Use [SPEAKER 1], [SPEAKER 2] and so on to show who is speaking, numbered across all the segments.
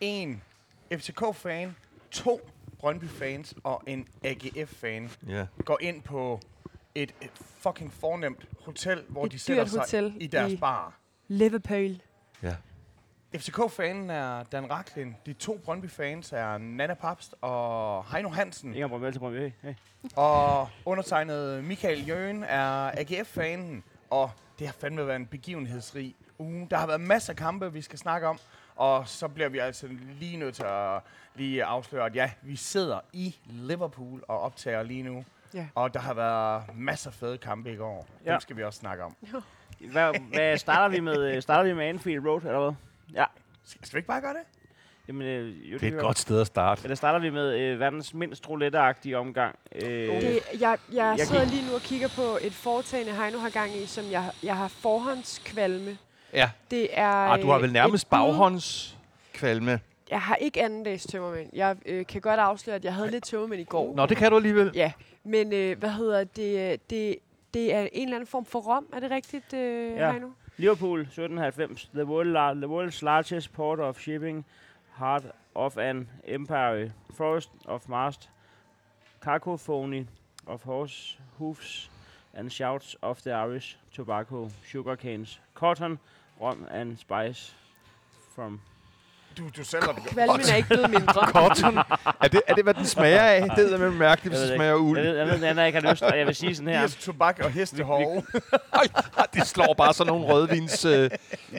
[SPEAKER 1] en FCK-fan, to Brøndby-fans og en AGF-fan
[SPEAKER 2] Ja.
[SPEAKER 1] går ind på et øh, fucking fornemt hotel, hvor
[SPEAKER 3] Et
[SPEAKER 1] de sætter
[SPEAKER 3] dyrt
[SPEAKER 1] sig
[SPEAKER 3] hotel
[SPEAKER 1] i deres
[SPEAKER 3] i-
[SPEAKER 1] bar.
[SPEAKER 3] Liverpool.
[SPEAKER 2] ja.
[SPEAKER 1] FCK-fanen er Dan Raklin. De to Brøndby-fans er Nana Papst og Heino Hansen.
[SPEAKER 4] Ingen Brøndby, altid Brøndby. Hey, hey.
[SPEAKER 1] Og undertegnet Michael Jøen er AGF-fanen, og det har fandme været en begivenhedsrig uge. Der har været masser af kampe, vi skal snakke om, og så bliver vi altså lige nødt til at lige afsløre, at ja, vi sidder i Liverpool og optager lige nu.
[SPEAKER 3] Ja.
[SPEAKER 1] Og der har været masser af fede kampe i går. Ja.
[SPEAKER 4] Ja.
[SPEAKER 1] Dem skal vi også snakke om.
[SPEAKER 4] Hvad, hvad starter vi med? Øh, Starter vi med Anfield Road, eller hvad? Ja.
[SPEAKER 1] Skal skal vi ikke bare gøre det?
[SPEAKER 4] Jamen, øh, jo,
[SPEAKER 2] Det er
[SPEAKER 4] kan
[SPEAKER 2] et
[SPEAKER 4] vi
[SPEAKER 2] godt sted at starte.
[SPEAKER 4] Eller starter vi med øh, verdens mindst roulette omgang? Øh,
[SPEAKER 3] Det, jeg, jeg,
[SPEAKER 4] Jeg
[SPEAKER 3] jeg sidder
[SPEAKER 4] gik-
[SPEAKER 3] lige nu og kigger på et foretagende, Heino har gang i, som jeg, jeg har forhåndskvalme.
[SPEAKER 2] Ja.
[SPEAKER 3] Det er...
[SPEAKER 2] Ah, du har
[SPEAKER 3] øh,
[SPEAKER 2] vel nærmest
[SPEAKER 3] et bud.
[SPEAKER 2] baghåndskvalme.
[SPEAKER 3] Jeg har ikke anden dags tømmermænd. Jeg øh, kan godt afsløre, at jeg havde lidt tømmermænd i går.
[SPEAKER 2] Nå, det kan du alligevel.
[SPEAKER 3] Ja, men øh, hvad hedder det, øh, det? Det er en eller anden form for rom, er det rigtigt, øh,
[SPEAKER 4] Ja.
[SPEAKER 3] ja. Heino?
[SPEAKER 4] Liverpool 1790, the, world, lar- the world's largest port of shipping, heart of an empire, forest of mast, cacophony of horse hoofs and shouts of the Irish, tobacco, sugar canes, cotton, rum and spice from...
[SPEAKER 1] Du, du selv har
[SPEAKER 3] Kvalmen er ikke blevet mindre.
[SPEAKER 2] Cotton. er, det, er det, hvad den smager af? Det er med mærkeligt, hvis
[SPEAKER 4] Jeg ved
[SPEAKER 2] det
[SPEAKER 4] ikke.
[SPEAKER 2] smager af uld.
[SPEAKER 4] Jeg ved, jeg ved, Anna ikke har lyst, og jeg vil sige sådan her.
[SPEAKER 1] Yes, tobak og hestehove.
[SPEAKER 2] Ah, det slår bare sådan nogle rødvins øh,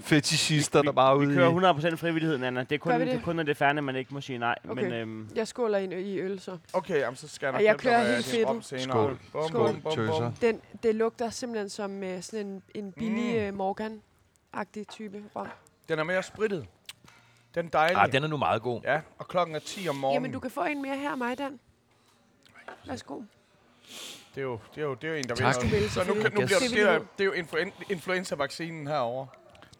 [SPEAKER 2] fetishister, der bare er ude
[SPEAKER 4] Vi
[SPEAKER 2] i.
[SPEAKER 4] kører 100% frivilligheden, Anna. Det er kun,
[SPEAKER 3] Gør vi
[SPEAKER 4] det?
[SPEAKER 3] det?
[SPEAKER 4] er kun når det er færdigt, man ikke må sige nej.
[SPEAKER 3] Okay.
[SPEAKER 4] Men, øhm,
[SPEAKER 3] Jeg skåler i, i øl, så.
[SPEAKER 1] Okay, jamen, så skal jeg nok
[SPEAKER 3] Og jeg
[SPEAKER 1] hjælpe dig
[SPEAKER 3] kører
[SPEAKER 1] med
[SPEAKER 3] helt
[SPEAKER 1] din
[SPEAKER 3] fedtet.
[SPEAKER 1] rom senere.
[SPEAKER 2] Skål.
[SPEAKER 1] Bum,
[SPEAKER 3] Skål,
[SPEAKER 1] bum, bum, bum.
[SPEAKER 2] tøser.
[SPEAKER 3] Den, det lugter simpelthen som øh, sådan en, en billig
[SPEAKER 1] Mm.
[SPEAKER 3] øh, Morgan-agtig type rom.
[SPEAKER 1] Den er mere spritet. Den er dejlig.
[SPEAKER 2] Ah, den er nu meget god.
[SPEAKER 1] Ja, og klokken er 10 om morgenen.
[SPEAKER 3] Jamen, du kan få en mere her af mig, Dan. Værsgo.
[SPEAKER 1] Det er jo, det er jo, det er jo en, der
[SPEAKER 2] Tak.
[SPEAKER 1] vinder.
[SPEAKER 3] Vil,
[SPEAKER 1] Så nu, kan- nu bliver
[SPEAKER 3] selvfølgelig.
[SPEAKER 1] det,
[SPEAKER 3] Yes.
[SPEAKER 1] det, er, det er jo influen, influenza-vaccinen herovre.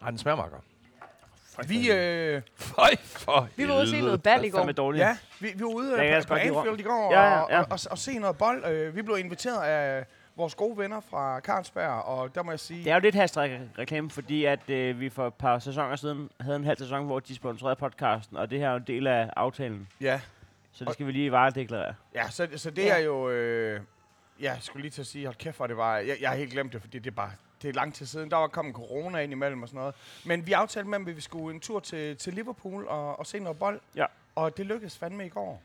[SPEAKER 2] Ah, den smager meget godt.
[SPEAKER 1] Vi, øh,
[SPEAKER 2] Føj for
[SPEAKER 3] Vi var ude og se
[SPEAKER 2] helvede.
[SPEAKER 3] noget bal i går.
[SPEAKER 4] fandme dårligt.
[SPEAKER 1] ja, vi, vi var ude
[SPEAKER 4] Jeg kan
[SPEAKER 1] øh,
[SPEAKER 4] altså
[SPEAKER 1] på, på
[SPEAKER 4] godt lide
[SPEAKER 1] Anfield i går
[SPEAKER 4] Ja, ja, ja.
[SPEAKER 1] Og, og, og se noget bold. Øh, Vi blev inviteret af vores gode venner fra Carlsberg, og der må jeg sige...
[SPEAKER 4] Det er jo lidt hashtag reklame, fordi at øh, vi for et par sæsoner siden havde en halv sæson, hvor de sponsorerede podcasten, og det her er jo en del af aftalen.
[SPEAKER 1] Ja,
[SPEAKER 4] Så det skal vi lige varedeklarere.
[SPEAKER 1] ja så, så det
[SPEAKER 3] Ja.
[SPEAKER 1] er jo... Øh, ja, jeg skulle lige til at sige, hold kæft, hvor det var... Jeg, jeg har helt glemt det, fordi det er bare... Det er lang tid siden. Der var kommet corona ind imellem og sådan noget. Men vi aftalte med dem, at vi skulle en tur til, til Liverpool og, og se noget bold.
[SPEAKER 4] Ja.
[SPEAKER 1] Og det lykkedes fandme i går.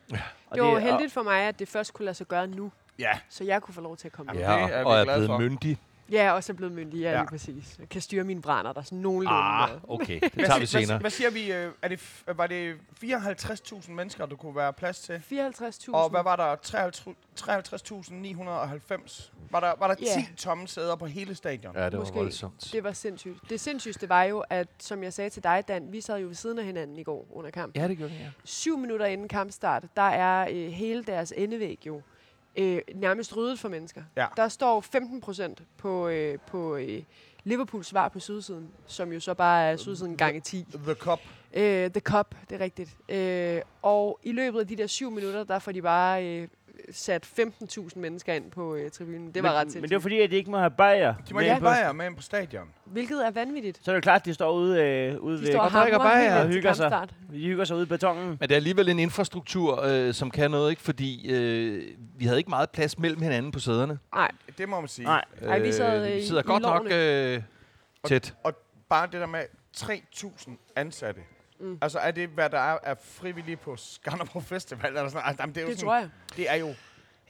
[SPEAKER 4] Og
[SPEAKER 3] Det var
[SPEAKER 4] og-
[SPEAKER 3] heldigt for mig, at det først kunne lade sig gøre nu,
[SPEAKER 1] Ja,
[SPEAKER 3] så jeg kunne få lov til at komme med.
[SPEAKER 1] Det er
[SPEAKER 2] Ja,
[SPEAKER 1] vi
[SPEAKER 2] og er
[SPEAKER 1] glade
[SPEAKER 2] blevet
[SPEAKER 1] for.
[SPEAKER 2] myndig.
[SPEAKER 3] Ja, og så blevet myndig, ja,
[SPEAKER 1] Ja.
[SPEAKER 3] lige præcis. Jeg kan styre mine brænder, der er sådan nogenlunde.
[SPEAKER 2] Ah,
[SPEAKER 3] Ah.
[SPEAKER 2] okay. Det tager vi
[SPEAKER 1] Hvad- Hvad,
[SPEAKER 2] senere.
[SPEAKER 1] hvad siger vi? øh, Er det, f- øh, var det 54.000 mennesker, der kunne være plads til?
[SPEAKER 3] 54.000.
[SPEAKER 1] Og hvad var der? 53.990? Var der, var der
[SPEAKER 3] Ja.
[SPEAKER 1] 10 tomme sæder på hele stadion?
[SPEAKER 2] Ja, det var
[SPEAKER 3] Måske.
[SPEAKER 2] voldsomt.
[SPEAKER 3] Det var sindssygt. Det sindssygste var jo, at som jeg sagde til dig, Dan, vi sad jo ved siden af hinanden i går under kamp.
[SPEAKER 2] Ja, det gjorde det, ja.
[SPEAKER 3] Syv minutter inden kampstart, der er øh, hele deres endevæg jo øh, nærmest ryddet for mennesker.
[SPEAKER 1] Ja.
[SPEAKER 3] Der står 15 procent på, øh, på øh, Liverpools svar på sydsiden, som jo så bare er sydsiden gange 10.
[SPEAKER 1] The Cup.
[SPEAKER 3] Øh, The Cup, det er rigtigt. Øh, og i løbet af de der syv minutter, der får de bare øh, sat 15.000 mennesker ind på øh, tribunen. Det var
[SPEAKER 4] men,
[SPEAKER 3] ret
[SPEAKER 4] Men det var
[SPEAKER 3] sindssygt.
[SPEAKER 4] fordi, at de ikke må have bajer.
[SPEAKER 1] De må
[SPEAKER 4] med
[SPEAKER 1] ikke
[SPEAKER 4] på-
[SPEAKER 1] bajer med ind på stadion.
[SPEAKER 3] Hvilket er vanvittigt.
[SPEAKER 4] Så er det jo klart, at de står ude, øh, ude
[SPEAKER 3] De
[SPEAKER 4] ved...
[SPEAKER 3] står og
[SPEAKER 2] og drikker
[SPEAKER 3] hamrer
[SPEAKER 2] bajer
[SPEAKER 3] helt
[SPEAKER 2] og
[SPEAKER 3] ind til
[SPEAKER 4] hygger sig.
[SPEAKER 3] kampstart.
[SPEAKER 4] de hygger sig ude i betongen.
[SPEAKER 2] Men det er alligevel en infrastruktur, øh, som kan noget, ikke? Fordi øh, vi havde ikke meget plads mellem hinanden på sæderne.
[SPEAKER 3] Nej,
[SPEAKER 1] Det må man sige.
[SPEAKER 4] Nej,
[SPEAKER 3] Ej, vi sad, øh,
[SPEAKER 2] vi
[SPEAKER 3] i-
[SPEAKER 2] sidder
[SPEAKER 3] i
[SPEAKER 2] godt nok øh, tæt.
[SPEAKER 1] Bare det der med 3.000 ansatte. Mm.
[SPEAKER 3] Mm.
[SPEAKER 1] Altså er det, hvad der er, er frivillige på Skanderborg Festival? Eller sådan, noget? altså, jamen, det er jo
[SPEAKER 3] det
[SPEAKER 1] sådan,
[SPEAKER 3] tror jeg.
[SPEAKER 1] Det er jo...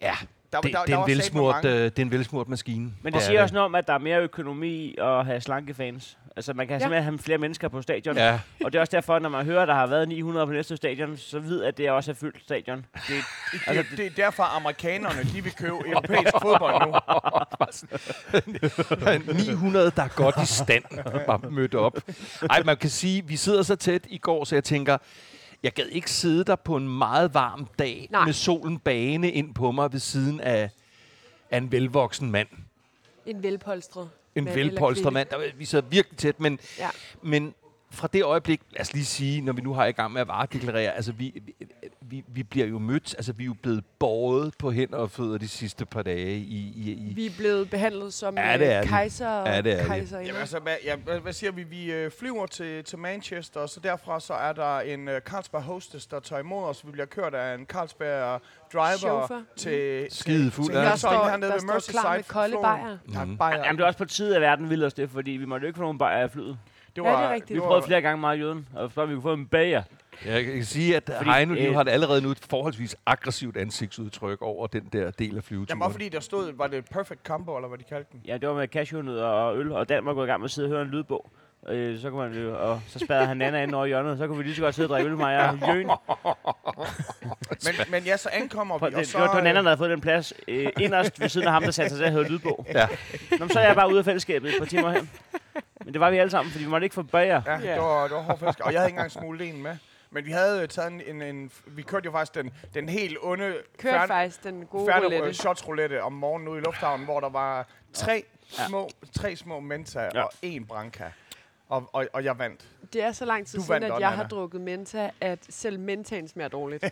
[SPEAKER 2] Ja,
[SPEAKER 1] Der,
[SPEAKER 2] Det,
[SPEAKER 1] der,
[SPEAKER 2] det,
[SPEAKER 1] der
[SPEAKER 2] er en
[SPEAKER 1] var
[SPEAKER 2] velsmurt, øh,
[SPEAKER 1] satme mange.
[SPEAKER 2] det er en velsmurt maskine.
[SPEAKER 4] Men det
[SPEAKER 2] Ja,
[SPEAKER 4] siger også noget om, at der er mere økonomi i at have slanke fans. Altså, man kan
[SPEAKER 3] Ja.
[SPEAKER 4] simpelthen have flere mennesker på stadion.
[SPEAKER 2] Ja,
[SPEAKER 4] Og det er også derfor, når man hører, at der har været 900 på næste stadion, så ved at det også er fyldt stadion. Det, altså,
[SPEAKER 1] det, det er derfor, amerikanerne de vil købe europæisk fodbold nu.
[SPEAKER 2] 900, der er godt i stand, bare mødt op. Ej, man kan sige, vi sidder så tæt i går, så jeg tænker, jeg gad ikke sidde der på en meget varm dag
[SPEAKER 3] Nej.
[SPEAKER 2] med solen bagende ind på mig ved siden af, af en velvoksen mand.
[SPEAKER 3] En velpolstret.
[SPEAKER 2] En
[SPEAKER 3] mand eller
[SPEAKER 2] velpolstret
[SPEAKER 3] kvinde.
[SPEAKER 2] mand. Der, vi sidder virkelig tæt, men,
[SPEAKER 3] Ja.
[SPEAKER 2] men fra det øjeblik, lad os lige sige, når vi nu har i gang med at varedeklarere, altså vi, vi, vi, vi bliver jo mødt, altså vi er jo blevet båret på hænder og fødder de sidste par dage i... i, i
[SPEAKER 3] Vi er blevet behandlet som
[SPEAKER 2] Ja, det
[SPEAKER 3] øh,
[SPEAKER 2] er vi.
[SPEAKER 3] kejser og
[SPEAKER 2] Ja, det er vi.
[SPEAKER 3] kejserinde.
[SPEAKER 1] Jamen, altså, hvad, ja, hvad, hvad siger vi? Vi øh, flyver til, til Manchester, og så derfra så er der en øh, Carlsberg hostess, der tager imod os. Vi bliver kørt af en Carlsberg driver
[SPEAKER 3] Chauffør. Mm.
[SPEAKER 1] til...
[SPEAKER 2] skide fuld.
[SPEAKER 1] til
[SPEAKER 3] Der
[SPEAKER 2] Ja.
[SPEAKER 1] Hørsholm
[SPEAKER 3] står-
[SPEAKER 1] hernede
[SPEAKER 3] der
[SPEAKER 1] ved
[SPEAKER 3] står klar med
[SPEAKER 1] Merseyside
[SPEAKER 3] kolde
[SPEAKER 1] floden.
[SPEAKER 3] bajere.
[SPEAKER 1] Tak,
[SPEAKER 2] Mhm.
[SPEAKER 1] bajer.
[SPEAKER 4] Jamen, det er også på tide, at verden ville os det, fordi vi måtte jo ikke få nogen bajer af flyet.
[SPEAKER 1] det
[SPEAKER 3] Ja, det er rigtigt.
[SPEAKER 4] Vi prøvede flere gange meget jøden, og så vi kunne få en bager.
[SPEAKER 2] Jeg kan sige, at
[SPEAKER 4] Fordi,
[SPEAKER 2] Heino øh,
[SPEAKER 4] øh,
[SPEAKER 2] har et allerede nu et forholdsvis aggressivt ansigtsudtryk over den der del af flyveturen.
[SPEAKER 1] Jamen, også fordi der stod, var det perfect combo, eller hvad de kaldte den?
[SPEAKER 4] Ja, det var med cashewnødder og øl, og Dan var gået i gang med at sidde og høre en lydbog. Øh, så kunne man jo, og så spadrede han Nana ind over i hjørnet, så kunne vi lige så godt sidde og drikke øl, mig og Jøn.
[SPEAKER 1] Men, men ja, så ankommer
[SPEAKER 4] Prøv,
[SPEAKER 1] vi, og
[SPEAKER 4] det,
[SPEAKER 1] så...
[SPEAKER 4] det, var, det var
[SPEAKER 1] øh,
[SPEAKER 4] Nana, der havde fået den plads øh, inderst ved siden af ham, der satte sig til at høre lydbog.
[SPEAKER 2] Ja.
[SPEAKER 4] Nå, men så er jeg bare ude af fællesskabet et par timer hen. Men det var vi alle sammen, fordi vi måtte ikke få bager.
[SPEAKER 1] øh, Ja, yeah.
[SPEAKER 3] Ja.
[SPEAKER 1] det var, det var hård fisk. Og jeg havde ikke engang smuglet en med. Men vi havde øh, taget en, en, en vi kørte jo faktisk den, den helt onde
[SPEAKER 3] Kørte faktisk den gode
[SPEAKER 1] færdig
[SPEAKER 3] roulette.
[SPEAKER 1] shots roulette om morgenen ude i lufthavnen, hvor der var tre,
[SPEAKER 4] Ja.
[SPEAKER 1] små, tre små menta
[SPEAKER 4] Ja.
[SPEAKER 1] og en branca. Og, og, og jeg vandt.
[SPEAKER 3] Det er så lang tid
[SPEAKER 1] Du
[SPEAKER 3] siden,
[SPEAKER 1] vandt
[SPEAKER 3] at
[SPEAKER 1] også,
[SPEAKER 3] jeg
[SPEAKER 1] Anna.
[SPEAKER 3] har drukket menta, at selv mentaen smager dårligt.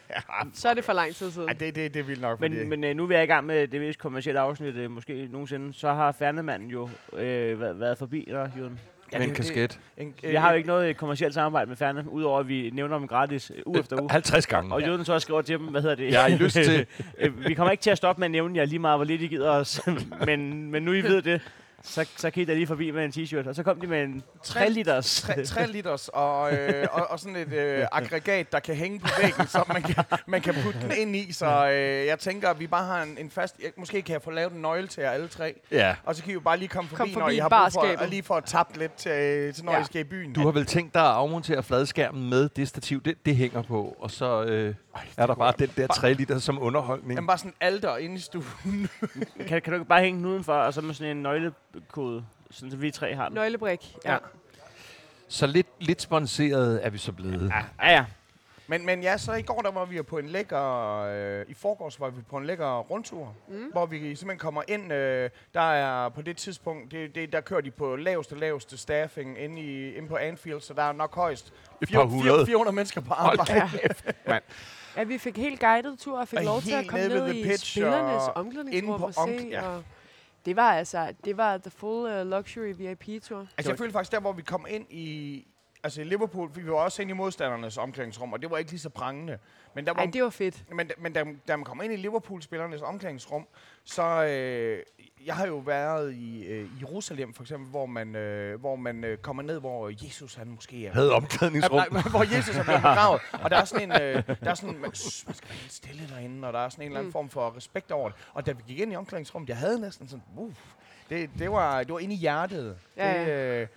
[SPEAKER 3] Så er det for lang tid
[SPEAKER 1] Ej,
[SPEAKER 3] siden.
[SPEAKER 1] det, det, det er vildt nok. fordi,
[SPEAKER 4] Men, men øh, nu er vi er i gang med det mest kommercielle afsnit, øh, måske nogensinde, så har Færnemanden jo øh, været, været forbi dig, Jørgen.
[SPEAKER 2] med en kasket.
[SPEAKER 1] en,
[SPEAKER 4] Jeg har jo ikke noget øh, kommercielt samarbejde med Færne, udover at vi nævner dem gratis øh, uge efter uge.
[SPEAKER 2] 50 gange.
[SPEAKER 4] Og Jørgen så også skriver til dem, hvad hedder det?
[SPEAKER 2] Jeg har I lyst til...
[SPEAKER 4] Øh, vi kommer ikke til at stoppe med at nævne jer lige meget, hvor lidt I gider os. men, men nu I ved det, så, så kan I da lige forbi med en t-shirt. Og så kom de med en 3 liters.
[SPEAKER 1] 3, 3 liters og, øh, og, og sådan et øh, aggregat, der kan hænge på væggen, så man kan, man kan putte den ind i. Så øh, jeg tænker, at vi bare har en, en fast... Jeg, måske kan jeg få lavet en nøgle til jer alle tre.
[SPEAKER 2] Ja.
[SPEAKER 1] Og så kan I jo bare lige komme forbi,
[SPEAKER 3] Kom
[SPEAKER 1] når
[SPEAKER 3] forbi
[SPEAKER 1] I har brug for,
[SPEAKER 3] barskabet.
[SPEAKER 1] og lige for at tabt lidt øh, til, til når ja.
[SPEAKER 3] Ja.
[SPEAKER 1] I skal i byen.
[SPEAKER 2] Du har vel tænkt dig at afmontere fladskærmen med det stativ, det, det hænger på, og så øh, er der
[SPEAKER 1] kunne
[SPEAKER 2] bare
[SPEAKER 1] jeg-
[SPEAKER 2] den der 3 liter som underholdning.
[SPEAKER 1] Jamen bare sådan en alter inde i stuen.
[SPEAKER 4] Kan, kan du ikke bare hænge den udenfor, og så med sådan en nøglekode, sådan så vi tre har den?
[SPEAKER 3] Nøglebrik, ja.
[SPEAKER 4] Ja.
[SPEAKER 2] Så lidt, lidt sponseret er vi så blevet.
[SPEAKER 4] Ja, ja, ja.
[SPEAKER 1] men, men ja, så i går der var vi jo på en lækker... Øh, I forgårs var vi på en lækker rundtur, mm. hvor vi simpelthen kommer ind. Øh, der er på det tidspunkt, det, det, der kører de på laveste, laveste staffing inde, i, inde på Anfield, så der er nok højst
[SPEAKER 2] Et
[SPEAKER 1] fire-
[SPEAKER 2] par
[SPEAKER 1] fire-
[SPEAKER 2] hundrede.
[SPEAKER 1] 400 mennesker på
[SPEAKER 2] Hold
[SPEAKER 1] arbejde.
[SPEAKER 3] Ja. ja, vi fik helt guidet tur og fik
[SPEAKER 1] Og
[SPEAKER 3] lov til at
[SPEAKER 1] helt
[SPEAKER 3] komme
[SPEAKER 1] nede ved
[SPEAKER 3] ned
[SPEAKER 1] The
[SPEAKER 3] i
[SPEAKER 1] Pitch
[SPEAKER 3] spillernes
[SPEAKER 1] og inde
[SPEAKER 3] omklædningsrum
[SPEAKER 1] på
[SPEAKER 3] og se.
[SPEAKER 1] omk- ja.
[SPEAKER 3] og det var altså, det var the full uh, luxury VIP-tur.
[SPEAKER 1] Altså, jeg følte faktisk, der hvor vi kom ind i... Altså i Liverpool, vi var også inde i modstandernes omklædningsrum, og det var ikke lige så prangende. Men der var,
[SPEAKER 3] Ej, det var fedt.
[SPEAKER 1] Men, da- men da, da man kommer ind i Liverpool-spillernes omklædningsrum, så... Øh, jeg har jo været i øh, Jerusalem, for eksempel, hvor man, øh, hvor man øh, kommer ned, hvor Jesus han måske er...
[SPEAKER 2] Havde
[SPEAKER 1] Ja,
[SPEAKER 2] omklædningsrum.
[SPEAKER 1] nej, men hvor Jesus er blevet begravet. Og der er sådan en... Øh, der er sådan, man, shh, man skal være helt stille derinde, og der er sådan en eller
[SPEAKER 3] Mm.
[SPEAKER 1] anden form for respekt over det. Og da vi gik ind i omklædningsrummet, jeg havde næsten sådan... Uh, det, det, var, det var inde i hjertet.
[SPEAKER 3] Ja,
[SPEAKER 1] Det, øh,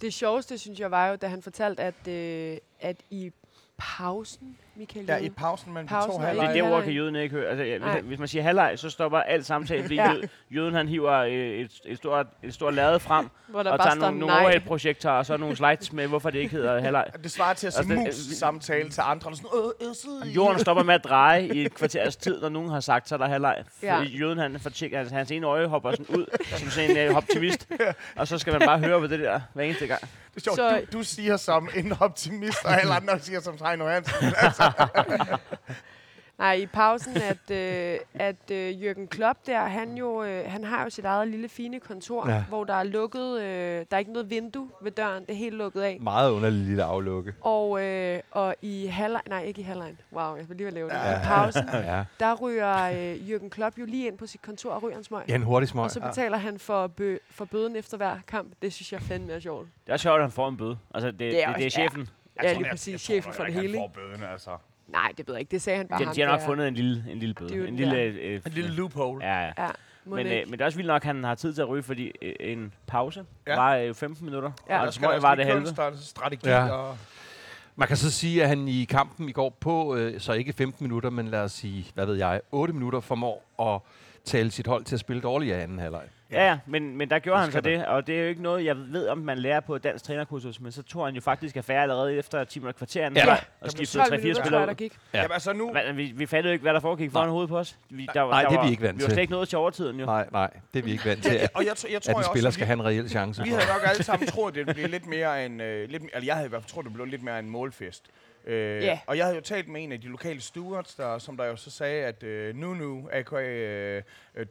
[SPEAKER 3] Det sjoveste, synes jeg, var jo, da han fortalte, at, øh, at i pausen, Michael
[SPEAKER 1] ja,
[SPEAKER 3] Juhl-
[SPEAKER 1] i pausen mellem de
[SPEAKER 3] Pausen
[SPEAKER 1] to
[SPEAKER 3] og
[SPEAKER 4] Det
[SPEAKER 1] halvleje.
[SPEAKER 4] er
[SPEAKER 3] Nej.
[SPEAKER 4] det ord, kan jøden ikke høre. Altså,
[SPEAKER 3] Nej.
[SPEAKER 4] ja, hvis man siger halvleg, så stopper alt samtale, fordi
[SPEAKER 3] Ja.
[SPEAKER 4] jød- jøden han hiver øh, et, et, stort, et stort lade frem,
[SPEAKER 3] hvor der
[SPEAKER 4] og
[SPEAKER 3] bare
[SPEAKER 4] tager
[SPEAKER 3] står
[SPEAKER 4] nogle, nogle
[SPEAKER 3] nej.
[SPEAKER 4] overhead-projektorer og så nogle slides med, hvorfor det ikke hedder halvleg.
[SPEAKER 1] Det svarer til at sige
[SPEAKER 4] Altså, det-
[SPEAKER 1] mus-samtale til andre. Og sådan, øh, øh, sidde i-
[SPEAKER 4] Jorden stopper med at dreje i et kvarters tid, når nogen har sagt, så er der halvleg.
[SPEAKER 3] Ja.
[SPEAKER 4] Ja. Jøden, han fortjekker, altså, hans ene øje hopper sådan ud, som sådan en uh, optimist. Og så skal man bare høre på det der hver eneste gang.
[SPEAKER 1] Det er sjovt,
[SPEAKER 3] Så-
[SPEAKER 1] du, du siger som en optimist, og alle andre siger som Heino Hansen.
[SPEAKER 3] Nej, i pausen, at, øh, at øh, Jørgen Klopp der, han, jo, øh, han har jo sit eget lille fine kontor,
[SPEAKER 2] Ja.
[SPEAKER 3] ja. hvor der er lukket, øh, der er ikke noget vindue ved døren, det er helt lukket af.
[SPEAKER 2] Meget underligt lille aflukke.
[SPEAKER 3] Og, øh, og i halvleg, nej ikke i halvleg, wow, jeg vil lige lave det.
[SPEAKER 2] Ja.
[SPEAKER 3] I pausen,
[SPEAKER 2] Ja.
[SPEAKER 3] der ryger øh, Jørgen Klopp jo lige ind på sit kontor og ryger en smøg.
[SPEAKER 2] ja, en hurtig smøg.
[SPEAKER 3] Og så betaler han for, bø- for bøden efter hver kamp. Det synes jeg fandme er sjovt.
[SPEAKER 4] Det er også sjovt, at han får en bøde. Altså, det, det,
[SPEAKER 3] er
[SPEAKER 4] er, det, det er
[SPEAKER 3] også- ja.
[SPEAKER 4] chefen.
[SPEAKER 3] Ja, lige præcis. Chefen for det hele. ikke?
[SPEAKER 1] bøden, altså.
[SPEAKER 3] Nej, det ved jeg ikke. Det sagde han bare
[SPEAKER 4] De,
[SPEAKER 3] ham.
[SPEAKER 4] de har nok
[SPEAKER 3] der.
[SPEAKER 4] fundet en lille, en lille bøde.
[SPEAKER 3] Det er jo
[SPEAKER 4] en
[SPEAKER 3] den
[SPEAKER 4] lille...
[SPEAKER 3] der.
[SPEAKER 4] Øh,
[SPEAKER 1] En lille loophole.
[SPEAKER 4] ja, ja.
[SPEAKER 3] Ja, mon
[SPEAKER 4] Men, øh,
[SPEAKER 3] ikke?
[SPEAKER 4] men det er også vildt nok, at han har tid til at ryge, fordi øh, en pause
[SPEAKER 1] Ja.
[SPEAKER 4] ja. var øh, 15 minutter.
[SPEAKER 3] Ja.
[SPEAKER 4] Ja,
[SPEAKER 1] Der
[SPEAKER 4] og
[SPEAKER 1] skal
[SPEAKER 4] smøg
[SPEAKER 1] også
[SPEAKER 4] var
[SPEAKER 1] lige
[SPEAKER 4] det halve.
[SPEAKER 1] kunst og strategi
[SPEAKER 2] Ja.
[SPEAKER 1] ja. og...
[SPEAKER 2] Man kan så sige, at han i kampen i går på, øh, så ikke 15 minutter, men lad os sige, hvad ved jeg, 8 minutter formår at tale sit hold til at spille dårligere i anden halvleg.
[SPEAKER 4] Ja, ja, men, men der gjorde
[SPEAKER 2] Det
[SPEAKER 4] han så
[SPEAKER 2] skal
[SPEAKER 4] det, og det er jo ikke noget, jeg ved, om man lærer på dansk trænerkursus, men så tog han jo faktisk affære allerede efter 10 minutter kvarter
[SPEAKER 2] Ja.
[SPEAKER 4] ja. og skiftede
[SPEAKER 3] 12
[SPEAKER 4] 3-4
[SPEAKER 3] minutter, tror jeg,
[SPEAKER 4] spillere
[SPEAKER 3] der
[SPEAKER 4] ud.
[SPEAKER 3] gik.
[SPEAKER 2] Ja.
[SPEAKER 1] Ja. Jamen, altså nu...
[SPEAKER 4] Hva- Vi, vi fattede jo ikke, hvad der foregik foran hovedet på os. Vi, der,
[SPEAKER 2] Nej,
[SPEAKER 4] der
[SPEAKER 2] det er
[SPEAKER 4] var,
[SPEAKER 2] vi ikke vant
[SPEAKER 4] Vi var
[SPEAKER 2] til.
[SPEAKER 4] slet ikke nået til overtiden, jo.
[SPEAKER 2] Nej, nej, det er vi ikke vant til, at,
[SPEAKER 1] Og jeg, tr- jeg tror
[SPEAKER 2] at en
[SPEAKER 1] jeg
[SPEAKER 2] spiller
[SPEAKER 1] også,
[SPEAKER 2] skal
[SPEAKER 1] at
[SPEAKER 2] have en reel chance.
[SPEAKER 1] vi, vi havde nok alle sammen troet, det blev lidt mere en... Øh, lidt, eller jeg havde i hvert fald troet, det blev lidt mere en målfest. Øh,
[SPEAKER 3] Ja.
[SPEAKER 1] Og jeg havde jo talt med en af de lokale stewards, der, som der jo så sagde, at øh, Nunu, aka øh,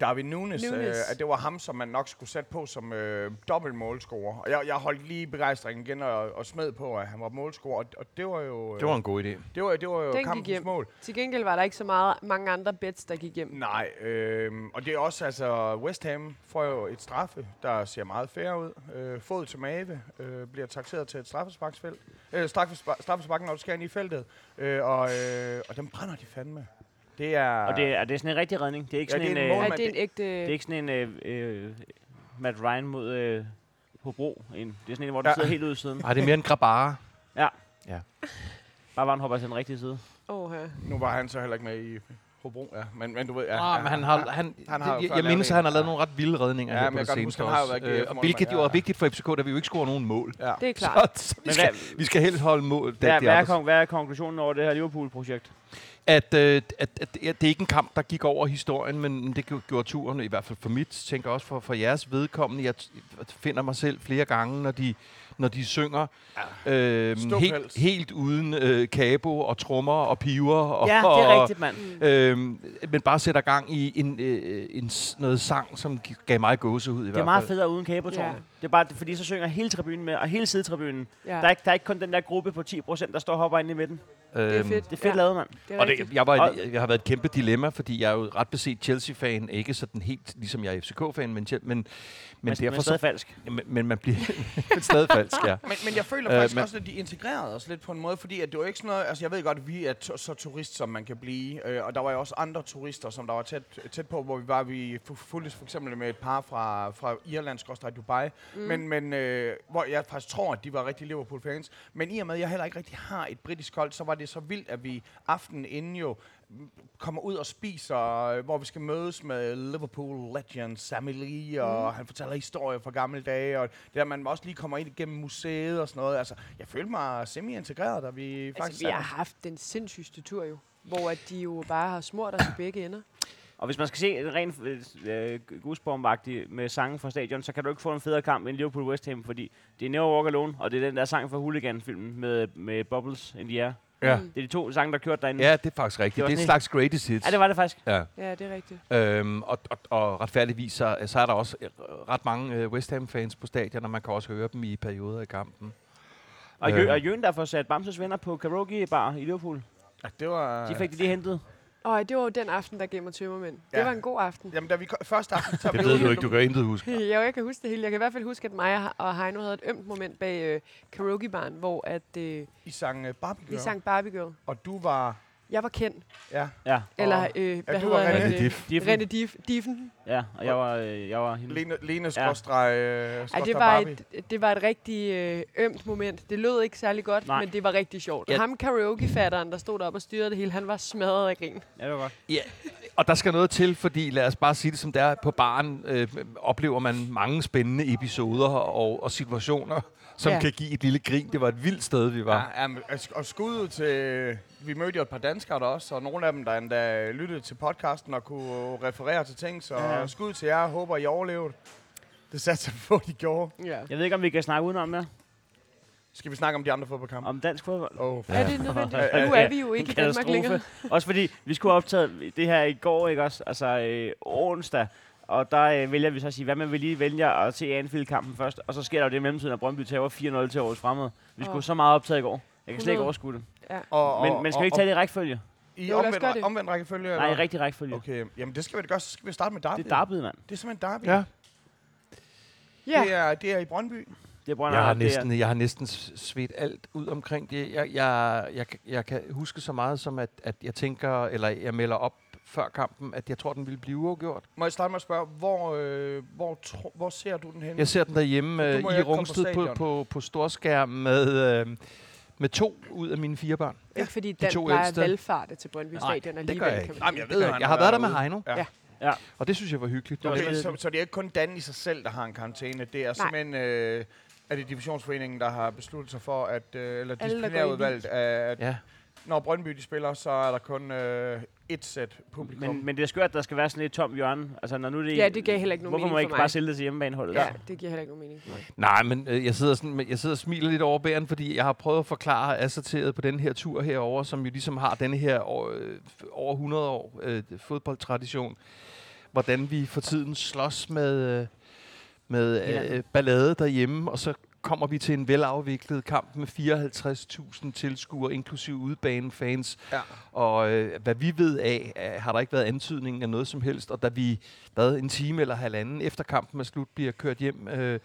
[SPEAKER 1] Darwin Nunes,
[SPEAKER 3] Nunes.
[SPEAKER 1] Øh, at det var ham, som man nok skulle sætte på som øh, dobbelt målscorer. Og jeg, jeg holdt lige begejstringen igen og, og smed på, at han var målscorer. Og, og det var jo, øh,
[SPEAKER 2] Det var en god idé.
[SPEAKER 1] det var, det var jo
[SPEAKER 3] Den gik
[SPEAKER 1] kampens
[SPEAKER 3] hjem.
[SPEAKER 1] mål.
[SPEAKER 3] Til gengæld var der ikke så meget, mange andre bets, der gik hjem.
[SPEAKER 1] Nej, øh, og det er også, altså West Ham får jo et straffe, der ser meget fair ud. Øh, fod til mave øh, bliver takseret til et straffesparksfelt. Øh, straffespark, straffesparken, når du skal ind i feltet. Øh, og, øh, og den brænder de fandme. Det er...
[SPEAKER 4] Og det, er det er sådan en rigtig redning. Det er ikke
[SPEAKER 1] Ja,
[SPEAKER 4] sådan
[SPEAKER 1] det er
[SPEAKER 4] en,
[SPEAKER 1] en
[SPEAKER 4] øh,
[SPEAKER 1] målmand.
[SPEAKER 3] Er det en ægte...
[SPEAKER 4] det er ikke sådan en øh, øh, Matt Ryan mod øh, Hobro. En. Det er sådan en, hvor den
[SPEAKER 1] Ja.
[SPEAKER 4] sidder helt ude i siden.
[SPEAKER 2] Ej, det er mere en grabare.
[SPEAKER 4] Bare var han hopper til den rigtige side.
[SPEAKER 3] Åh, her.
[SPEAKER 1] Nu var han så heller ikke med i Hobro, ja. Men, men du ved, ja.
[SPEAKER 2] Ah, men han har, han,
[SPEAKER 1] Han
[SPEAKER 2] han
[SPEAKER 1] har jo
[SPEAKER 2] har
[SPEAKER 1] så
[SPEAKER 2] jeg, jeg
[SPEAKER 1] lavet
[SPEAKER 2] mindes,
[SPEAKER 1] en.
[SPEAKER 2] at han har lavet nogle ret vilde redninger
[SPEAKER 1] Ja,
[SPEAKER 2] her
[SPEAKER 1] men
[SPEAKER 2] på
[SPEAKER 1] jeg
[SPEAKER 2] det
[SPEAKER 1] kan godt huske,
[SPEAKER 2] seneste
[SPEAKER 1] han har jo været
[SPEAKER 2] også. Øh,
[SPEAKER 1] GF
[SPEAKER 2] og
[SPEAKER 1] -målmand,
[SPEAKER 2] hvilket jo
[SPEAKER 1] ja.
[SPEAKER 2] er vigtigt for FCK, da vi jo ikke scorer nogen mål.
[SPEAKER 1] ja.
[SPEAKER 3] det er klart.
[SPEAKER 2] Så, så vi,
[SPEAKER 4] Men
[SPEAKER 2] skal,
[SPEAKER 4] hvad-
[SPEAKER 2] vi skal helst holde mål.
[SPEAKER 4] Hvad,
[SPEAKER 2] der,
[SPEAKER 4] hvad, er, kon- hvad er konklusionen over det her Liverpool-projekt?
[SPEAKER 2] at, øh, at, at det er det er ikke en kamp, der gik over historien, men det gjo- gjorde turen, i hvert fald for mit, tænker også for, for jeres vedkommende. Jeg t- finder mig selv flere gange, når de, når de synger øh,
[SPEAKER 1] Ståpels.
[SPEAKER 2] helt, helt uden øh, kabo og trommer og piver. Og, og,
[SPEAKER 4] mand.
[SPEAKER 2] Øh, men bare sætter gang i en, øh, en, s- noget sang, som gi- gav mig gåsehud i hvert
[SPEAKER 4] Det
[SPEAKER 2] fald.
[SPEAKER 4] er meget federe uden kabeltårnet.
[SPEAKER 3] Ja.
[SPEAKER 4] Det er bare, fordi så synger hele tribunen med, og hele sidetribunen.
[SPEAKER 3] Ja,
[SPEAKER 4] Der er, ikke, der er ikke kun den der gruppe på 10 procent, der står og hopper inde i midten.
[SPEAKER 3] det er
[SPEAKER 2] Øhm,
[SPEAKER 3] fedt.
[SPEAKER 4] Det er fedt ja. lavet, mand.
[SPEAKER 3] det er
[SPEAKER 2] Og
[SPEAKER 3] rigtigt.
[SPEAKER 2] det, jeg, var,
[SPEAKER 4] Og-
[SPEAKER 2] jeg har været et kæmpe dilemma, fordi jeg er jo ret beset Chelsea-fan, ikke sådan helt ligesom jeg er FCK-fan, men, Chel- men, men,
[SPEAKER 4] Men,
[SPEAKER 2] derfor
[SPEAKER 4] men stadig
[SPEAKER 2] så,
[SPEAKER 4] falsk.
[SPEAKER 2] men, men man bliver men stadig falsk, ja.
[SPEAKER 1] Men, men jeg føler
[SPEAKER 2] Øh,
[SPEAKER 1] faktisk
[SPEAKER 2] men-
[SPEAKER 1] også, at de integrerede os lidt på en måde, fordi at det var ikke sådan noget, altså jeg ved godt, at vi er to, så turist, som man kan blive, øh, og der var jo også andre turister, som der var tæt, tæt på, hvor vi var, vi fu- fulgtes for eksempel med et par fra, fra Irland, skorstræk Dubai, mm. men, men øh, hvor jeg faktisk tror, at de var rigtig Liverpool-fans, men i og med, at jeg heller ikke rigtig har et britisk hold, så var det så vildt, at vi aftenen inden jo mm, kommer ud og spiser, øh, hvor vi skal mødes med Liverpool legend Sammy Lee, og mm. han fortæller historier fra gamle dage, og det der, man også lige kommer ind gennem museet og sådan noget. Altså, jeg følte mig semi-integreret, da vi faktisk...
[SPEAKER 3] Altså, vi har
[SPEAKER 1] sad-
[SPEAKER 3] haft den sindssygste tur jo, hvor at de jo bare har smurt os i begge ender.
[SPEAKER 4] Og hvis man skal se en ren øh, goosebomb-agtig med sange fra stadion, så kan du ikke få en federe kamp end Liverpool West Ham, fordi det er Never Walk Alone, og det er den der sang fra Hooligan-filmen med, med Bubbles in the Air.
[SPEAKER 2] Ja.
[SPEAKER 4] Det er de to sange, der kørte derinde.
[SPEAKER 2] ja, det er faktisk rigtigt.
[SPEAKER 4] Det
[SPEAKER 2] Det,
[SPEAKER 4] var
[SPEAKER 2] det er en
[SPEAKER 4] sådan
[SPEAKER 2] slags greatest hits.
[SPEAKER 4] ja det var det faktisk.
[SPEAKER 2] Ja.
[SPEAKER 3] Ja, det er rigtigt.
[SPEAKER 2] Øhm, og, og, og retfærdigvis, så, så er der også øh, ret mange øh, West Ham-fans på stadion, og man kan også høre dem i perioder i kampen.
[SPEAKER 4] Og,
[SPEAKER 2] Ja.
[SPEAKER 4] Jø- og Jøen, der får sat Bamses venner på karaoke bar i Liverpool,
[SPEAKER 1] Ja, det var...
[SPEAKER 4] de fik det lige hentet.
[SPEAKER 3] Og det var jo den aften, der gav mig tømmermænd.
[SPEAKER 1] Ja.
[SPEAKER 3] Det var en god aften.
[SPEAKER 1] Jamen, da vi ko- første aften... Så
[SPEAKER 2] Det ved du ikke, du kan intet huske.
[SPEAKER 3] Jo, jeg kan huske det hele. Jeg kan i hvert fald huske, at mig og Heino havde et ømt moment bag øh, karaokebaren, hvor at, øh,
[SPEAKER 1] I sang uh, Barbie
[SPEAKER 3] vi
[SPEAKER 1] Girl, sang.
[SPEAKER 3] sang Barbie Girl.
[SPEAKER 1] og du var...
[SPEAKER 3] Jeg var kendt.
[SPEAKER 1] Ja,
[SPEAKER 4] Ja,
[SPEAKER 3] Eller, øh, hvad
[SPEAKER 1] du
[SPEAKER 3] hedder
[SPEAKER 1] var
[SPEAKER 3] han?
[SPEAKER 1] René
[SPEAKER 3] Øh,
[SPEAKER 2] Diff.
[SPEAKER 4] Diffen.
[SPEAKER 3] René Diff. Diffen.
[SPEAKER 4] ja og jeg var, øh, jeg var hende.
[SPEAKER 1] Lene, Lene skråstreg, ja.
[SPEAKER 3] Ej, det, var et, det var et rigtig øh, ømt moment. Det lød ikke særlig godt,
[SPEAKER 4] Nej.
[SPEAKER 3] men det var rigtig sjovt.
[SPEAKER 2] Ja.
[SPEAKER 3] Ja. Ham karaokefatteren, der stod deroppe og styrede det hele, han var smadret af grin.
[SPEAKER 4] Ja, det var godt.
[SPEAKER 2] Ja, og der skal noget til, fordi lad os bare sige det som det er. På baren øh, oplever man mange spændende episoder og, og situationer, som
[SPEAKER 3] Ja.
[SPEAKER 2] ja. kan give et lille grin. Det var et vildt sted, vi var.
[SPEAKER 1] Ja, ja, men, og sk- og skud ud til... Vi mødte jo et par danskere der også, og nogle af dem, der endda lyttede til podcasten og kunne referere til ting, så
[SPEAKER 4] Ja.
[SPEAKER 1] ja. skud ud til jer. Jeg håber, I overlevede. Det satte sig på, de gjorde.
[SPEAKER 3] Ja.
[SPEAKER 4] Jeg ved ikke, om vi kan snakke udenom mere.
[SPEAKER 1] Skal vi snakke om de andre fodboldkampe?
[SPEAKER 4] Om dansk fodbold.
[SPEAKER 1] Åh, oh,
[SPEAKER 3] Er det nødvendigt?
[SPEAKER 4] Ja.
[SPEAKER 3] Nu er vi jo
[SPEAKER 4] En
[SPEAKER 3] ikke i Danmark
[SPEAKER 4] katastrofe.
[SPEAKER 3] længere.
[SPEAKER 4] Også fordi, vi skulle have optaget det her i går, ikke også? Altså øh, onsdag. Og der øh, vælger vi så at sige, hvad man vil lige vælge at se Anfield-kampen først. Og så sker der jo det i mellemtiden, at Brøndby tager 4-0 til årets fremad. Vi skulle
[SPEAKER 3] Åh.
[SPEAKER 4] så meget optaget i går. Jeg kan slet ikke
[SPEAKER 3] 100.
[SPEAKER 4] overskue det.
[SPEAKER 1] og,
[SPEAKER 4] Men, men skal vi ikke tage det i rækkefølge?
[SPEAKER 1] I
[SPEAKER 3] Jo, lad os
[SPEAKER 1] omvendt,
[SPEAKER 3] gøre det.
[SPEAKER 1] omvendt rækkefølge?
[SPEAKER 4] Nej, i
[SPEAKER 1] eller?
[SPEAKER 4] rigtig rækkefølge.
[SPEAKER 1] Okay, jamen det skal vi da gøre. Så skal vi starte med Derby.
[SPEAKER 4] Det er Darby, mand.
[SPEAKER 1] Det er simpelthen Derby.
[SPEAKER 2] Ja.
[SPEAKER 3] Ja.
[SPEAKER 1] Det, er, det er i Brøndby.
[SPEAKER 4] Det er Brøndby.
[SPEAKER 2] Jeg har,
[SPEAKER 4] det er-
[SPEAKER 2] næsten, jeg har næsten s- svedt alt ud omkring det. Jeg, jeg, jeg, kan- jeg kan huske så meget som, at, at jeg tænker, eller jeg melder op før kampen, at jeg tror, den ville blive uafgjort.
[SPEAKER 1] Må jeg starte med at spørge, hvor, øh, hvor, tro, hvor ser du den henne?
[SPEAKER 2] Jeg ser den derhjemme
[SPEAKER 1] Så du
[SPEAKER 2] øh,
[SPEAKER 1] må jo
[SPEAKER 2] i
[SPEAKER 1] ikke komme på
[SPEAKER 2] Rungsted på, på,
[SPEAKER 1] stadion.
[SPEAKER 2] på, på storskærm med, øh, med to ud af mine fire børn.
[SPEAKER 3] Ikke fordi Dan
[SPEAKER 2] to
[SPEAKER 3] plejer at
[SPEAKER 2] ældste.
[SPEAKER 3] valgfarte til Brøndby Stadion
[SPEAKER 2] det gør jeg
[SPEAKER 3] alligevel.
[SPEAKER 2] ikke.
[SPEAKER 3] Kan man
[SPEAKER 1] Jamen,
[SPEAKER 3] sige.
[SPEAKER 1] jeg ved,
[SPEAKER 2] jeg,
[SPEAKER 1] han
[SPEAKER 2] jeg
[SPEAKER 1] har
[SPEAKER 2] har været der med
[SPEAKER 1] været
[SPEAKER 2] Heino,
[SPEAKER 1] Ja.
[SPEAKER 3] Ja.
[SPEAKER 4] Ja.
[SPEAKER 2] og det synes jeg var hyggeligt. Det var
[SPEAKER 1] Okay,
[SPEAKER 2] lidt-
[SPEAKER 1] så, så det er ikke kun Dan i sig selv, der har en karantæne. Det er simpelthen... Øh, er det divisionsforeningen, der har besluttet sig for, at, øh, eller
[SPEAKER 3] går i
[SPEAKER 1] disciplinærudvalget, at, at ja.
[SPEAKER 2] Ja.
[SPEAKER 1] når Brøndby de spiller, så er der kun øh, et sæt publikum.
[SPEAKER 4] Men, men det er skørt, at der skal være sådan et tom hjørne. Altså, når nu det,
[SPEAKER 3] Ja, det gav heller ikke nogen
[SPEAKER 4] Hvorfor må
[SPEAKER 3] mening
[SPEAKER 4] ikke
[SPEAKER 3] for
[SPEAKER 4] bare
[SPEAKER 3] mig.
[SPEAKER 4] sælge det til hjemmebaneholdet?
[SPEAKER 3] Ja, det giver heller ikke nogen mening.
[SPEAKER 2] Nej, men øh, jeg sidder, sådan, men jeg sidder og smiler lidt over bæren, fordi jeg har prøvet at forklare assorteret på den her tur herover, som jo ligesom har den her over, øh, f- over 100 år øh, fodboldtradition, hvordan vi for tiden slås med, øh, med øh, ballade derhjemme, og så kommer vi til en velafviklet kamp med 54.000 tilskuere, inklusive udebanefans.
[SPEAKER 1] Ja.
[SPEAKER 2] Og øh, hvad vi ved af, øh, har der ikke været antydningen af noget som helst. Og da vi, hvad, en time eller halvanden efter kampen er slut, bliver kørt hjem, øh,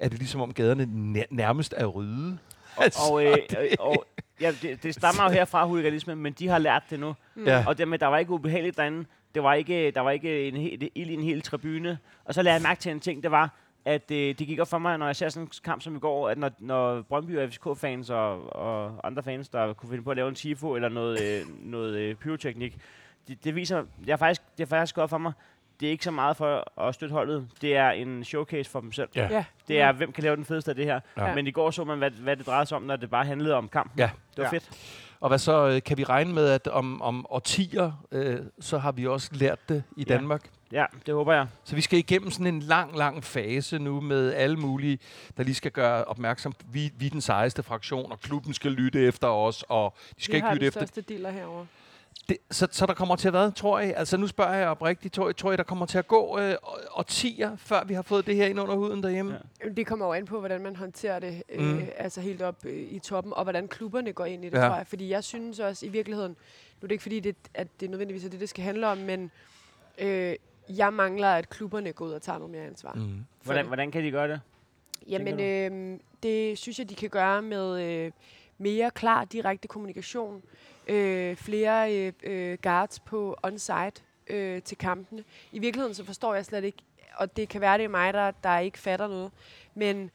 [SPEAKER 2] er det ligesom om gaderne nær- nærmest er rydde. Altså,
[SPEAKER 4] Og, øh, øh, og ja, det, det stammer jo herfra huliganismen, men de har lært det nu.
[SPEAKER 2] ja.
[SPEAKER 4] Og det med, der var ikke ubehageligt derinde. Det var ikke, der var ikke en hel, ild i en hel tribune. Og så lagde jeg mærke til en ting, det var, at øh, det gik op for mig, når jeg ser sådan en kamp som i går, at når, når Brøndby og FCK-fans og, og andre fans, der kunne finde på at lave en tifo eller noget, øh, noget øh, pyroteknik, det, det viser, jeg faktisk, det er faktisk godt for mig, det er ikke så meget for at støtte holdet, det er en showcase for dem selv.
[SPEAKER 2] Ja.
[SPEAKER 3] Ja.
[SPEAKER 4] Det er, hvem kan lave den fedeste af det her.
[SPEAKER 2] Ja.
[SPEAKER 4] Ja. Men i går så man, hvad, hvad det drejede sig om, når det bare handlede om kamp.
[SPEAKER 2] Ja.
[SPEAKER 4] Det var
[SPEAKER 1] Ja.
[SPEAKER 4] ja. fedt.
[SPEAKER 2] Og hvad så, øh, kan vi regne med, at om, om årtier, øh, så har vi også lært det i
[SPEAKER 4] Ja.
[SPEAKER 2] Danmark?
[SPEAKER 4] Ja, det håber jeg.
[SPEAKER 2] Så vi skal igennem sådan en lang, lang fase nu med alle mulige, der lige skal gøre opmærksom på, vi, vi er den sejeste fraktion, og klubben skal lytte efter os, og de skal
[SPEAKER 3] vi
[SPEAKER 2] ikke
[SPEAKER 3] har
[SPEAKER 2] lytte
[SPEAKER 3] den
[SPEAKER 2] efter.
[SPEAKER 3] største dealer herovre.
[SPEAKER 2] Det, så, så der kommer til at være, tror jeg, altså nu spørger jeg oprigtigt, tror jeg, tror jeg der kommer til at gå øh, å- årtier, før vi har fået det her ind under huden derhjemme?
[SPEAKER 4] Ja.
[SPEAKER 3] Jamen, Det kommer jo an på, hvordan man håndterer det,
[SPEAKER 2] Mm.
[SPEAKER 3] mm. øh, altså helt op øh, i toppen, og hvordan klubberne går ind i det,
[SPEAKER 2] Ja.
[SPEAKER 3] ja. tror jeg. Fordi jeg synes også i virkeligheden, nu er det ikke fordi, det, at det nødvendigvis er det, det skal handle om, men øh, jeg mangler, at klubberne går ud og tager noget mere ansvar. Mm.
[SPEAKER 2] Mm.
[SPEAKER 4] Hvordan, hvordan kan de gøre det?
[SPEAKER 3] Jamen, øh, det synes jeg, de kan gøre med øh, mere klar, direkte kommunikation, øh, flere øh, øh, guards på on-site øh, til kampene. I virkeligheden så forstår jeg slet ikke, og det kan være, det er mig, der, der ikke fatter noget, men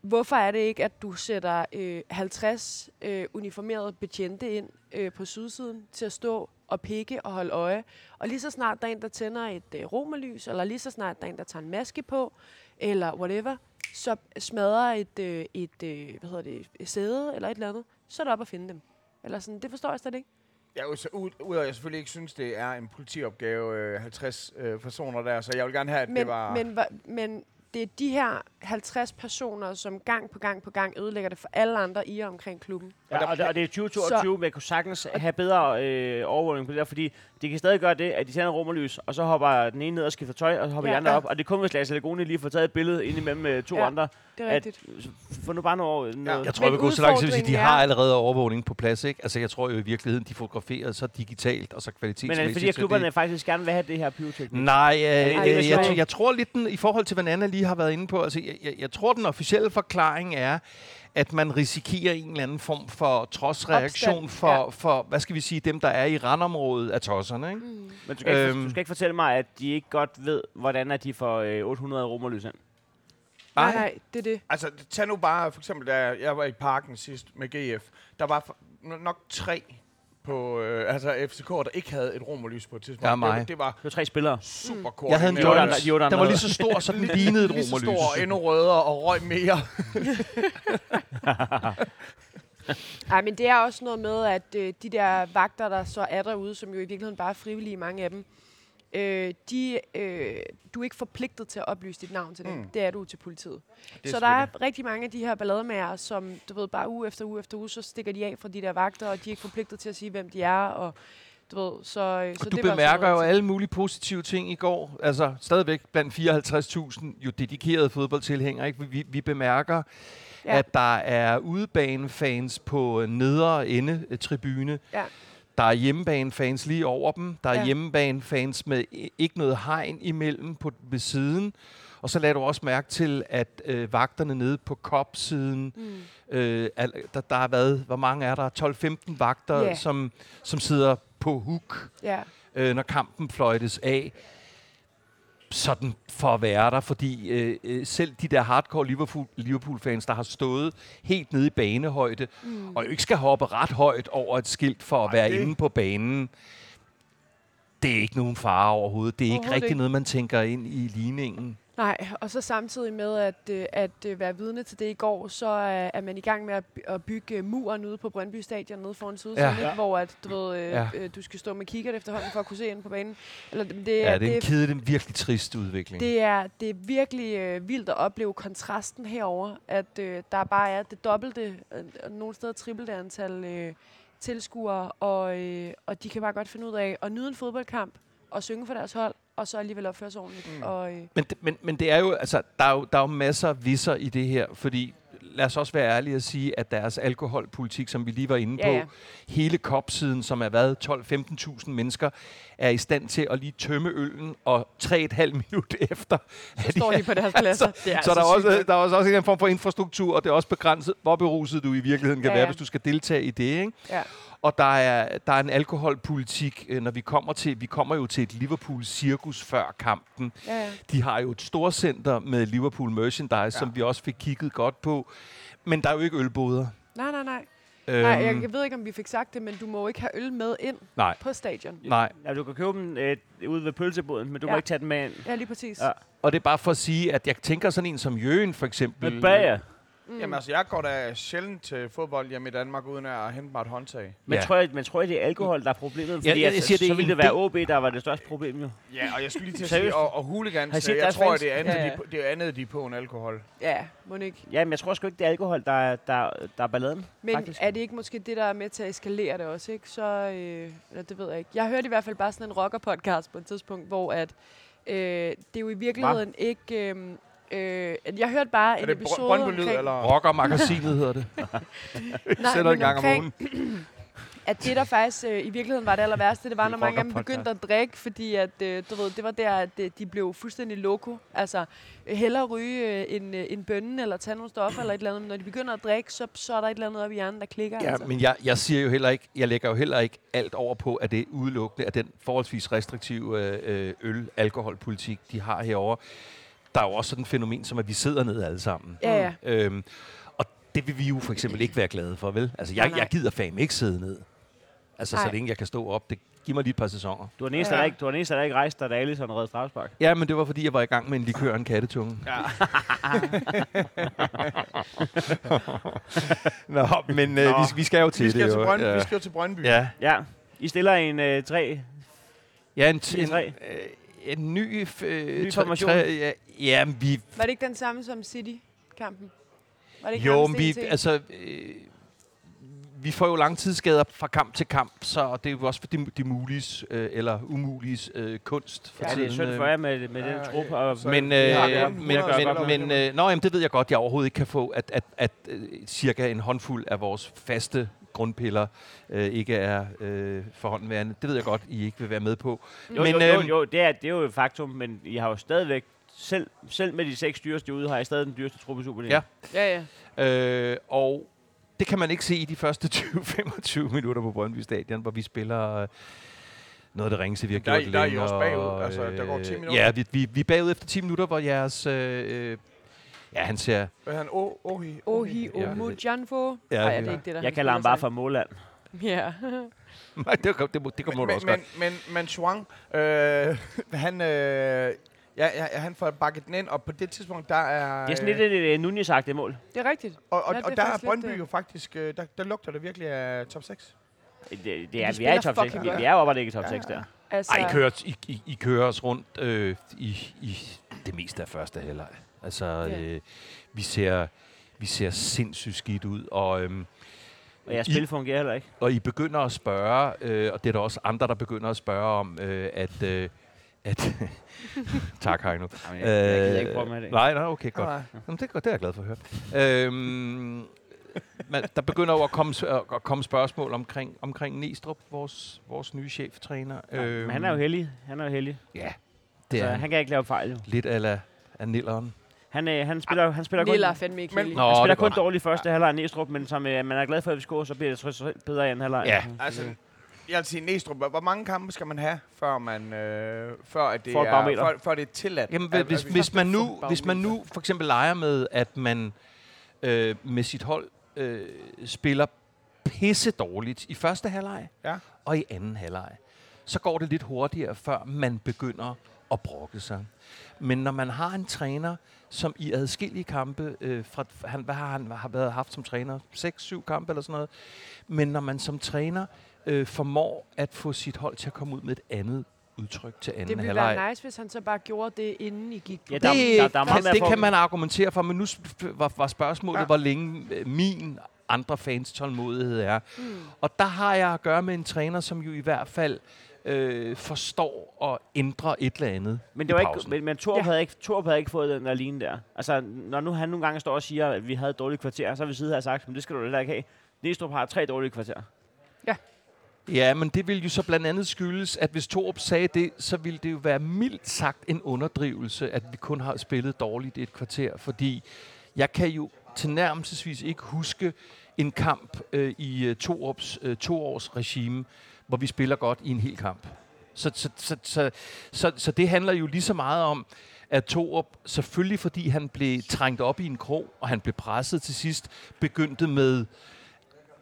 [SPEAKER 3] hvorfor er det ikke, at du sætter øh, 50 øh, uniformerede betjente ind øh, på sydsiden til at stå og pikke og holde øje, og lige så snart der er en, der tænder et øh, romerlys, eller lige så snart der er en, der tager en maske på, eller whatever, så smadrer et, øh, et øh, hvad hedder det, et sæde eller et eller andet, så er det op at finde dem. Eller sådan, det forstår jeg slet ikke.
[SPEAKER 1] Jeg er jo så ud, udover at jeg selvfølgelig ikke synes, det er en politiopgave, øh, 50 øh, personer der, så jeg vil gerne have, at
[SPEAKER 3] Men,
[SPEAKER 1] det var...
[SPEAKER 3] men, hva- men det er de her 50 personer, som gang på gang på gang ødelægger det for alle andre i og omkring klubben.
[SPEAKER 4] Ja, og, der, og det er 2022, men jeg kunne sagtens have bedre øh, overvågning på det der, fordi de kan stadig gøre det, at de tænder romerlys, og så hopper den ene ned og skifter tøj, og så hopper
[SPEAKER 3] Ja,
[SPEAKER 4] ja, de andre
[SPEAKER 3] ja.
[SPEAKER 4] op. Og det er kun, hvis Lasse Lagoni lige får taget et billede ind imellem øh, to ja,
[SPEAKER 3] Ja,
[SPEAKER 4] andre.
[SPEAKER 3] Det er rigtigt.
[SPEAKER 4] At, få nu bare noget... noget
[SPEAKER 2] Jeg tror, jeg
[SPEAKER 3] Men
[SPEAKER 2] vil gå så langt til at sige, de
[SPEAKER 3] udfordringen
[SPEAKER 2] har
[SPEAKER 3] er-
[SPEAKER 2] allerede overvågning på plads, ikke? Altså jeg tror jo i virkeligheden, de fotograferer så digitalt og så
[SPEAKER 4] men
[SPEAKER 2] kvalitetsmæssigt.
[SPEAKER 4] er det fordi, at
[SPEAKER 2] så
[SPEAKER 4] klubberne faktisk gerne vil have det her pyroteknik?
[SPEAKER 2] Nej, øh,
[SPEAKER 4] en del af
[SPEAKER 2] øh, jeg,
[SPEAKER 4] sjov?
[SPEAKER 2] jeg tror lidt, den, i forhold til, hvad Anna lige har været inde på, altså, jeg, jeg, jeg tror, den officielle forklaring er, at man risikerer en eller anden form for trodsreaktion
[SPEAKER 3] Opstand,
[SPEAKER 2] for,
[SPEAKER 3] ja.
[SPEAKER 2] for, hvad skal vi sige, dem, der er i randområdet af tosserne. Ikke?
[SPEAKER 3] Mm.
[SPEAKER 4] Men du skal, øhm. ikke,
[SPEAKER 2] Øhm.
[SPEAKER 4] du skal ikke fortælle mig, at de ikke godt ved, hvordan at de får øh, 800 romerlys ind.
[SPEAKER 3] Nej,
[SPEAKER 2] Ej.
[SPEAKER 3] nej, det er det.
[SPEAKER 1] Altså, tag nu bare, for eksempel, da jeg var i parken sidst med GF, der var for- n- nok tre på øh, altså FCK, der ikke havde et romerlys på et tidspunkt.
[SPEAKER 2] Ja,
[SPEAKER 1] Det var-
[SPEAKER 2] mig.
[SPEAKER 1] Det var
[SPEAKER 3] Mm.
[SPEAKER 4] Det var tre spillere.
[SPEAKER 1] super kort.
[SPEAKER 2] Jeg havde en
[SPEAKER 4] De otte andre,
[SPEAKER 2] joint,
[SPEAKER 4] de otte
[SPEAKER 2] der var
[SPEAKER 4] andre.
[SPEAKER 2] lige så stor, så den lignede et
[SPEAKER 1] Lige så
[SPEAKER 2] romerlys.
[SPEAKER 1] stor, endnu rødere og røg mere.
[SPEAKER 3] Ej, men det er også noget med, at øh, de der vagter, der så er derude, som jo i virkeligheden bare er frivillige, mange af dem, øh, de, øh, du er ikke forpligtet til at oplyse dit navn til dem.
[SPEAKER 1] Mm.
[SPEAKER 3] Mm. Det er du til politiet.
[SPEAKER 1] er
[SPEAKER 3] Så der er rigtig mange af de her ballademager, som du ved, bare uge efter uge efter uge, så stikker de af fra de der vagter, og de er ikke forpligtet til at sige, hvem de er, og du ved, så, øh, så
[SPEAKER 2] Og du
[SPEAKER 3] det var også
[SPEAKER 2] bemærker
[SPEAKER 3] noget
[SPEAKER 2] jo
[SPEAKER 3] til.
[SPEAKER 2] alle mulige positive ting i går. Altså stadigvæk blandt 54.000 jo dedikerede fodboldtilhængere. Ikke? Vi, vi, vi bemærker, ja.
[SPEAKER 3] Ja.
[SPEAKER 2] at der er udebanefans på øh, nedre ende øh, tribune.
[SPEAKER 3] Ja.
[SPEAKER 2] Der er hjemmebanefans lige over dem. Der er ja.
[SPEAKER 3] Ja.
[SPEAKER 2] hjemmebanefans med i- ikke noget hegn imellem på, ved siden. Og så lader du også mærke til, at øh, vagterne nede på kopsiden,
[SPEAKER 3] Mm.
[SPEAKER 2] øh, al- der, der har været, hvor mange er der? 12-15 vagter,
[SPEAKER 3] Ja.
[SPEAKER 2] som, som sidder på hook
[SPEAKER 3] Ja.
[SPEAKER 2] øh, når kampen fløjtes af, sådan for at være der, fordi øh, øh, selv de der hardcore Liverpool- Liverpool-fans, der har stået helt nede i banehøjde, mm. og jo ikke skal hoppe ret højt over et skilt for at være
[SPEAKER 1] det-
[SPEAKER 2] inde på banen, det er ikke nogen fare overhovedet. Det er ikke
[SPEAKER 3] Overhovedet
[SPEAKER 2] rigtig
[SPEAKER 3] ikke.
[SPEAKER 2] noget, man tænker ind i ligningen.
[SPEAKER 3] Nej, og så samtidig med at, øh, at øh, være vidne til det i går, så øh, er, er man i gang med at, by- at bygge øh, muren ude på Brøndby Stadion nede foran sydsiden,
[SPEAKER 2] Ja.
[SPEAKER 3] ja. hvor at, du, ved, øh,
[SPEAKER 2] Ja.
[SPEAKER 3] ja. øh, du skal stå med kikkert efterhånden for at kunne se ind på banen. Eller, det, det,
[SPEAKER 2] Ja,
[SPEAKER 3] er,
[SPEAKER 2] det er en
[SPEAKER 3] det,
[SPEAKER 2] kedelig, en virkelig trist udvikling.
[SPEAKER 3] det, er, det er virkelig øh, vildt at opleve kontrasten herover, at øh, der bare er det dobbelte, øh, og nogle steder trippelte antal øh, tilskuere, og, øh, og de kan bare godt finde ud af at nyde en fodboldkamp og synge for deres hold, og så alligevel opføre sig ordentligt.
[SPEAKER 1] Mm.
[SPEAKER 3] Mm. Og, øh,
[SPEAKER 2] Men, det- men, men det er jo, altså, der er jo, der er jo masser af visser i det her, fordi lad os også være ærlige og sige, at deres alkoholpolitik, som vi lige var inde
[SPEAKER 3] Ja,
[SPEAKER 2] på,
[SPEAKER 3] ja.
[SPEAKER 2] hele kopsiden, som er været 12-15.000 mennesker, er i stand til at lige tømme øllen, og 3,5 minutter efter,
[SPEAKER 3] så står de på deres pladser. Det er altså
[SPEAKER 2] så der er,
[SPEAKER 3] sygt
[SPEAKER 2] også,
[SPEAKER 3] nok.
[SPEAKER 2] der er også også en eller anden form for infrastruktur, og det er også begrænset, hvor beruset du i virkeligheden kan ja,
[SPEAKER 3] Ja,
[SPEAKER 2] være,
[SPEAKER 3] ja.
[SPEAKER 2] hvis du skal deltage i det. Ikke?
[SPEAKER 3] Ja.
[SPEAKER 2] Og der er, der er en alkoholpolitik, øh, når vi kommer til, vi kommer jo til et Liverpool-cirkus før kampen.
[SPEAKER 3] Ja, ja.
[SPEAKER 2] De har jo et storcenter med Liverpool merchandise, ja. som vi også fik kigget godt på. Men der er jo ikke ølboder.
[SPEAKER 3] Nej, nej, nej.
[SPEAKER 2] Øhm,
[SPEAKER 3] nej jeg ved ikke, om vi fik sagt det, men du må jo ikke have øl med ind
[SPEAKER 2] nej,
[SPEAKER 3] på stadion.
[SPEAKER 2] nej.
[SPEAKER 4] Ja, du kan købe dem øh, ude ved pølseboden, men du ja. må
[SPEAKER 3] Ja.
[SPEAKER 4] ikke tage dem med ind.
[SPEAKER 2] Mm.
[SPEAKER 3] Ja, lige præcis.
[SPEAKER 4] Ja.
[SPEAKER 2] Og det er bare for at sige, at jeg tænker sådan en som Jøen for eksempel.
[SPEAKER 4] Med bager.
[SPEAKER 1] Mm. Jamen altså, jeg går da sjældent til fodbold hjemme i Danmark, uden at hente mig et håndtag.
[SPEAKER 4] Men,
[SPEAKER 2] Ja.
[SPEAKER 4] ja. tror jeg, men tror jeg, det er alkohol, der er problemet? Fordi
[SPEAKER 2] jeg
[SPEAKER 4] altså,
[SPEAKER 2] siger, det er
[SPEAKER 4] så ville
[SPEAKER 2] en
[SPEAKER 4] det være OB, der var det største problem jo.
[SPEAKER 1] Ja, og jeg skulle lige til at
[SPEAKER 4] Seriøst?
[SPEAKER 1] sige, og, og hooligans,
[SPEAKER 4] Har I set
[SPEAKER 1] øh, jeg
[SPEAKER 4] deres
[SPEAKER 1] tror,
[SPEAKER 4] fans?
[SPEAKER 1] det er andet,
[SPEAKER 4] Ja,
[SPEAKER 1] ja,
[SPEAKER 4] ja.
[SPEAKER 1] ja. De, på- det er andet, de er på en alkohol.
[SPEAKER 3] ja må ikke.
[SPEAKER 4] Ja, men jeg tror sgu ikke, det er alkohol, der er, der, der er balladen.
[SPEAKER 3] Men
[SPEAKER 4] Faktisk.
[SPEAKER 3] er det ikke måske det, der er med til at eskalere det også, ikke? Så, øh, eller det ved jeg ikke. Jeg hørte i hvert fald bare sådan en rocker-podcast på et tidspunkt, hvor at, øh, det er jo i virkeligheden Hva? ikke... Øh, øh, jeg hørte bare
[SPEAKER 1] Er
[SPEAKER 3] en
[SPEAKER 1] det
[SPEAKER 3] episode
[SPEAKER 1] br- Brøndby Lyd,
[SPEAKER 3] omkring,
[SPEAKER 1] eller?
[SPEAKER 2] Rockermagasinet hedder det.
[SPEAKER 3] Nej,
[SPEAKER 2] Sætter en
[SPEAKER 3] men
[SPEAKER 2] gang om
[SPEAKER 3] omkring-
[SPEAKER 2] ugen.
[SPEAKER 3] at det, der faktisk øh, i virkeligheden var det aller værste, det var,
[SPEAKER 2] Det er
[SPEAKER 3] når mange af dem
[SPEAKER 2] rockerpodcast.
[SPEAKER 3] begyndte at drikke, fordi at, øh, du ved, det var der, at øh, de blev fuldstændig loko. Altså, øh, hellere ryge øh, en, øh, en bønne, eller tage nogle stoffer, eller et eller andet. Men når de begynder at drikke, så, så er der et eller andet op i hjernen, der klikker.
[SPEAKER 2] Ja,
[SPEAKER 3] altså.
[SPEAKER 2] men jeg, jeg siger jo heller ikke, jeg lægger jo heller ikke alt over på, at det udelukkende er den forholdsvis restriktive øh, øh, øl-alkoholpolitik, de har herover. Der er jo også sådan et fænomen, som at vi sidder ned alle sammen.
[SPEAKER 3] Ja, ja.
[SPEAKER 2] Øhm, og det vil vi jo for eksempel ikke være glade for, vel? Altså,
[SPEAKER 3] Nej,
[SPEAKER 2] jeg,
[SPEAKER 3] nej.
[SPEAKER 2] jeg gider fam ikke sidde ned. Altså, så
[SPEAKER 3] Nej.
[SPEAKER 2] længe jeg kan stå op. Det giver mig lige et par sæsoner.
[SPEAKER 4] Du er den eneste,
[SPEAKER 1] Ja.
[SPEAKER 4] ja. der, ikke, du er den eneste, der ikke rejste dig, da Alisson redde strafspark.
[SPEAKER 2] Ja, men det var, fordi jeg var i gang med en likør og en kattetunge.
[SPEAKER 1] Ja.
[SPEAKER 2] Nå, men øh,
[SPEAKER 1] Nå.
[SPEAKER 2] Vi, vi skal jo til
[SPEAKER 1] Vi skal,
[SPEAKER 2] det.
[SPEAKER 1] jo til
[SPEAKER 2] jo.
[SPEAKER 1] Brøndby,
[SPEAKER 2] ja.
[SPEAKER 1] vi skal jo til Brøndby.
[SPEAKER 2] ja.
[SPEAKER 4] Ja, I stiller en øh, tre.
[SPEAKER 2] ja, en, t- en,
[SPEAKER 4] Fire-tre.
[SPEAKER 2] øh, en ny, f- øh,
[SPEAKER 4] Ny
[SPEAKER 2] tre-
[SPEAKER 4] formation.
[SPEAKER 2] tre- Ja, ja, men vi,
[SPEAKER 3] Var det ikke den samme som City-kampen? Var det ikke
[SPEAKER 2] Jo,
[SPEAKER 3] nærmest
[SPEAKER 2] men
[SPEAKER 3] en
[SPEAKER 2] vi,
[SPEAKER 3] til en?
[SPEAKER 2] altså, øh, vi får jo langtidsskader fra kamp til kamp, så det er jo også for det, det muliges øh, eller umuliges øh, kunst for
[SPEAKER 4] Ja, det er
[SPEAKER 2] tiden.
[SPEAKER 4] synd
[SPEAKER 2] øh.
[SPEAKER 4] for jer med, med den
[SPEAKER 1] Ja,
[SPEAKER 4] trup.
[SPEAKER 1] okay.
[SPEAKER 4] Og,
[SPEAKER 1] Så-
[SPEAKER 2] Men,
[SPEAKER 1] Vi har
[SPEAKER 2] øh,
[SPEAKER 1] godt
[SPEAKER 2] men,
[SPEAKER 1] 100 spillere,
[SPEAKER 2] men, men
[SPEAKER 1] der
[SPEAKER 2] øh, nå, jamen, det ved jeg godt, jeg overhovedet ikke kan få, at, at, at øh, cirka en håndfuld af vores faste grundpiller øh, ikke er øh, forhåndværende. Det ved jeg godt, I ikke vil være med på.
[SPEAKER 4] jo,
[SPEAKER 2] men,
[SPEAKER 4] men, jo, jo,
[SPEAKER 2] øhm,
[SPEAKER 4] jo, det er, det er jo et faktum, men I har jo stadigvæk, selv, selv med de seks dyreste ude, har I stadig den dyreste trup i Superligaen.
[SPEAKER 2] Ja.
[SPEAKER 3] Ja, ja.
[SPEAKER 2] Øh, og det kan man ikke se i de første 20-25 minutter på Brøndby Stadion, hvor vi spiller øh, noget af det ringeste, vi har
[SPEAKER 1] Men der er
[SPEAKER 2] gjort
[SPEAKER 1] I- der er I
[SPEAKER 2] længe,
[SPEAKER 1] også bagud.
[SPEAKER 2] og,
[SPEAKER 1] Altså, der går 10
[SPEAKER 2] øh,
[SPEAKER 1] minutter.
[SPEAKER 2] Ja, vi, vi, vi er bagud efter 10 minutter, hvor jeres... Øh, øh, ja, han ser...
[SPEAKER 1] Hvad hedder han? O- Ohi?
[SPEAKER 3] Ohi
[SPEAKER 2] Ja.
[SPEAKER 3] Omujanfo.
[SPEAKER 2] Ja,
[SPEAKER 3] Ja, Nej, ja,
[SPEAKER 2] det-
[SPEAKER 3] det er ikke det, der
[SPEAKER 4] Jeg kalder ham bare for
[SPEAKER 3] spiller
[SPEAKER 4] Måland.
[SPEAKER 3] sig. Ja.
[SPEAKER 2] Nej, det, kom- det, må- det kommer
[SPEAKER 1] Men,
[SPEAKER 2] du også
[SPEAKER 1] men,
[SPEAKER 2] godt.
[SPEAKER 1] men, men, men Chuang, øh, han, øh, ja, ja, han får bakket den ind, og på det tidspunkt, der er...
[SPEAKER 4] Det er sådan lidt et, et, et Nunez-agtigt mål.
[SPEAKER 3] det er rigtigt.
[SPEAKER 1] Og, og,
[SPEAKER 3] Ja, det er
[SPEAKER 1] og der er
[SPEAKER 3] faktisk lidt,
[SPEAKER 1] Brøndby
[SPEAKER 3] øh,
[SPEAKER 1] jo faktisk, øh, der, der lugter det virkelig af top 6.
[SPEAKER 4] Det, det
[SPEAKER 3] De
[SPEAKER 4] er, vi er i
[SPEAKER 3] spiller
[SPEAKER 4] top 6.
[SPEAKER 3] fucking
[SPEAKER 4] Vi,
[SPEAKER 3] godt.
[SPEAKER 4] vi er jo oppe og ligge i top 6 der.
[SPEAKER 3] Altså,
[SPEAKER 2] Ej, I kører, I, I, I kører os rundt øh, i, i det meste af første halvleg. Altså,
[SPEAKER 3] Ja.
[SPEAKER 2] øh, vi, ser, vi ser sindssygt skidt ud, og... øhm,
[SPEAKER 4] Og jeres
[SPEAKER 2] I-
[SPEAKER 4] spil fungerer heller ikke.
[SPEAKER 2] Og I begynder at spørge, øh, og det er der også andre, der begynder at spørge om, øh, at... Øh, at tak, Heino.
[SPEAKER 4] Jamen, jeg, jeg gider ikke prøve med det.
[SPEAKER 2] Øh, Nej, nej, okay, godt.
[SPEAKER 3] Ah.
[SPEAKER 2] Jamen, det, er godt, det er jeg glad for at høre. Øhm, man, der begynder jo at komme, s- at at komme spørgsmål omkring, omkring Næstrup, vores, vores nye cheftræner.
[SPEAKER 4] Øhm. Men han er jo heldig. Han er jo heldig.
[SPEAKER 2] Ja,
[SPEAKER 4] Det
[SPEAKER 2] det er
[SPEAKER 4] Så
[SPEAKER 2] han.
[SPEAKER 4] han kan ikke lave fejl jo.
[SPEAKER 2] lidt ala af Nilleren.
[SPEAKER 4] Han, øh,
[SPEAKER 3] Ah,
[SPEAKER 4] han spiller, han spiller kun,
[SPEAKER 3] Nilla er fandme ikke
[SPEAKER 1] Men-
[SPEAKER 3] heldig.
[SPEAKER 2] Nå,
[SPEAKER 4] han
[SPEAKER 2] det er
[SPEAKER 4] spiller kun
[SPEAKER 2] godt.
[SPEAKER 4] dårligt første halvleg af Næstrup, men som øh, man er glad for, at vi scorer, så bliver det trods alt bedre i anden halvleg. Mm.
[SPEAKER 2] Ja.
[SPEAKER 1] Altså, jeg vil sige, Næstrup, hvor hvor mange kampe skal man have, før, man, øh, før, at det
[SPEAKER 4] For et
[SPEAKER 1] er,
[SPEAKER 4] barometer.
[SPEAKER 1] før, før det er tilladt? Altså,
[SPEAKER 2] Jamen,
[SPEAKER 1] at-
[SPEAKER 2] hvis,
[SPEAKER 1] at
[SPEAKER 2] hvis,
[SPEAKER 1] vi-
[SPEAKER 3] altså,
[SPEAKER 2] hvis, man nu,
[SPEAKER 1] For et
[SPEAKER 2] hvis man nu for eksempel leger med, at man øh, med sit hold øh, spiller pisse dårligt i første halvleg
[SPEAKER 1] Ja.
[SPEAKER 2] og i anden halvleg, så går det lidt hurtigere, før man begynder at brokke sig. Men når man har en træner, som i adskillige kampe, øh, fra, han, hvad har han har været haft som træner? 6-7 kampe eller sådan noget. Men når man som træner øh, formår at få sit hold til at komme ud med et andet udtryk til anden
[SPEAKER 3] Det ville
[SPEAKER 2] halvleg.
[SPEAKER 3] være nice, hvis han så bare gjorde det, inden I gik på.
[SPEAKER 4] Ja,
[SPEAKER 2] Det, der, der, der kan,
[SPEAKER 4] er meget mere
[SPEAKER 2] det
[SPEAKER 4] for-
[SPEAKER 2] kan man argumentere for, men nu sp- var, var spørgsmålet,
[SPEAKER 1] Ja.
[SPEAKER 2] ja. hvor længe øh, min andre fans tålmodighed er.
[SPEAKER 3] Mm.
[SPEAKER 2] Og der har jeg at gøre med en træner, som jo i hvert fald øh, forstår at ændre et eller andet
[SPEAKER 4] Men
[SPEAKER 2] i
[SPEAKER 4] det var ikke,
[SPEAKER 2] pausen.
[SPEAKER 4] men, men Torp,
[SPEAKER 3] Ja.
[SPEAKER 4] ja. havde ikke, Torp havde ikke fået den der line der. Altså, når nu han nogle gange står og siger, at vi havde et dårligt kvarter, så har vi siddet her og sagt, men det skal du heller ikke have. Næstrup har tre dårlige kvarterer.
[SPEAKER 2] Ja, men det ville jo så blandt andet skyldes, at hvis Torup sagde det, så ville det jo være mildt sagt en underdrivelse, at vi kun har spillet dårligt i et kvarter, fordi jeg kan jo tilnærmelsesvis ikke huske en kamp øh, i øh, Torups øh, toårs regime, hvor vi spiller godt i en hel kamp. Så, så, så, så, så, så det handler jo lige så meget om, at Torup, selvfølgelig fordi han blev trængt op i en krog, og han blev presset til sidst, begyndte med,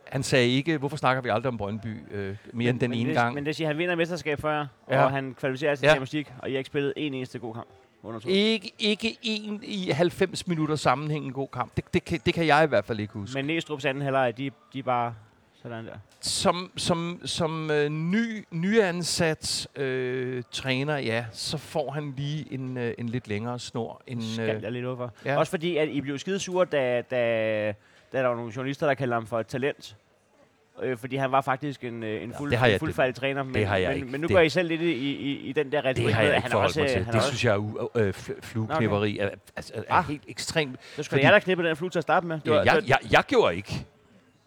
[SPEAKER 2] han sagde ikke, hvorfor snakker vi aldrig om Brøndby øh, mere end den
[SPEAKER 4] men
[SPEAKER 2] ene
[SPEAKER 4] det,
[SPEAKER 2] gang.
[SPEAKER 4] Men det siger, han vinder mesterskab for jer,
[SPEAKER 2] Ja.
[SPEAKER 4] ja. og han kvalificerer sig til
[SPEAKER 2] Ja.
[SPEAKER 4] ja. Champions League, og I har ikke spillet en eneste god kamp under Torp.
[SPEAKER 2] Ikke, ikke en i 90 minutter sammenhængende god kamp. Det, det, kan, det kan jeg i hvert fald ikke huske.
[SPEAKER 4] Men Næstrup's anden halvleg, de, de er bare sådan der.
[SPEAKER 2] Som, som, som øh, ny, nyansat øh, træner, ja, så får han lige en, øh, en lidt længere snor. End,
[SPEAKER 4] Skal
[SPEAKER 2] øh,
[SPEAKER 4] jeg lidt over.
[SPEAKER 2] ja.
[SPEAKER 4] Ja. Også fordi, at I blev skide sure, da, da, da der var nogle journalister, der kaldte ham for et talent. Øh, fordi han var faktisk en, øh, en fuld,
[SPEAKER 2] det har jeg-
[SPEAKER 4] en fuldfaldig træner. Men,
[SPEAKER 2] har jeg
[SPEAKER 4] men,
[SPEAKER 2] ikke.
[SPEAKER 4] men nu
[SPEAKER 2] Det-
[SPEAKER 4] går I selv lidt i, i, i den der retorik.
[SPEAKER 2] det har
[SPEAKER 4] med,
[SPEAKER 2] jeg
[SPEAKER 4] at
[SPEAKER 2] ikke
[SPEAKER 4] han er
[SPEAKER 2] forholdt
[SPEAKER 4] også,
[SPEAKER 2] mig
[SPEAKER 4] øh,
[SPEAKER 2] til.
[SPEAKER 4] Han
[SPEAKER 2] Det
[SPEAKER 4] er også,
[SPEAKER 2] synes jeg er u- øh, fl- flueknæpperi. Er, altså, er, er
[SPEAKER 4] Ah.
[SPEAKER 2] helt ekstremt.
[SPEAKER 4] det skulle
[SPEAKER 2] fordi-
[SPEAKER 4] fordi... jeg der knippede den flue til at starte med. Det
[SPEAKER 2] Ja,
[SPEAKER 4] var-
[SPEAKER 2] jeg, jeg, jeg gjorde ikke.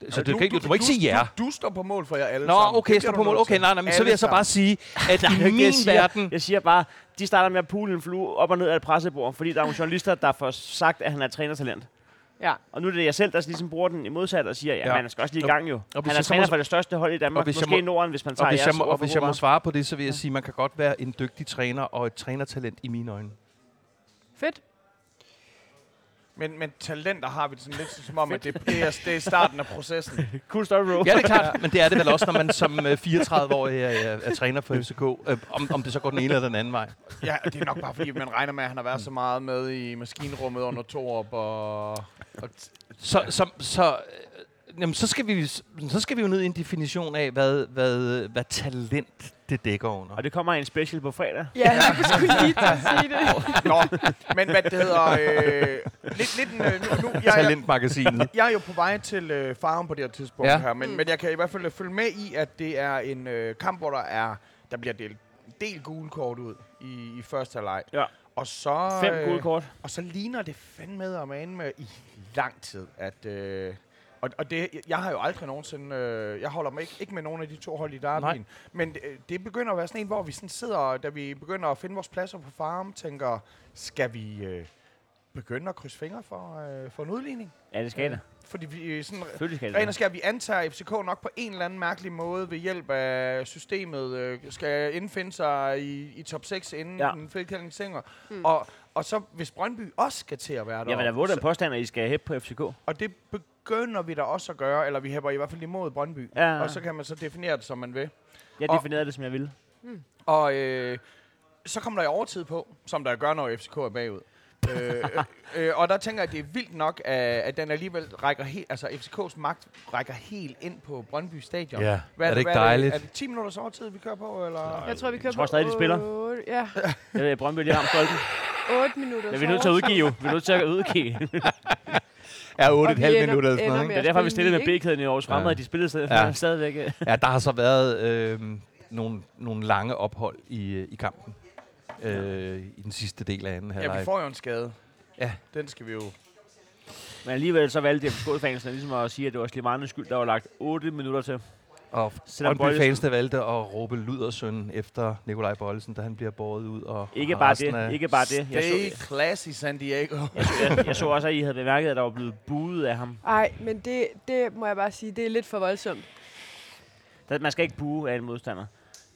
[SPEAKER 2] Så du, kan ikke, du, må ikke sige ja.
[SPEAKER 1] Du, du står på mål for jer alle
[SPEAKER 2] Nå,
[SPEAKER 1] sammen.
[SPEAKER 2] okay,
[SPEAKER 1] Det
[SPEAKER 2] jeg står
[SPEAKER 1] bliver
[SPEAKER 2] på
[SPEAKER 1] du
[SPEAKER 2] mål.
[SPEAKER 1] nødt
[SPEAKER 2] Okay,
[SPEAKER 1] til.
[SPEAKER 2] nej, nej, men så
[SPEAKER 1] Alle
[SPEAKER 2] vil jeg så
[SPEAKER 1] sammen.
[SPEAKER 2] bare sige, at
[SPEAKER 4] det er
[SPEAKER 2] i
[SPEAKER 4] ikke det,
[SPEAKER 2] min
[SPEAKER 4] jeg siger.
[SPEAKER 2] verden...
[SPEAKER 4] Jeg siger bare, de starter med at pule en flue op og ned af et pressebord, fordi der er nogle journalister, der får sagt, at han er trænertalent.
[SPEAKER 3] Ja.
[SPEAKER 4] Og nu er det jeg selv, der ligesom bruger den i modsat og siger, ja,
[SPEAKER 2] Ja.
[SPEAKER 4] ja. man skal også lige i
[SPEAKER 2] Og-
[SPEAKER 4] gang jo.
[SPEAKER 2] og hvis
[SPEAKER 4] Han er
[SPEAKER 2] jeg så
[SPEAKER 4] træner
[SPEAKER 2] må-
[SPEAKER 4] for det største hold i Danmark,
[SPEAKER 2] hvis jeg
[SPEAKER 4] måske i
[SPEAKER 2] må-
[SPEAKER 4] Norden, hvis man
[SPEAKER 2] Og
[SPEAKER 4] tager
[SPEAKER 2] hvis, jeg
[SPEAKER 4] jeres
[SPEAKER 2] må,
[SPEAKER 4] ord
[SPEAKER 2] og
[SPEAKER 4] for
[SPEAKER 2] hvis jeg
[SPEAKER 4] gode
[SPEAKER 2] må
[SPEAKER 4] varer.
[SPEAKER 2] svare på det, så vil jeg sige, at man kan godt være en dygtig træner og et trænertalent i mine øjne.
[SPEAKER 3] Fedt.
[SPEAKER 1] Men, men talenter har vi det sådan lidt som om, at det, det, er, det er starten af processen.
[SPEAKER 4] Cool story, bro.
[SPEAKER 2] Ja, det er klart, men det er det vel også, når man som øh, 34-årig er, er, er træner for FCK, øh, om, om det så går den ene eller den anden vej.
[SPEAKER 1] Ja, det er nok bare fordi, man regner med, at han har været så meget med i maskinrummet under Torup. Og, og
[SPEAKER 2] Så, så, så, øh, jamen, så, skal vi, så skal vi jo ned i en definition af, hvad, hvad, hvad talent det dækker under.
[SPEAKER 4] Og det kommer en special på fredag.
[SPEAKER 3] Ja, jeg skulle lige til at sige det.
[SPEAKER 1] Nå, men hvad det hedder... Øh, lidt, lidt, en, øh, nu, nu, jeg, jeg,
[SPEAKER 2] Talentmagasinet.
[SPEAKER 1] jeg er jo på vej til øh, farven på det her tidspunkt
[SPEAKER 2] Ja.
[SPEAKER 1] ja. her, men, men jeg kan i hvert fald øh, følge med i, at det er en øh, kamp, hvor der er der bliver delt en del gule kort ud i, i første halvleg.
[SPEAKER 4] Ja.
[SPEAKER 1] Og så, øh,
[SPEAKER 4] Fem gule kort.
[SPEAKER 1] og så ligner det fandme og man med i lang tid, at... Øh, og, og det, jeg har jo aldrig nogensinde... Øh, jeg holder mig ikke, ikke med nogen af de to hold i derbyen. Men øh, det begynder at være sådan en, hvor vi sådan sidder, da vi begynder at finde vores pladser på farm, tænker, skal vi øh, begynde at krydse fingre for, øh, for en udligning?
[SPEAKER 4] Ja, det skal det.
[SPEAKER 1] Fordi vi øh, sådan
[SPEAKER 4] Selvfølgelig skal
[SPEAKER 1] Ren og
[SPEAKER 4] det.
[SPEAKER 1] skær, vi antager, at FCK nok på en eller anden mærkelig måde ved hjælp af systemet øh, skal indfinde sig i, i top 6 inden ja.
[SPEAKER 4] Ja.
[SPEAKER 1] den fældkældning sænger. Mm. Og, og så hvis Brøndby også skal til at være
[SPEAKER 4] Jeg vil da
[SPEAKER 1] der,
[SPEAKER 4] våge den påstand, at I skal hæppe på FCK.
[SPEAKER 1] og det begynder vi da også at gøre, eller vi hæpper i hvert fald imod Brøndby,
[SPEAKER 4] Ja, ja.
[SPEAKER 1] og så kan man så definere det, som man vil.
[SPEAKER 4] Jeg
[SPEAKER 1] Og-
[SPEAKER 4] definerede det, som jeg ville.
[SPEAKER 1] Og øh, så kom der i overtid på, som der gør, når FCK er bagud. øh, øh, og der tænker jeg, at det er vildt nok, at, at den alligevel rækker helt, altså FCK's magt rækker helt ind på Brøndby Stadion.
[SPEAKER 2] Ja, er det ikke
[SPEAKER 1] hvad
[SPEAKER 2] dejligt?
[SPEAKER 1] Er det 10 minutters overtid, vi kører på, eller?
[SPEAKER 3] Jeg tror, vi kører
[SPEAKER 4] tror stadig, de spiller.
[SPEAKER 3] otte- Ja,
[SPEAKER 4] Jeg ved, at Brøndby lige har ramt stolpen.
[SPEAKER 3] 8 minutter.
[SPEAKER 4] Men vi er nødt til at udgive jo. Vi er nødt til at udgive.
[SPEAKER 2] Er
[SPEAKER 3] Og vi
[SPEAKER 2] 8,5
[SPEAKER 3] ender-
[SPEAKER 2] minutter eller sådan
[SPEAKER 3] ender
[SPEAKER 2] noget,
[SPEAKER 3] med
[SPEAKER 2] ikke?
[SPEAKER 4] Det er derfor,
[SPEAKER 3] spille
[SPEAKER 4] vi stillede
[SPEAKER 3] ni,
[SPEAKER 4] med B-kæden i Aarhus
[SPEAKER 2] Ja.
[SPEAKER 4] Fremad. De spillede stadig,
[SPEAKER 2] Ja.
[SPEAKER 4] stadigvæk. øh.
[SPEAKER 2] Ja, der har så været øh, nogle, nogle lange ophold i, øh, i kampen. Øh, I den sidste del af anden
[SPEAKER 1] Ja,
[SPEAKER 2] halvleg.
[SPEAKER 1] vi får jo en skade.
[SPEAKER 2] Ja.
[SPEAKER 1] Den skal vi jo...
[SPEAKER 4] Men alligevel så valgte FCK-fansene ligesom at sige, at det var Slimanes skyld, der var lagt 8 minutter til.
[SPEAKER 2] Og
[SPEAKER 4] Selvom
[SPEAKER 2] Brøndby
[SPEAKER 4] Bøjlesen-
[SPEAKER 2] fansene valgte at råbe ludersøn efter Nikolaj Bøjlesen, da han bliver båret ud. Og,
[SPEAKER 4] Ikke
[SPEAKER 2] og
[SPEAKER 4] bare
[SPEAKER 2] resten
[SPEAKER 4] det.
[SPEAKER 2] af-
[SPEAKER 4] Ikke bare det. Jeg så,
[SPEAKER 1] Stay classy, San Diego.
[SPEAKER 4] jeg, jeg, jeg så også, at I havde bemærket, at der var blevet buet af ham.
[SPEAKER 3] Ej, men det, det må jeg bare sige, det er lidt for voldsomt.
[SPEAKER 4] Der- Man skal ikke bue af en modstander.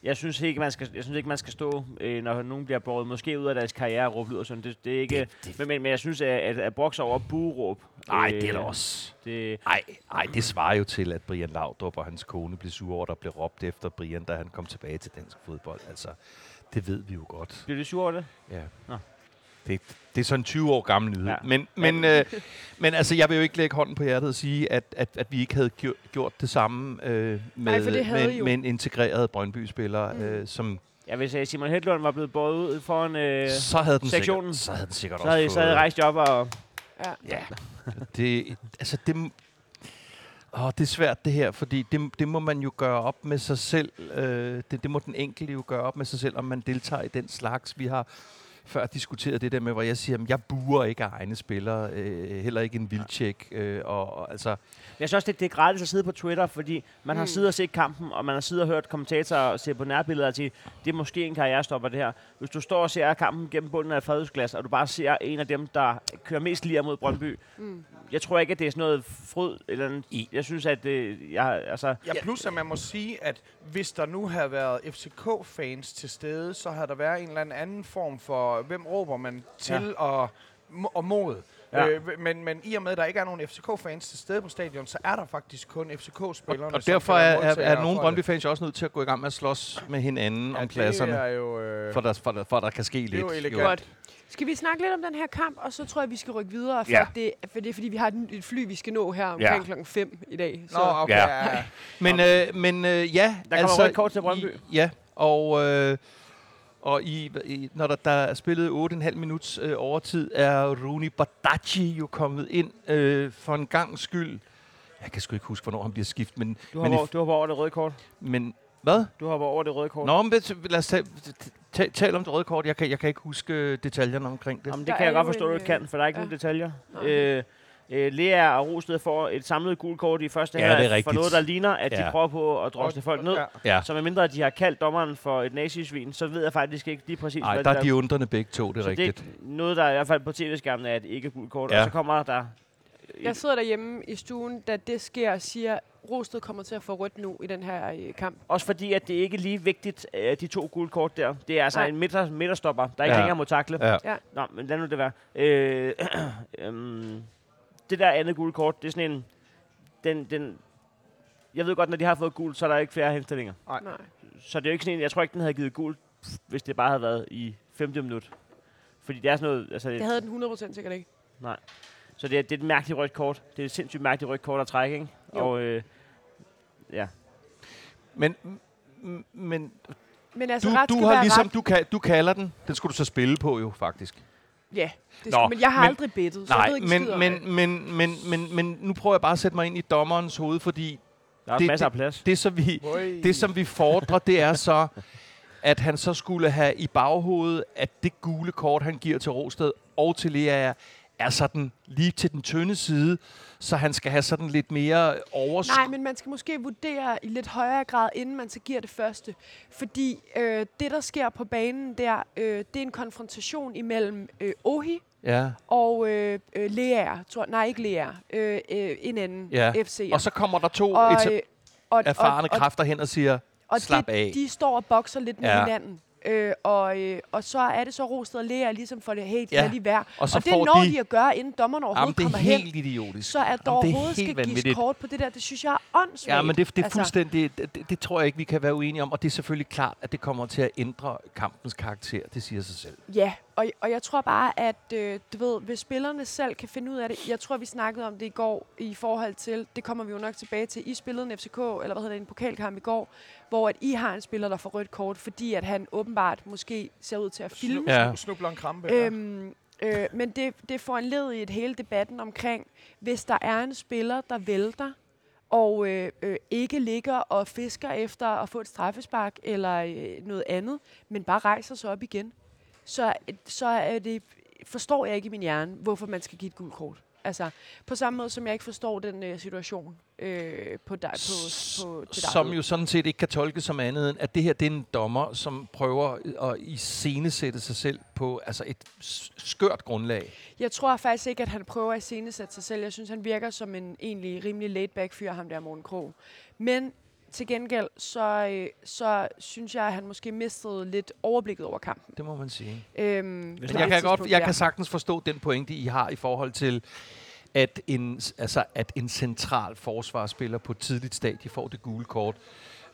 [SPEAKER 4] Jeg synes ikke, man skal, jeg synes ikke, man skal stå, øh, når nogen bliver båret måske ud af deres karriere og råbe ud og sådan. Det, det er ikke, det, det. Men, men, men, jeg synes, at, at, at brokse over buråb.
[SPEAKER 2] Nej, det
[SPEAKER 4] Øh.
[SPEAKER 2] er da også...
[SPEAKER 4] Det,
[SPEAKER 2] Ej, ej, det svarer jo til, at Brian Laudrup og hans kone blev sure over, at der blev råbt efter Brian, da han kom tilbage til dansk fodbold. Altså, det ved vi jo godt.
[SPEAKER 4] bliver du sur over det?
[SPEAKER 2] Ja.
[SPEAKER 4] Nå.
[SPEAKER 2] Det, det er sådan en 20 år gammel nyhed.
[SPEAKER 4] Ja.
[SPEAKER 2] Ja. Men, men, øh, men altså, jeg vil jo ikke lægge hånden på hjertet og sige, at, at, at vi ikke havde gjort, gjort det samme øh, med,
[SPEAKER 3] for det havde I
[SPEAKER 2] med,
[SPEAKER 3] jo. Mm.
[SPEAKER 2] med en integreret Brøndby-spiller, øh, som
[SPEAKER 4] Ja, hvis øh, Simon Hedlund var blevet båret ud foran... Øh,
[SPEAKER 2] så havde den
[SPEAKER 4] sektionen.
[SPEAKER 2] sikkert, så havde den sikkert
[SPEAKER 4] så
[SPEAKER 2] også
[SPEAKER 4] havde, så havde jeg rejst op og...
[SPEAKER 3] Ja.
[SPEAKER 2] Ja, det, altså det, åh, det er svært det her, fordi det, det må man jo gøre op med sig selv. Øh, det, det må den enkelte jo gøre op med sig selv, om man deltager i den slags. Vi har før diskuteret det der med, hvor jeg siger, at jeg buer ikke af egne spillere, øh, heller ikke en vildtjek. Øh, og, og, altså,
[SPEAKER 4] Jeg synes også, det, det er gratis at sidde på Twitter, fordi man mm. har
[SPEAKER 3] Mm.
[SPEAKER 4] siddet og set kampen, og man har siddet og hørt kommentatorer og se på nærbilleder og sige, det er måske en karrierestopper det her. Hvis du står og ser kampen gennem bunden af et fredøsglas, og du bare ser en af dem, der kører mest lige mod Brøndby,
[SPEAKER 3] Mm.
[SPEAKER 4] jeg tror ikke, at det er sådan noget fryd eller andet. Jeg synes, at det, jeg, altså,
[SPEAKER 1] Ja, plus at man må sige, at hvis der nu havde været FCK-fans til stede, så havde der været en eller anden anden form for, hvem råber man til og, mo- og mod.
[SPEAKER 4] Ja.
[SPEAKER 1] Ja. Øh, men, men i og med, at der ikke er nogen FCK-fans til stede på stadion, så er der faktisk kun FCK-spillerne.
[SPEAKER 2] og
[SPEAKER 1] som
[SPEAKER 2] derfor
[SPEAKER 1] kan være
[SPEAKER 2] er, er, er
[SPEAKER 1] modtagere
[SPEAKER 2] nogle
[SPEAKER 1] for det.
[SPEAKER 2] Brøndby-fans jo også nødt til at gå i gang med at slås med hinanden ja, om pladserne,
[SPEAKER 1] Det er jo... Øh,
[SPEAKER 2] for, der, for, der, for der kan ske lidt.
[SPEAKER 1] det er jo elegant.
[SPEAKER 3] Godt. Skal vi snakke lidt om den her kamp, og så tror jeg, vi skal rykke videre, for,
[SPEAKER 2] Ja.
[SPEAKER 3] det, for det er fordi, vi har et nyt- et fly, vi skal nå her omkring
[SPEAKER 2] Ja.
[SPEAKER 3] klokken 5 i dag. Så.
[SPEAKER 1] Nå, okay.
[SPEAKER 2] Ja.
[SPEAKER 1] Ja. Ja.
[SPEAKER 2] Men, øh, men øh, ja,
[SPEAKER 4] Der kommer rødt kort til Brøndby.
[SPEAKER 2] I, ja, og, øh, og i, i, når der, der er spillet 8,5 minuts øh, overtid, er Rooney Badaji jo kommet ind øh, for en gang skyld. Jeg kan sgu ikke huske, hvornår han bliver skiftet, men,
[SPEAKER 4] du
[SPEAKER 2] men,
[SPEAKER 4] hopper, over,
[SPEAKER 2] i,
[SPEAKER 4] du hopper over det røde kort.
[SPEAKER 2] men hvad?
[SPEAKER 4] Du hopper over det røde kort.
[SPEAKER 2] Nå, men ved- lad os tale ta, tale om det røde kort. Jeg kan, jeg kan ikke huske øh, detaljerne omkring det.
[SPEAKER 4] Jamen,
[SPEAKER 3] Der
[SPEAKER 4] det kan jeg
[SPEAKER 3] er
[SPEAKER 4] godt
[SPEAKER 3] jo
[SPEAKER 4] forstå, du
[SPEAKER 3] en, øh,
[SPEAKER 4] ikke kan, for der er ikke
[SPEAKER 3] ja.
[SPEAKER 4] nogen detaljer.
[SPEAKER 3] Nej.
[SPEAKER 4] Øh, øh, Lea og Rosted får et samlet gult kort i første
[SPEAKER 2] Ja, det er
[SPEAKER 4] halvleg for
[SPEAKER 2] rigtigt.
[SPEAKER 4] noget, der ligner, at de
[SPEAKER 2] Ja.
[SPEAKER 4] prøver på at drosle folk ned.
[SPEAKER 1] Ja.
[SPEAKER 2] Ja.
[SPEAKER 4] Så medmindre de har kaldt dommeren for et nazisvin, så ved jeg faktisk ikke lige præcis,
[SPEAKER 2] Ej,
[SPEAKER 4] hvad
[SPEAKER 2] der
[SPEAKER 4] det
[SPEAKER 2] er de undrende begge to, det er
[SPEAKER 4] så
[SPEAKER 2] rigtigt.
[SPEAKER 4] det er noget, der i hvert fald på tv-skærmen er et ikke gult kort. Ja.
[SPEAKER 2] Ja.
[SPEAKER 4] Og så kommer der...
[SPEAKER 3] Jeg sidder derhjemme i stuen, da det sker, og siger, Rosted kommer til at få rødt nu i den her øh, kamp.
[SPEAKER 4] Også fordi, at det ikke er lige vigtigt, øh, de to gule kort der. Det er altså
[SPEAKER 3] Nej.
[SPEAKER 4] en midter, midterstopper, der ikke ja.
[SPEAKER 2] Ja.
[SPEAKER 4] længere må takle.
[SPEAKER 2] Ja.
[SPEAKER 4] Nå, men lad nu det være. Øh, øhm, det der andet gule kort, det er sådan en... Den, den, jeg ved godt, når de har fået gul, så er der ikke flere henstillinger.
[SPEAKER 1] Nej.
[SPEAKER 3] Nej.
[SPEAKER 4] Så det er jo ikke sådan en... Jeg tror ikke, den havde givet gul, hvis det bare havde været i 50 minut. Fordi det er sådan noget... Altså,
[SPEAKER 3] Det havde den 100% sikkert ikke.
[SPEAKER 4] Så det er, det er et mærkeligt rødt kort. Det er et sindssygt mærkeligt rødt kort at trække, ikke?
[SPEAKER 3] Jo.
[SPEAKER 4] Og øh, ja,
[SPEAKER 2] Men, m- men
[SPEAKER 3] Men altså,
[SPEAKER 2] du,
[SPEAKER 3] ret
[SPEAKER 2] du
[SPEAKER 3] skal
[SPEAKER 2] har
[SPEAKER 3] være
[SPEAKER 2] ligesom,
[SPEAKER 3] ret.
[SPEAKER 2] du, kan, du kalder den. Den skulle du så spille på jo, faktisk.
[SPEAKER 3] Ja,
[SPEAKER 2] Nå,
[SPEAKER 3] det skal, men jeg har
[SPEAKER 2] men-
[SPEAKER 3] aldrig bettet, så jeg
[SPEAKER 2] Nej,
[SPEAKER 3] ved ikke
[SPEAKER 2] men,
[SPEAKER 3] skid om det.
[SPEAKER 2] men, men, men, men, men nu prøver jeg bare at sætte mig ind i dommerens hoved, fordi
[SPEAKER 4] der er det,
[SPEAKER 2] Det-
[SPEAKER 4] masser af plads.
[SPEAKER 2] det, som vi,
[SPEAKER 1] Ui.
[SPEAKER 2] det, som vi fordrer, det er så, at han så skulle have i baghovedet, at det gule kort, han giver til Rosted og til Lea, er- er sådan lige til den tynde side, så han skal have sådan lidt mere overskud.
[SPEAKER 3] Nej, men man skal måske vurdere i lidt højere grad, inden man så giver det første. Fordi øh, det, der sker på banen der, øh, det er en konfrontation imellem øh, Ohi
[SPEAKER 2] Ja.
[SPEAKER 3] og øh, øh, Lea, tror, nej ikke Lea, øh, øh, en anden
[SPEAKER 2] Ja,
[SPEAKER 3] FC'er.
[SPEAKER 2] Og så kommer der to
[SPEAKER 3] og,
[SPEAKER 2] etab-
[SPEAKER 3] øh, og,
[SPEAKER 2] erfarne kræfter hen og siger,
[SPEAKER 3] og
[SPEAKER 2] slap
[SPEAKER 3] de,
[SPEAKER 2] af.
[SPEAKER 3] de står og bokser lidt med
[SPEAKER 2] Ja.
[SPEAKER 3] hinanden. Øh, og, øh, og så er det så Rosted og Lea ligesom for det, hey,
[SPEAKER 2] Ja.
[SPEAKER 3] ja. lige være.
[SPEAKER 2] Og så
[SPEAKER 3] og det
[SPEAKER 2] får
[SPEAKER 3] når de,
[SPEAKER 2] de
[SPEAKER 3] at gøre, inden dommeren
[SPEAKER 2] jamen,
[SPEAKER 3] overhovedet
[SPEAKER 2] det er
[SPEAKER 3] kommer hen.
[SPEAKER 2] helt idiotisk.
[SPEAKER 3] Så at der
[SPEAKER 2] Jamen, det er
[SPEAKER 3] overhovedet
[SPEAKER 2] helt
[SPEAKER 3] skal gives
[SPEAKER 2] vanvittigt.
[SPEAKER 3] kort på det der, det synes jeg er åndssvagt.
[SPEAKER 2] Ja, men det, det er
[SPEAKER 3] Altså,
[SPEAKER 2] fuldstændig, det- det, det tror jeg ikke, vi kan være uenige om, og det er selvfølgelig klart, at det kommer til at ændre kampens karakter, det siger sig selv.
[SPEAKER 3] Ja, og, og jeg tror bare, at øh, du ved, hvis spillerne selv kan finde ud af det, jeg tror, vi snakkede om det i går i forhold til, det kommer vi jo nok tilbage til, I spillede en FCK, eller hvad hedder det, en pokalkamp i går, hvor at I har en spiller, der får rødt kort, fordi at han åbenbart måske ser ud til at filme.
[SPEAKER 2] Ja.
[SPEAKER 1] Snu- Snubler en krampe. ja.
[SPEAKER 3] Øhm, øh, men det, det får en led i et hele debatten omkring, hvis der er en spiller, der vælter, og øh, øh, ikke ligger og fisker efter at få et straffespark eller øh, noget andet, men bare rejser sig op igen, så, så er det, forstår jeg ikke i min hjerne, hvorfor man skal give et gult kort. Altså, på samme måde som jeg ikke forstår den øh, situation øh, på dig, på, på, til dig.
[SPEAKER 2] Som jo sådan set ikke kan tolkes som andet end, at det her det er en dommer, som prøver at iscenesætte sig selv på altså et s- skørt grundlag.
[SPEAKER 3] Jeg tror faktisk ikke, at han prøver at scenesætte sig selv. Jeg synes, han virker som en egentlig rimelig laid-back fyr, ham der Morten Krog. Men Til gengæld, så, øh, så synes jeg, at han måske mistede lidt overblikket over kampen.
[SPEAKER 2] Det må man sige.
[SPEAKER 3] Øhm,
[SPEAKER 4] Hvis
[SPEAKER 3] på
[SPEAKER 2] Men
[SPEAKER 3] det
[SPEAKER 2] jeg kan, godt,
[SPEAKER 3] tidspunkt
[SPEAKER 2] jeg
[SPEAKER 3] der.
[SPEAKER 2] kan sagtens forstå den pointe, I har i forhold til, at en, altså, at en central forsvarsspiller på et tidligt stadie får det gule kort,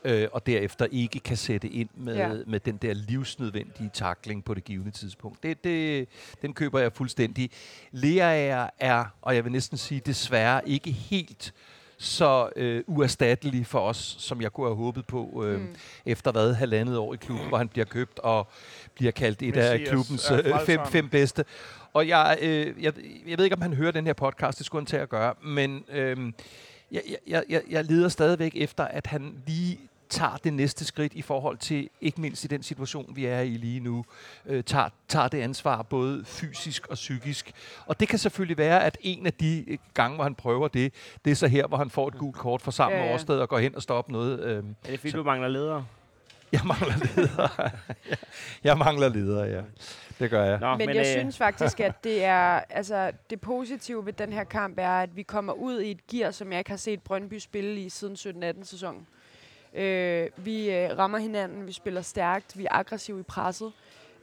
[SPEAKER 2] øh, og derefter ikke kan sætte ind med,
[SPEAKER 3] Ja.
[SPEAKER 2] ja. med den der livsnødvendige takling på det givende tidspunkt. Det, det, den køber jeg fuldstændig. Leaer er, og jeg vil næsten sige desværre, ikke helt så øh, uerstattelig for os, som jeg kunne have håbet på, øh, mm. efter hvad, halvandet år i klubben, hvor han bliver købt og bliver kaldt et af
[SPEAKER 1] Messias
[SPEAKER 2] klubbens
[SPEAKER 1] er
[SPEAKER 2] øh, fem,
[SPEAKER 1] frelseren.
[SPEAKER 2] fem bedste. Og jeg, øh, jeg, jeg ved ikke, om han hører den her podcast, det skulle han til at gøre, men øh, jeg, jeg- jeg, jeg, jeg leder stadigvæk efter, at han lige tager det næste skridt i forhold til, ikke mindst i den situation, vi er i lige nu, øh, tager, tager det ansvar både fysisk og psykisk. Og det kan selvfølgelig være, at en af de øh, gange, hvor han prøver det, det er så her, hvor han får et gult kort fra sammen
[SPEAKER 3] Ja,
[SPEAKER 2] ja,
[SPEAKER 3] ja.
[SPEAKER 2] ja. årsted og går hen og stopper noget. Øh,
[SPEAKER 4] Er det fordi,
[SPEAKER 2] Så-
[SPEAKER 4] du mangler ledere?
[SPEAKER 2] jeg mangler ledere. jeg mangler ledere, ja. Det gør jeg.
[SPEAKER 4] Nå,
[SPEAKER 3] Men, men jeg øh... synes faktisk, at det er altså det positive ved den her kamp er, at vi kommer ud i et gear, som jeg ikke har set Brøndby spille i siden 17-18 sæsonen. Øh, vi øh, rammer hinanden, vi spiller stærkt, vi er aggressive i presset,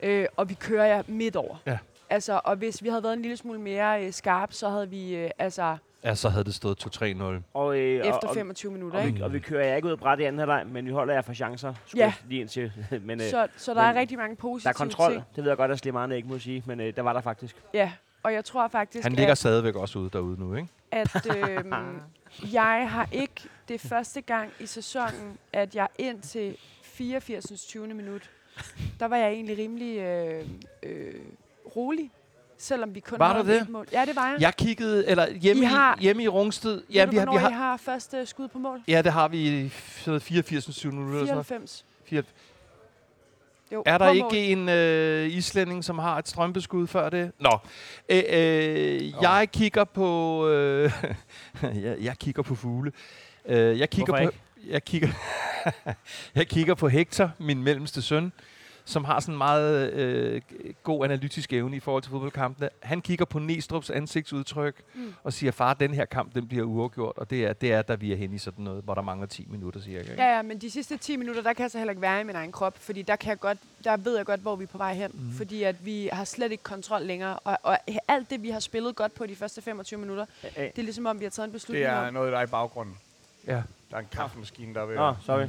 [SPEAKER 3] øh, og vi kører jer midt over.
[SPEAKER 2] Ja.
[SPEAKER 3] Altså, og hvis vi havde været en lille smule mere øh, skarp, så havde vi øh, altså
[SPEAKER 2] Ja, så havde det stået 2-3-0.
[SPEAKER 4] og, øh, og-
[SPEAKER 3] efter
[SPEAKER 4] og,
[SPEAKER 3] 25 minutter.
[SPEAKER 4] Og
[SPEAKER 3] Ikke?
[SPEAKER 4] vi, og vi kører jer ikke ud af bræt i anden halvleg, men vi holder jer for chancer. skulle
[SPEAKER 3] Ja.
[SPEAKER 4] jeg Lige indtil. men øh,
[SPEAKER 3] Så, så der er
[SPEAKER 4] men
[SPEAKER 3] rigtig mange
[SPEAKER 4] der
[SPEAKER 3] positive
[SPEAKER 4] er kontrol.
[SPEAKER 3] ting.
[SPEAKER 4] Det ved jeg godt, at Slimane ikke må sige, men øh, der var der faktisk.
[SPEAKER 3] Ja, og jeg tror faktisk,
[SPEAKER 2] Han ligger stadigvæk også ude derude nu, ikke?
[SPEAKER 3] at øhm, jeg har ikke det er første gang i sæsonen, at jeg indtil 84. 20. minut, der var jeg egentlig rimelig øh, øh, rolig, selvom vi kun
[SPEAKER 2] Var
[SPEAKER 3] havde
[SPEAKER 2] du det?
[SPEAKER 3] et mål. Ja, det var jeg.
[SPEAKER 2] Jeg kiggede, eller hjemme,
[SPEAKER 3] I
[SPEAKER 2] I
[SPEAKER 3] har-
[SPEAKER 2] I, hjemme i Rungsted.
[SPEAKER 3] Ved
[SPEAKER 2] Ja,
[SPEAKER 3] du,
[SPEAKER 2] vi har, vi
[SPEAKER 3] hvornår I
[SPEAKER 2] har,
[SPEAKER 3] har første skud på mål?
[SPEAKER 2] ja, det har vi i sådan noget 84. 7. minutter. Eller sådan
[SPEAKER 3] 94.
[SPEAKER 2] noget.
[SPEAKER 3] Jo,
[SPEAKER 2] Er der
[SPEAKER 3] på mål.
[SPEAKER 2] ikke en øh, islænding, som har et strømbeskud før det? Nå. Øh, øh,
[SPEAKER 1] Nå.
[SPEAKER 2] jeg kigger på... Øh, jeg, jeg kigger på fugle. Øh, jeg kigger
[SPEAKER 4] Hvorfor
[SPEAKER 2] på... Jeg kigger, jeg kigger på Hector, min mellemste søn, som har sådan en meget øh, god analytisk evne i forhold til fodboldkampene. Han kigger på Nestrup's ansigtsudtryk
[SPEAKER 3] Mm.
[SPEAKER 2] mm. og siger, far, den her kamp, den bliver uafgjort. Og det er, det er, der vi er henne i sådan noget, hvor der mangler 10 minutter cirka. Ikke?
[SPEAKER 3] Ja, ja, men de sidste 10 minutter, der kan jeg så heller ikke være i min egen krop, fordi der, kan jeg godt, der ved jeg godt, hvor vi er på vej hen, mm. fordi at vi har slet ikke kontrol længere, og, og alt det, vi har spillet godt på de første 25 minutter,
[SPEAKER 4] Øh, øh,
[SPEAKER 3] det er ligesom om, vi har taget en beslutning
[SPEAKER 1] Det
[SPEAKER 3] om.
[SPEAKER 1] er noget, der er i baggrunden.
[SPEAKER 2] Ja.
[SPEAKER 1] Der er en kaffemaskine, der er ved
[SPEAKER 4] Nå,
[SPEAKER 1] at-
[SPEAKER 4] sorry.
[SPEAKER 3] Ja.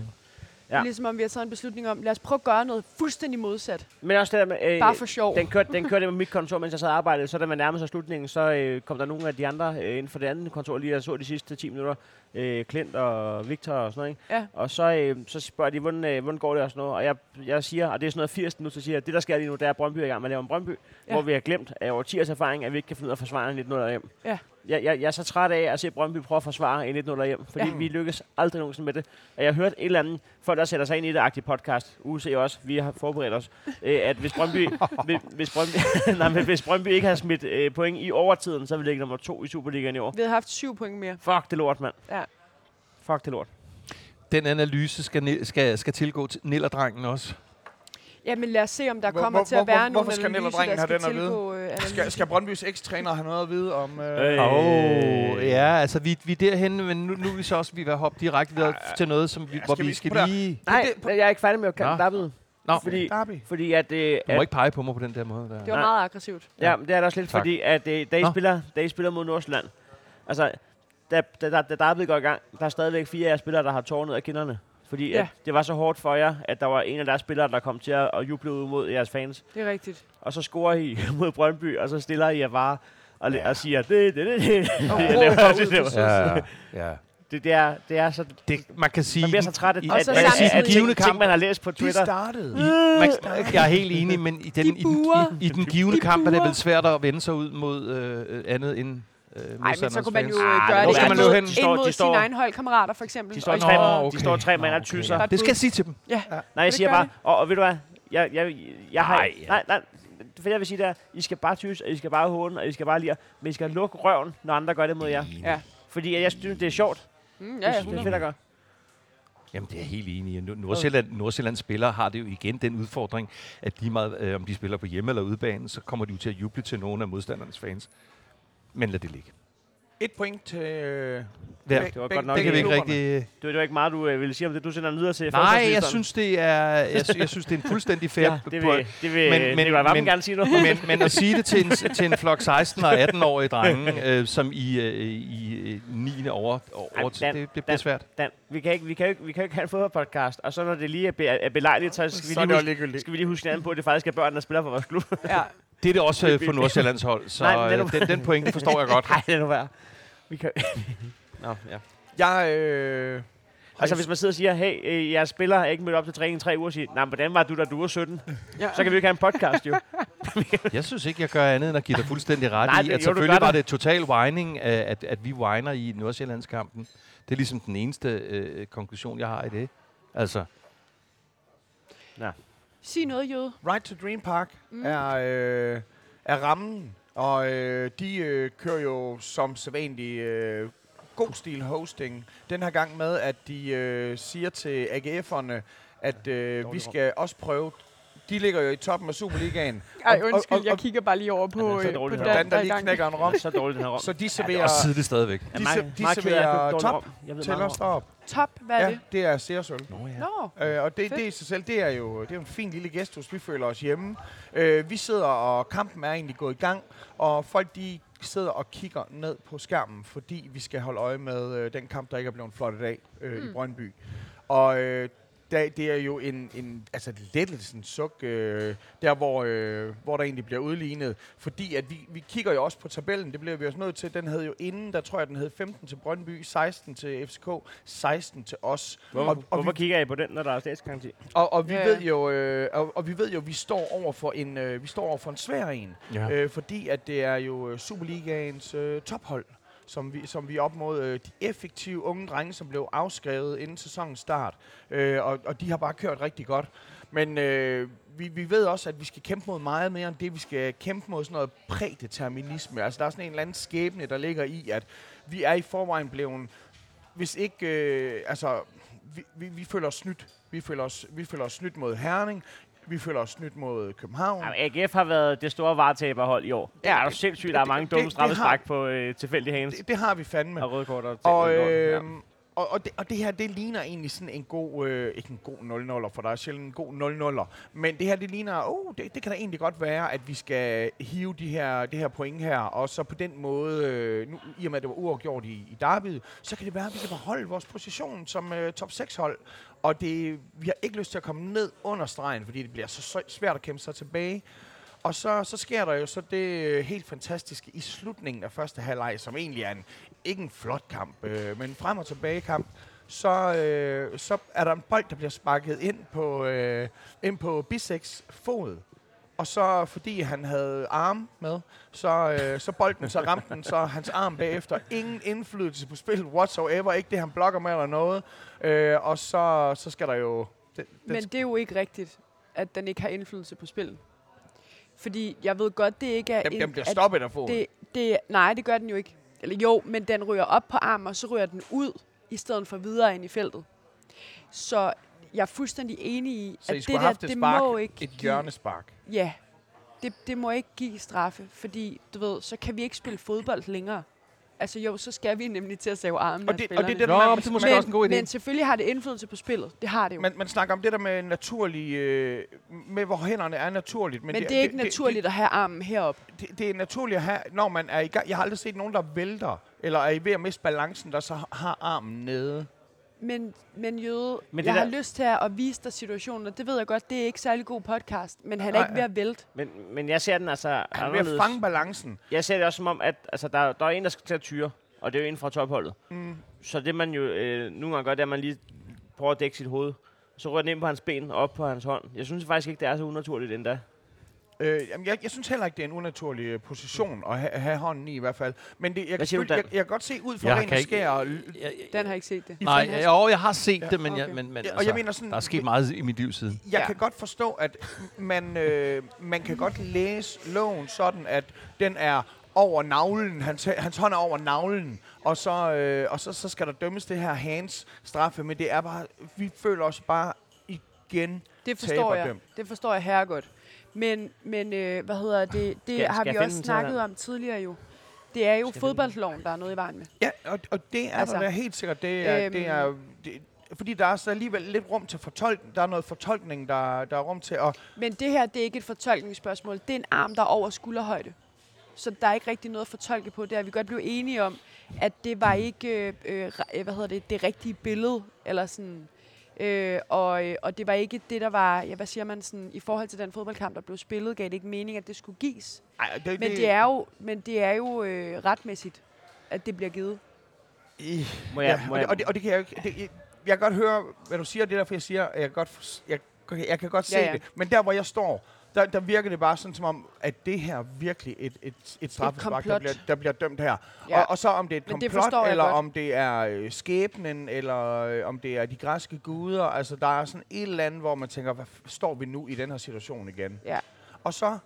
[SPEAKER 4] Ja.
[SPEAKER 3] Ligesom om vi har taget en beslutning om, lad os prøve at gøre noget fuldstændig modsat.
[SPEAKER 4] Men også det der med... Øh,
[SPEAKER 3] Bare for sjov.
[SPEAKER 4] Den kørte, den kørte med mit kontor, mens jeg sad og arbejdede. Så da man nærmede sig slutningen, så øh, kom der nogle af de andre øh, inden for det andet kontor, lige jeg så de sidste 10 minutter. Øh, Klint og Victor og sådan noget, ikke?
[SPEAKER 3] Ja.
[SPEAKER 4] Og så, øh, så spørger de, hvordan, øh, hvordan går det og sådan noget. Og jeg, jeg siger, og det er sådan noget 80 nu, så siger jeg, det der sker lige nu, der er Brøndby i gang med at lave en Brøndby,
[SPEAKER 3] Ja.
[SPEAKER 4] ja. hvor vi har glemt af over 10 års erfaring, at vi ikke kan finde ud af at forsvare en 1-0 hjem.
[SPEAKER 3] Ja.
[SPEAKER 4] Jeg, jeg, jeg, er så træt af at se Brøndby prøve at forsvare en 1-0 hjem, fordi
[SPEAKER 3] Ja.
[SPEAKER 4] ja. vi lykkes aldrig nogensinde med det. Og jeg har hørt et eller andet, folk der sætter sig ind i det agtige podcast, UC også, vi har forberedt os, øh, at hvis Brøndby, hvis- hvis, Brøndby, nej, men hvis Brøndby ikke har smidt øh, point i overtiden, så vil det ligge nummer to i Superligaen i år.
[SPEAKER 3] Vi har haft syv point mere.
[SPEAKER 4] Fuck det lort, mand.
[SPEAKER 3] Ja.
[SPEAKER 4] Fuck det lort.
[SPEAKER 2] Den analyse skal, ni- skal, skal tilgå til Nillerdrengen også.
[SPEAKER 3] Jamen lad os se, om der
[SPEAKER 1] Hvor-
[SPEAKER 3] kommer
[SPEAKER 1] hvor-
[SPEAKER 3] til at
[SPEAKER 1] hvor-
[SPEAKER 3] være
[SPEAKER 1] hvorfor
[SPEAKER 3] nogle
[SPEAKER 1] skal Nell og
[SPEAKER 3] analyser,
[SPEAKER 1] drengen
[SPEAKER 3] der
[SPEAKER 1] have
[SPEAKER 3] skal
[SPEAKER 1] den at vide?
[SPEAKER 3] tilgå øh,
[SPEAKER 1] Skal, skal Brøndbys ekstræner have noget at vide om... Øh,
[SPEAKER 4] Øh.
[SPEAKER 2] Åh, ja, altså vi, vi er derhenne, men nu, nu er vi så også vi vil hoppe direkte videre til noget, som vi,
[SPEAKER 1] Ja,
[SPEAKER 2] hvor
[SPEAKER 1] skal
[SPEAKER 2] vi
[SPEAKER 1] vi-
[SPEAKER 2] skal
[SPEAKER 1] prøv at-
[SPEAKER 2] lige...
[SPEAKER 4] Nej,
[SPEAKER 1] det-
[SPEAKER 4] jeg er ikke færdig med at
[SPEAKER 2] Nå.
[SPEAKER 4] kalde dappet.
[SPEAKER 2] Nå,
[SPEAKER 4] Fordi,
[SPEAKER 1] Derby?
[SPEAKER 4] fordi at, øh,
[SPEAKER 2] du må
[SPEAKER 4] at
[SPEAKER 2] ikke pege på mig på den der måde. Der.
[SPEAKER 3] Det var
[SPEAKER 4] Nej.
[SPEAKER 3] meget aggressivt.
[SPEAKER 4] Ja, men det er da også lidt,
[SPEAKER 2] Tak.
[SPEAKER 4] fordi at øh, da, I
[SPEAKER 2] Nå.
[SPEAKER 4] spiller, da I spiller mod Nordsjælland, altså, da, da, da, da Derby går i gang, der er stadigvæk fire af jer spillere, der har tårer ned af kinderne. Fordi
[SPEAKER 3] Ja.
[SPEAKER 4] ja. at det var så hårdt for jer, at der var en af deres spillere, der kom til at, at juble ud mod jeres fans.
[SPEAKER 3] Det er rigtigt.
[SPEAKER 4] Og så scorer I mod Brøndby, og så stiller I jer bare og, ja. og siger, det, det, det, det. Jeg laver-
[SPEAKER 3] råber ud
[SPEAKER 4] det
[SPEAKER 3] på
[SPEAKER 4] laver-
[SPEAKER 3] siden.
[SPEAKER 2] Ja, ja, ja.
[SPEAKER 4] Det, det, er, det er så...
[SPEAKER 2] Det, man kan sige...
[SPEAKER 4] Man bliver så træt af,
[SPEAKER 2] i-
[SPEAKER 3] Og så
[SPEAKER 4] at,
[SPEAKER 3] samtidig-
[SPEAKER 4] at, at
[SPEAKER 2] givende
[SPEAKER 4] ting,
[SPEAKER 2] kamp-
[SPEAKER 4] ting, man har læst på
[SPEAKER 1] De
[SPEAKER 4] Twitter.
[SPEAKER 1] startede.
[SPEAKER 2] i, man, Øh, jeg er helt enig, men i den,
[SPEAKER 3] De
[SPEAKER 2] i den,
[SPEAKER 3] buer.
[SPEAKER 2] i, i den givende
[SPEAKER 3] De
[SPEAKER 2] kamp er det
[SPEAKER 3] buer.
[SPEAKER 2] vel svært at vende sig ud mod øh, øh, andet end øh,
[SPEAKER 3] Nej, men så kunne man jo
[SPEAKER 2] fans.
[SPEAKER 3] øh,
[SPEAKER 4] Ah,
[SPEAKER 3] gøre
[SPEAKER 2] hvor
[SPEAKER 3] det
[SPEAKER 2] skal
[SPEAKER 3] ind
[SPEAKER 2] man løbe
[SPEAKER 3] mod,
[SPEAKER 2] hen?
[SPEAKER 4] De
[SPEAKER 3] ind
[SPEAKER 4] står-
[SPEAKER 3] mod
[SPEAKER 4] de står-
[SPEAKER 3] sine egne holdkammerater, for eksempel.
[SPEAKER 4] De står
[SPEAKER 3] Og Mm,
[SPEAKER 4] i
[SPEAKER 3] i
[SPEAKER 4] tre,
[SPEAKER 3] stedet-
[SPEAKER 2] Nå,
[SPEAKER 4] de står i tre
[SPEAKER 2] okay.
[SPEAKER 4] mand og
[SPEAKER 2] Nå,
[SPEAKER 4] tysser.
[SPEAKER 2] okay. Det skal jeg sige til dem.
[SPEAKER 4] Nej, jeg
[SPEAKER 3] Det
[SPEAKER 4] siger
[SPEAKER 3] gør
[SPEAKER 4] bare, og, og ved du hvad, jeg, jeg, jeg har,
[SPEAKER 2] Nej.
[SPEAKER 4] nej, nej, nej, for jeg vil sige der, I skal bare tyse, og I skal bare håne, og I skal bare lide, men I skal lukke røven, når andre gør det mod jer.
[SPEAKER 3] Ja.
[SPEAKER 4] Fordi jeg, jeg synes, det er sjovt.
[SPEAKER 3] Mm, ja,
[SPEAKER 4] Ja,
[SPEAKER 3] ja,
[SPEAKER 4] jeg synes, det er fedt at gøre.
[SPEAKER 2] Jamen, det er jeg helt enig. i. Nu- Nordsjælland, Nordsjællands spillere har det jo igen den udfordring, at lige meget, øh, om de spiller på hjemme- eller udebane, så kommer de jo til at juble til nogle af modstandernes fans. Men lad det ligge.
[SPEAKER 1] Et point til... øh,
[SPEAKER 2] Ja,
[SPEAKER 1] beg-
[SPEAKER 4] det var
[SPEAKER 1] beg-
[SPEAKER 4] godt nok
[SPEAKER 1] begge
[SPEAKER 2] Det kan vi ikke
[SPEAKER 1] klubberne.
[SPEAKER 2] rigtig...
[SPEAKER 4] Det var, det var ikke meget, du øh, ville sige om det. Du sender den videre til
[SPEAKER 2] Nej, jeg
[SPEAKER 4] forsvarsministeren.
[SPEAKER 2] synes, det er, jeg, sy- jeg synes, det er en fuldstændig fair
[SPEAKER 4] Ja, det vil, det
[SPEAKER 2] Men-
[SPEAKER 4] vil men,
[SPEAKER 2] men-
[SPEAKER 4] men, Nikolaj Vappen
[SPEAKER 2] men-
[SPEAKER 4] gerne sige noget. om.
[SPEAKER 2] men, men at sige det til en, til en flok 16- og 18-årige drenge, øh, som i, øh, i øh, 9. over,
[SPEAKER 4] Ej,
[SPEAKER 2] over det,
[SPEAKER 4] Dan-
[SPEAKER 2] det bliver
[SPEAKER 4] Dan-
[SPEAKER 2] svært.
[SPEAKER 4] Dan, vi, kan ikke, vi, kan jo ikke, vi kan jo ikke have en fodboldpodcast, og så når det lige er, be, er belejligt, så skal vi,
[SPEAKER 1] Så er
[SPEAKER 4] lige
[SPEAKER 1] det jo
[SPEAKER 4] huske,
[SPEAKER 1] ligegyldigt.
[SPEAKER 4] skal vi lige huske hinanden på, at det faktisk er børn, der spiller for vores klub.
[SPEAKER 3] Ja.
[SPEAKER 2] Det er det også øh, for Nordsjællands hold, så
[SPEAKER 4] Nej, men lad nu-
[SPEAKER 2] øh, den, den pointe forstår jeg godt.
[SPEAKER 4] Nej, det er nu værd. Vi kan... Nå, ja.
[SPEAKER 1] Jeg... Øh,
[SPEAKER 4] Altså, hvis man sidder og siger, hey, øh, jeg spiller, jeg er ikke mødt op til træning i tre uger, og siger, nej, men hvordan var du, da du var 17?
[SPEAKER 3] ja.
[SPEAKER 4] Så kan vi jo ikke have en podcast, jo.
[SPEAKER 2] Jeg synes ikke, jeg gør andet end at give dig fuldstændig ret
[SPEAKER 4] Nej,
[SPEAKER 2] i,
[SPEAKER 4] det- jo,
[SPEAKER 2] at
[SPEAKER 4] du
[SPEAKER 2] selvfølgelig
[SPEAKER 4] gør
[SPEAKER 2] var
[SPEAKER 4] det.
[SPEAKER 2] det total whining, øh, at, at vi whiner i Nordsjællandskampen. Det er ligesom den eneste øh, konklusion, jeg har i det. Altså,
[SPEAKER 3] Sig noget, Jøde.
[SPEAKER 1] Ride to Dream Park
[SPEAKER 3] Mm.
[SPEAKER 1] mm. er, øh, er rammen, og øh, de øh, kører jo som sædvanlig øh, god stil hosting. Den her gang med, at de øh, siger til AGF'erne, at øh, vi skal også prøve... De ligger jo i toppen af Superligaen.
[SPEAKER 3] Ej,
[SPEAKER 1] Og- og-
[SPEAKER 3] undskyld,
[SPEAKER 1] og-
[SPEAKER 3] jeg kigger bare lige over
[SPEAKER 4] Han
[SPEAKER 3] på,
[SPEAKER 4] er så
[SPEAKER 3] øh, på
[SPEAKER 4] dårlig,
[SPEAKER 3] Dan,
[SPEAKER 4] den
[SPEAKER 1] Hvordan
[SPEAKER 3] der
[SPEAKER 1] der
[SPEAKER 3] er i
[SPEAKER 1] lige
[SPEAKER 3] gang.
[SPEAKER 1] knækker en rom.
[SPEAKER 4] Så dårligt, den her rom.
[SPEAKER 1] Så de
[SPEAKER 2] det er også
[SPEAKER 1] serverer,
[SPEAKER 2] tidligt stadigvæk.
[SPEAKER 1] de, se, de serverer top
[SPEAKER 4] Jeg ved
[SPEAKER 1] til
[SPEAKER 4] meget
[SPEAKER 1] os
[SPEAKER 4] om rom.
[SPEAKER 1] derop.
[SPEAKER 3] Top, hvad er
[SPEAKER 1] Ja,
[SPEAKER 3] det?
[SPEAKER 1] det er Seersøl.
[SPEAKER 2] Nå ja.
[SPEAKER 3] Nå,
[SPEAKER 1] Øh, og det,
[SPEAKER 3] Fedt.
[SPEAKER 1] det i sig selv, det er jo det er jo en fin lille gestus, vi føler os hjemme. Øh, vi sidder, og kampen er egentlig gået i gang, og folk de sidder og kigger ned på skærmen, fordi vi skal holde øje med øh, den kamp, der ikke er blevet flot i dag øh, mm. i Brøndby. Og øh, der, det er jo en, en altså et lettelsens suk, øh, der hvor, øh, hvor der egentlig bliver udlignet. Fordi at vi, vi kigger jo også på tabellen, det bliver vi også nødt til. Den hed jo inden, der tror jeg, den hed 15 til Brøndby, 16 til FCK, 16 til os.
[SPEAKER 4] Hvorfor,
[SPEAKER 1] og, og vi
[SPEAKER 4] hvorfor kigger I på den, når der er statsgaranti?
[SPEAKER 1] og, og vi
[SPEAKER 3] Ja,
[SPEAKER 1] ja.
[SPEAKER 3] ja.
[SPEAKER 1] ved jo, øh, og, og vi ved jo, vi står over for en, øh, vi står over for en svær en,
[SPEAKER 2] Ja.
[SPEAKER 1] ja. øh, fordi at det er jo øh, Superligaens øh, tophold, som vi som vi er op mod øh, de effektive unge drenge, som blev afskrevet inden sæsonens start, øh, og, og de har bare kørt rigtig godt. Men øh, vi, vi ved også, at vi skal kæmpe mod meget mere end det, vi skal kæmpe mod sådan noget prædeterminisme. Altså der er sådan en eller anden skæbne, der ligger i, at vi er i forvejen blevet hvis ikke, øh, altså, vi, vi, vi føler os snydt. Vi føler os, vi føler os snydt mod Herning. Vi føler os snydt mod København.
[SPEAKER 4] Jamen, AGF har været det store varetaberhold i år. Ja, det er jo sindssygt, der er
[SPEAKER 1] det-
[SPEAKER 4] mange
[SPEAKER 1] det-
[SPEAKER 4] dumme
[SPEAKER 1] det
[SPEAKER 4] straffespark
[SPEAKER 1] har-
[SPEAKER 4] på øh, tilfældige hands
[SPEAKER 1] Det, det har vi fandme.
[SPEAKER 4] og røde kort og,
[SPEAKER 1] Og,
[SPEAKER 4] lort. Ja.
[SPEAKER 1] øh, og, og, det, og det her, det ligner egentlig sådan en god, øh, ikke en god 0-0'er, for der er sjældent en god 0-0'er, men det her, det ligner, oh, det, det kan da egentlig godt være, at vi skal hive de her, det her point her, og så på den måde, øh, nu, i og med at det var uafgjort i, i derbyet, så kan det være, at vi kan beholde vores position som øh, top 6-hold, og det, vi har ikke lyst til at komme ned under stregen, fordi det bliver så, så svært at kæmpe sig tilbage. Og så, så sker der jo så det øh, helt fantastiske i slutningen af første halvleg, som egentlig er en, ikke en flot kamp, øh, men en frem- og tilbagekamp. Så, øh, så er der en bold, der bliver sparket ind på, øh, ind på Biseks fod. Og så fordi han havde arm med, så, øh, så bolden, så ramte den, så hans arm bagefter. Ingen indflydelse på spillet whatsoever. Ikke det, han blokker med eller noget. Øh, og så, så skal der jo... Den, den
[SPEAKER 3] men det er jo ikke rigtigt, at den ikke har indflydelse på spillet. Fordi jeg ved godt, det ikke er...
[SPEAKER 1] den,
[SPEAKER 3] en-
[SPEAKER 1] den bliver
[SPEAKER 3] at
[SPEAKER 1] stoppet af foden.
[SPEAKER 3] Det, det, nej, det gør den jo ikke. Eller jo, men den ryger op på armen, og så ryger den ud, i stedet for videre ind i feltet. Så jeg er fuldstændig enig i,
[SPEAKER 1] Så
[SPEAKER 3] at
[SPEAKER 1] I
[SPEAKER 3] det
[SPEAKER 1] skulle have
[SPEAKER 3] der,
[SPEAKER 1] haft et
[SPEAKER 3] det
[SPEAKER 1] spark,
[SPEAKER 3] må ikke
[SPEAKER 1] et
[SPEAKER 3] give-
[SPEAKER 1] hjørnespark.
[SPEAKER 3] Ja, det, det må ikke give straffe, fordi du ved, så kan vi ikke spille fodbold længere. Altså jo, så skal vi nemlig til at save armen
[SPEAKER 1] Og
[SPEAKER 3] af
[SPEAKER 1] det- og det er
[SPEAKER 3] spillerne.
[SPEAKER 1] det,
[SPEAKER 2] Nå,
[SPEAKER 1] man-
[SPEAKER 2] men det er måske
[SPEAKER 3] men,
[SPEAKER 2] også en god idé.
[SPEAKER 3] men selvfølgelig har det indflydelse på spillet. Det har det jo. Men,
[SPEAKER 1] Man, man snakker om det der med naturlig, øh, med hvor hænderne er naturligt. Men,
[SPEAKER 3] men det, det er ikke naturligt at have armen herop.
[SPEAKER 1] Det, det, det er naturligt at have, når man er i gang. Jeg har aldrig set nogen, der vælter, eller er i ved at miste balancen, der så har armen nede.
[SPEAKER 3] Men, men Jøde,
[SPEAKER 4] Men
[SPEAKER 3] men
[SPEAKER 4] det
[SPEAKER 3] jeg
[SPEAKER 4] der-
[SPEAKER 3] har lyst til at at vise dig situationen, og det ved jeg godt, det er ikke særlig god podcast, men han er
[SPEAKER 1] Nej,
[SPEAKER 3] ikke ved at vælte.
[SPEAKER 4] men, men jeg ser den altså
[SPEAKER 1] Han er ved at
[SPEAKER 4] anderledes.
[SPEAKER 1] fange balancen.
[SPEAKER 4] Jeg ser det også som om, at altså, der, der er en, der skal til at tyre, og det er jo en fra topholdet. Mm. Så det man jo øh, nogle gange gør, det er, at man lige prøver at dække sit hoved. Så rører den ind på hans ben og op på hans hånd. Jeg synes faktisk ikke, det er så unaturligt endda.
[SPEAKER 1] Øh, jamen, jeg, jeg synes heller ikke, det er en unaturlig øh, position at ha, have hånden i i hvert fald. Men det, jeg,
[SPEAKER 4] Hvad
[SPEAKER 1] kan,
[SPEAKER 4] siger du,
[SPEAKER 1] følge- jeg,
[SPEAKER 4] Dan?
[SPEAKER 1] jeg kan godt se ud fra
[SPEAKER 2] Jeg
[SPEAKER 1] ren
[SPEAKER 2] kan
[SPEAKER 1] og
[SPEAKER 2] ikke-
[SPEAKER 1] skær. og l-
[SPEAKER 2] Jeg, jeg,
[SPEAKER 3] Den har ikke set det.
[SPEAKER 2] nej, jo, jeg har set det, men, jeg,
[SPEAKER 3] okay.
[SPEAKER 2] men, men
[SPEAKER 1] Ja, og
[SPEAKER 2] altså,
[SPEAKER 1] jeg mener sådan-
[SPEAKER 2] der er sket meget i mit liv siden.
[SPEAKER 1] Jeg
[SPEAKER 3] Ja.
[SPEAKER 1] ja. kan godt forstå, at man, øh, man kan godt læse loven sådan, at den er over navlen, hans, hans hånd er over navlen, og så, øh, og så, så skal der dømmes det her hands straffe, men det er bare, vi føler os bare igen
[SPEAKER 3] Det forstår jeg.
[SPEAKER 1] taberdømt.
[SPEAKER 3] Det forstår jeg herregodt. Men, men øh, hvad hedder det? Det
[SPEAKER 4] Skal-
[SPEAKER 3] har
[SPEAKER 4] skal
[SPEAKER 3] vi
[SPEAKER 4] jeg
[SPEAKER 3] også
[SPEAKER 4] finde den så her?
[SPEAKER 3] snakket om tidligere jo. Det er jo fodboldloven, der er noget i vejen med.
[SPEAKER 1] Ja, og, og det er altså,
[SPEAKER 3] Altså,
[SPEAKER 1] der da helt sikkert. Det er, øhm, det er, det, fordi der er så alligevel lidt rum til fortolkning. Der er noget fortolkning, der, der er rum til. Og
[SPEAKER 3] Men det her, det er ikke et fortolkningsspørgsmål. Det er en arm, der er over skulderhøjde. Så der er ikke rigtig noget at fortolke på. Det er vi godt blevet enige om, at det var ikke øh, øh, re- hvad hedder det, det rigtige billede. Eller sådan, øh, og, øh, og det var ikke det, der var... Ja, hvad siger man? Sådan, I forhold til den fodboldkamp, der blev spillet, gav det ikke mening, at det skulle gives.
[SPEAKER 1] ej, det,
[SPEAKER 3] Men det er jo, men det er jo øh, retmæssigt, at det bliver givet.
[SPEAKER 1] I-
[SPEAKER 4] Må jeg-
[SPEAKER 1] Ja,
[SPEAKER 4] må
[SPEAKER 1] og, det,
[SPEAKER 4] jeg-
[SPEAKER 1] og, det, og det kan jeg jo ikke... Det, jeg, jeg kan godt høre, hvad du siger, det er derfor, jeg siger, at jeg kan godt, fors- jeg, jeg kan godt se
[SPEAKER 3] Ja, ja.
[SPEAKER 1] det. Men der, hvor jeg står, der, der virker det bare sådan som om, at det her er virkelig et, et, et straffespark, der
[SPEAKER 3] komplot.
[SPEAKER 1] bliver, der bliver dømt her. Ja.
[SPEAKER 3] Ja.
[SPEAKER 1] Og, og så om det er et
[SPEAKER 3] Men det
[SPEAKER 1] komplot,
[SPEAKER 3] forstår jeg
[SPEAKER 1] eller
[SPEAKER 3] godt.
[SPEAKER 1] om det er øh, skæbnen, eller øh, om det er de græske guder. Altså, der er sådan et eller andet, hvor man tænker, hvad f- står vi nu i den her situation igen?
[SPEAKER 3] Ja.
[SPEAKER 1] Og så,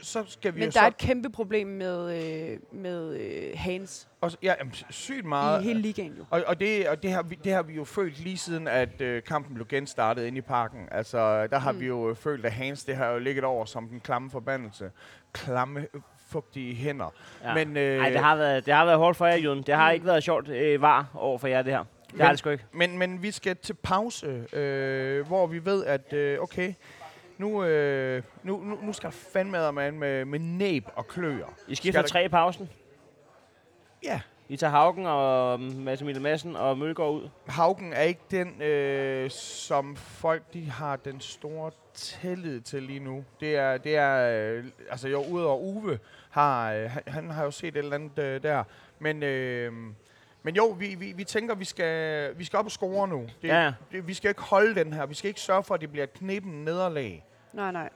[SPEAKER 1] så skal vi
[SPEAKER 3] Men
[SPEAKER 1] jo
[SPEAKER 3] der er
[SPEAKER 1] så...
[SPEAKER 3] et kæmpe problem med, øh, med øh, hands
[SPEAKER 1] Og, så- ja, jamen, sygt meget...
[SPEAKER 3] i hele ligaen jo.
[SPEAKER 1] Og, og, det, og det, har vi, det har vi jo følt lige siden, at øh, kampen blev genstartet inde i parken. Altså, der har mm. vi jo øh, følt, at Hans, det har jo ligget over som den klamme forbandelse. Klamme, øh, fugtige hænder.
[SPEAKER 4] Ja.
[SPEAKER 1] Men, øh,
[SPEAKER 4] Ej, det har, været, det har været hårdt for jer, Jon. Det har ikke været sjovt øh, var over for jer, det her. Det har
[SPEAKER 1] Men-
[SPEAKER 4] det sgu ikke.
[SPEAKER 1] Men, men vi skal til pause, øh, hvor vi ved, at øh, okay, nu, øh, nu, nu, nu skal der fandme man med, med næb og kløer.
[SPEAKER 4] I
[SPEAKER 1] Skal
[SPEAKER 4] skifter
[SPEAKER 1] der-
[SPEAKER 4] tre i pausen.
[SPEAKER 1] Ja,
[SPEAKER 4] I tager Haugen og mm, Mads Emil Madsen og Mølgaard ud.
[SPEAKER 1] Haugen er ikke den, øh, som folk de har den store tillid til lige nu. Det er, det er øh, altså jo udover Uve, har, øh, han, han har jo set et eller andet øh, der. Men, øh, men jo, vi, vi, vi tænker, vi skal, vi skal op og score nu. Det,
[SPEAKER 4] Ja, ja.
[SPEAKER 1] det, vi skal ikke holde den her. Vi skal ikke sørge for, at det bliver et knippen nederlag.
[SPEAKER 3] Nej, nej.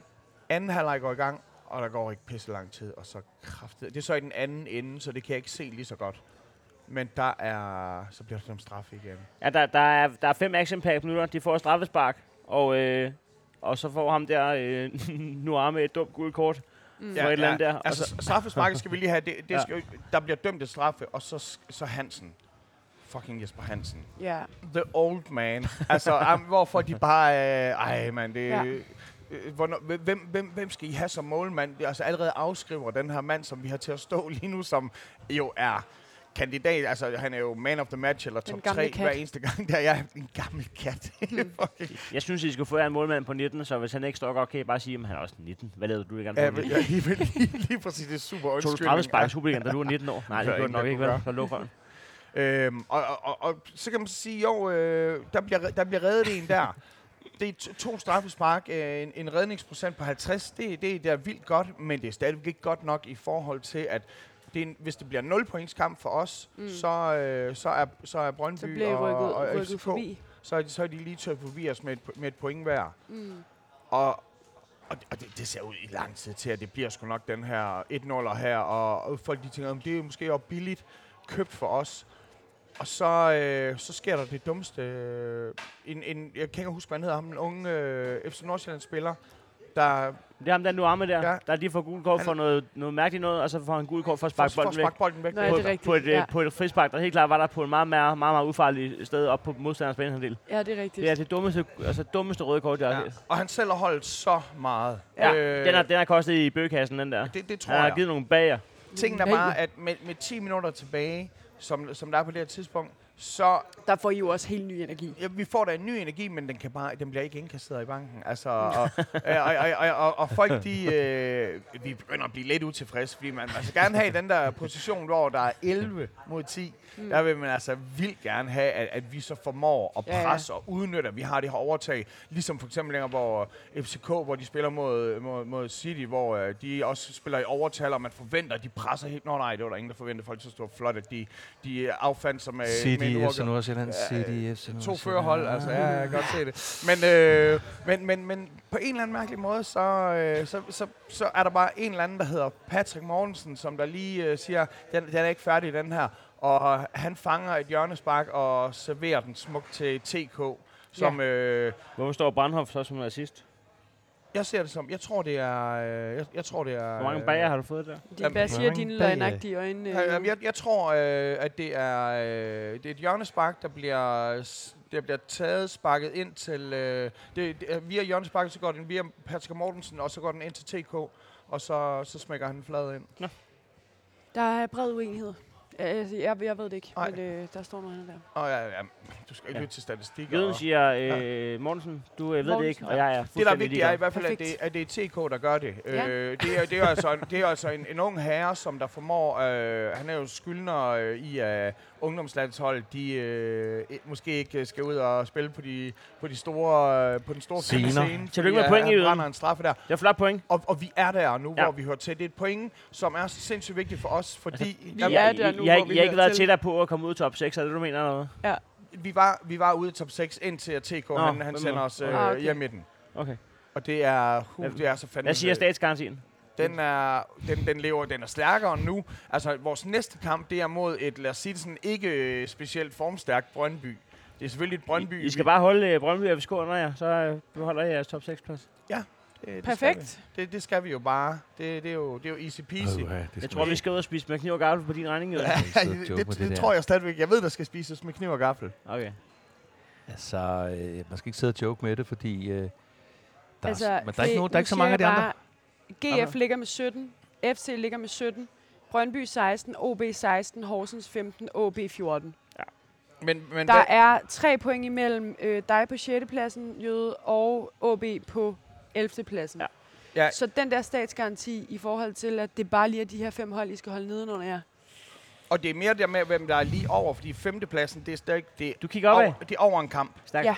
[SPEAKER 1] Anden halvleg går i gang, og der går ikke pisse lang tid, og så kraftigt. Det er så i den anden ende, så det kan jeg ikke se lige så godt. Men der er, så bliver der sådan en straf igen.
[SPEAKER 4] Ja, der, der, er, der er fem action pack minutter. De får et straffespark, og, øh, og så får ham der øh, nu arme et dumt gult kort.
[SPEAKER 1] ja,
[SPEAKER 4] for et eller andet der, og
[SPEAKER 1] Altså, s- straffesparket skal vi lige have. Det, det
[SPEAKER 4] Ja.
[SPEAKER 1] ja. skal, jo- der bliver dømt et straffe, og så, s- så Hansen. Fucking Jesper Hansen.
[SPEAKER 3] Ja.
[SPEAKER 1] The old man. Altså, am, hvorfor de bare... Øh, ej, mand, det...
[SPEAKER 3] Ja.
[SPEAKER 1] Ja. Hvornår, hvem- hvem, hvem, hvem skal I have som målmand? Det er Altså allerede afskriver den her mand, som vi har til at stå lige nu, som jo er kandidat. Altså, han er jo man of the match eller
[SPEAKER 3] Den
[SPEAKER 1] top
[SPEAKER 3] gamle
[SPEAKER 1] 3
[SPEAKER 3] kat.
[SPEAKER 1] hver eneste gang. Der er jeg en gammel kat. Fucking
[SPEAKER 4] Jeg synes, I skulle få jer en målmand på 19, så hvis han ikke står godt, kan I bare sige, at han er også 19. Hvad lavede du i gang?
[SPEAKER 1] Ja, men jeg, lige, lige, lige præcis, det er super
[SPEAKER 4] Tog du
[SPEAKER 1] undskyldning.
[SPEAKER 4] straffespark i Superligaen, da du var 19 år? Nej,
[SPEAKER 1] Det
[SPEAKER 4] det
[SPEAKER 1] er
[SPEAKER 4] gjorde du
[SPEAKER 1] ikke,
[SPEAKER 4] nok
[SPEAKER 1] det
[SPEAKER 4] ikke,
[SPEAKER 1] kunne
[SPEAKER 4] vel?
[SPEAKER 1] gøre.
[SPEAKER 4] Så luk røven.
[SPEAKER 1] Øhm, og, og, og, og så kan man så sige, jo, øh, der, bliver, der bliver reddet en der. Det er to, to straffespark, øh, en, en redningsprocent på 50, det, det, er- det er vildt godt, men det er stadigvæk ikke godt nok i forhold til, at det er en, hvis det bliver 0 points kamp for os, mm. så, øh, så, er, så er Brøndby
[SPEAKER 3] Så blev
[SPEAKER 1] og,
[SPEAKER 3] rykket,
[SPEAKER 1] og
[SPEAKER 3] rykket
[SPEAKER 1] FCK,
[SPEAKER 3] forbi.
[SPEAKER 1] Så, er de, så er de lige tørt forbi os med et, med et point hver.
[SPEAKER 3] Mm.
[SPEAKER 1] Og, og, og det, det ser ud i lang tid til, at det bliver sgu nok den her 1-0'er her, og, og folk de tænker, om det er måske også billigt købt for os. Og så, øh, så sker der det dummeste. øh, En, en, jeg kan ikke huske, hvad han hedder, ham en unge øh, FC Nordsjælland-spiller, der
[SPEAKER 4] Det er ham, der nu arme der, ja.
[SPEAKER 1] Ja.
[SPEAKER 4] der lige får gul kort for noget, noget mærkeligt noget, og så får han gul kort for at sparke
[SPEAKER 1] får- får
[SPEAKER 4] bolden væk.
[SPEAKER 1] sparket bolden væk.
[SPEAKER 3] Nå, ja,
[SPEAKER 4] på,
[SPEAKER 3] det er rigtigt.
[SPEAKER 4] på, et, ja.
[SPEAKER 3] ja.
[SPEAKER 4] på et frispark, der helt klart var der på en meget, meget, meget, meget ufarlig sted op på modstanders banehandel.
[SPEAKER 3] ja, det er rigtigt.
[SPEAKER 4] Det er det dummeste, altså dummeste røde kort, jeg har
[SPEAKER 1] Ja.
[SPEAKER 4] set.
[SPEAKER 1] Og han selv har holdt så meget.
[SPEAKER 4] Ja. Den, har, den har kostet i bøgekassen, den der.
[SPEAKER 1] Øh, det, det tror
[SPEAKER 4] Han har
[SPEAKER 1] jeg.
[SPEAKER 4] givet nogle bager.
[SPEAKER 1] Tingen er bare, at med, med 10 minutter tilbage, som, som der er på det her tidspunkt, så
[SPEAKER 3] Der får I jo også helt ny energi.
[SPEAKER 1] Ja, vi får da en ny energi, men den, kan bare, den bliver ikke indkasseret i banken. Altså, og, og, og, og, og, og folk, de, øh, vi begynder at blive lidt utilfredse, fordi man, man skal gerne have den der position, hvor der er 11 mod 10. Mm. Der vil man altså vildt gerne have, at, at vi så formår at
[SPEAKER 3] Ja, ja.
[SPEAKER 1] presse og udnytte, at vi har det her overtag. Ligesom for eksempel længere, hvor FCK, hvor de spiller mod, mod, mod City, hvor øh, de også spiller i overtal, og man forventer, at de presser helt. Nå nej, det var der ingen, der forventede. Folk synes, det var flot, at de, de affandt sig med,
[SPEAKER 2] City,
[SPEAKER 1] med en
[SPEAKER 2] FC
[SPEAKER 1] uafgjort.
[SPEAKER 2] Nordsjælland, City, FC
[SPEAKER 1] To
[SPEAKER 2] Nordsjælland.
[SPEAKER 1] førerhold, altså. Ja, jeg kan godt se det. Men, øh, men, men, men på en eller anden mærkelig måde, så, øh, så, så, så er der bare en eller anden, der hedder Patrick Mortensen, som der lige øh, siger, den, den er ikke færdig, den her. Og han fanger et hjørnespark og serverer den smukt til TK, som... Ja. Øh,
[SPEAKER 4] Hvorfor står Brandhoff så som nazist?
[SPEAKER 1] jeg ser det som, jeg tror det er, øh, jeg, jeg tror det er...
[SPEAKER 4] Hvor mange
[SPEAKER 1] øh,
[SPEAKER 4] bager har du fået der?
[SPEAKER 3] De,
[SPEAKER 1] Jamen,
[SPEAKER 3] hvad siger
[SPEAKER 2] mange
[SPEAKER 3] dine
[SPEAKER 2] bag-
[SPEAKER 3] løgnagtige øjne?
[SPEAKER 1] Ja,
[SPEAKER 3] Øh,
[SPEAKER 1] jamen, Jeg, jeg tror, øh, at det er, øh, det er et hjørnespark, der bliver, s- der bliver taget, sparket ind til... Øh, det, det, er via hjørnesparket, så går den via Patrick Mortensen, og så går den ind til TK, og så, så smækker han flad ind.
[SPEAKER 3] Der er bred uenighed. Altså, jeg, jeg ved det ikke,
[SPEAKER 1] Nej.
[SPEAKER 3] men øh, der står noget andet der.
[SPEAKER 1] Og ja, ja, du skal ikke
[SPEAKER 4] Ja.
[SPEAKER 1] lytte til statistikker.
[SPEAKER 4] Jøden
[SPEAKER 1] og-
[SPEAKER 4] siger, øh, Mortensen, du øh, ved det ikke,
[SPEAKER 3] Mortensen,
[SPEAKER 4] og jeg er
[SPEAKER 1] Det, der er
[SPEAKER 4] fuldstændig
[SPEAKER 1] vigtigt, er i
[SPEAKER 4] ligeglad.
[SPEAKER 1] hvert fald, at det,
[SPEAKER 3] Perfekt.
[SPEAKER 1] at det er TK, der gør det.
[SPEAKER 3] Ja.
[SPEAKER 1] Øh, det, er, det, er altså, en- det er altså en, en ung herre, som der formår... Øh, han er jo skyldner øh, i, at ungdomslandsholdet de, øh, i- måske ikke øh, skal ud og spille på, de, på, de store, øh, på den store
[SPEAKER 2] Scener.
[SPEAKER 1] scene. øh,
[SPEAKER 4] Tillykke med point,
[SPEAKER 1] Han
[SPEAKER 4] Jyden.
[SPEAKER 1] brænder en straffe der.
[SPEAKER 4] Det er flot point.
[SPEAKER 1] Og, og vi er der nu,
[SPEAKER 4] Ja.
[SPEAKER 1] ja. hvor vi hører til. Det er et point, som er sindssygt vigtigt for os, fordi...
[SPEAKER 3] vi
[SPEAKER 1] Jamen,
[SPEAKER 3] er
[SPEAKER 4] Jeg,
[SPEAKER 3] der nu,
[SPEAKER 4] jeg, jeg,
[SPEAKER 3] hvor vi
[SPEAKER 4] jeg har
[SPEAKER 3] hører
[SPEAKER 4] ikke været
[SPEAKER 3] til.
[SPEAKER 4] tættere på at komme ud i top 6, er det du mener? Eller hvad?
[SPEAKER 1] vi, var, vi var ude i top 6, indtil at TK
[SPEAKER 4] Nå,
[SPEAKER 1] han, han
[SPEAKER 4] hvem
[SPEAKER 1] sender
[SPEAKER 4] er-
[SPEAKER 1] os øh,
[SPEAKER 3] Ah,
[SPEAKER 1] ah,
[SPEAKER 3] okay.
[SPEAKER 1] okay. hjem i den.
[SPEAKER 4] Okay.
[SPEAKER 1] Og det er, uh,
[SPEAKER 4] Hvad-
[SPEAKER 1] det er så fandme...
[SPEAKER 4] Hvad siger statsgarantien?
[SPEAKER 1] Den er, den, den lever, den er stærkere nu. Altså, vores næste kamp, det er mod et, lad os sige det sådan, ikke øh, specielt formstærkt Brøndby. Det er selvfølgelig et Brøndby.
[SPEAKER 4] I, I skal bare holde øh, Brøndby og FCK under jer, så øh, beholder I jeres top 6 plads.
[SPEAKER 1] Øh, det
[SPEAKER 3] Perfekt.
[SPEAKER 1] Skal vi. det, det skal vi jo bare. Det, det, er, jo, det er jo easy peasy.
[SPEAKER 2] Åh, ja, det
[SPEAKER 4] Jeg
[SPEAKER 2] skal
[SPEAKER 4] tror,
[SPEAKER 2] man
[SPEAKER 4] vi skal ud og spise med kniv og gaffel på din regning. Jørgen.
[SPEAKER 2] ikke sidde og
[SPEAKER 1] det,
[SPEAKER 2] joke med
[SPEAKER 1] det, det tror jeg stadigvæk. Jeg ved, der skal spises med kniv og gaffel.
[SPEAKER 4] Okay.
[SPEAKER 2] der. Altså, øh, man skal ikke sidde og joke med det, fordi... Øh, der, altså, er, s- men der er
[SPEAKER 3] det-
[SPEAKER 2] ikke, nogen, der er
[SPEAKER 3] nu
[SPEAKER 2] ikke så mange af de
[SPEAKER 3] siger
[SPEAKER 2] andre.
[SPEAKER 3] jeg bare, GF ligger med 17, FC ligger med 17, Brøndby 16, OB 16, Horsens 15, OB 14.
[SPEAKER 1] Men, men
[SPEAKER 3] Der
[SPEAKER 1] hvad-
[SPEAKER 3] er tre point imellem øh, dig på 6. pladsen, Jøde, og OB på 11. pladsen.
[SPEAKER 4] Ja.
[SPEAKER 1] Ja.
[SPEAKER 3] Så den der statsgaranti i forhold til, at det bare lige er de her fem hold, I skal holde nedenunder jer.
[SPEAKER 1] og det er mere der med, hvem der er lige over, fordi femtepladsen, det er stadig det er
[SPEAKER 4] Du kigger opad.
[SPEAKER 1] over, det er over en kamp.
[SPEAKER 4] Stærk.
[SPEAKER 3] Ja.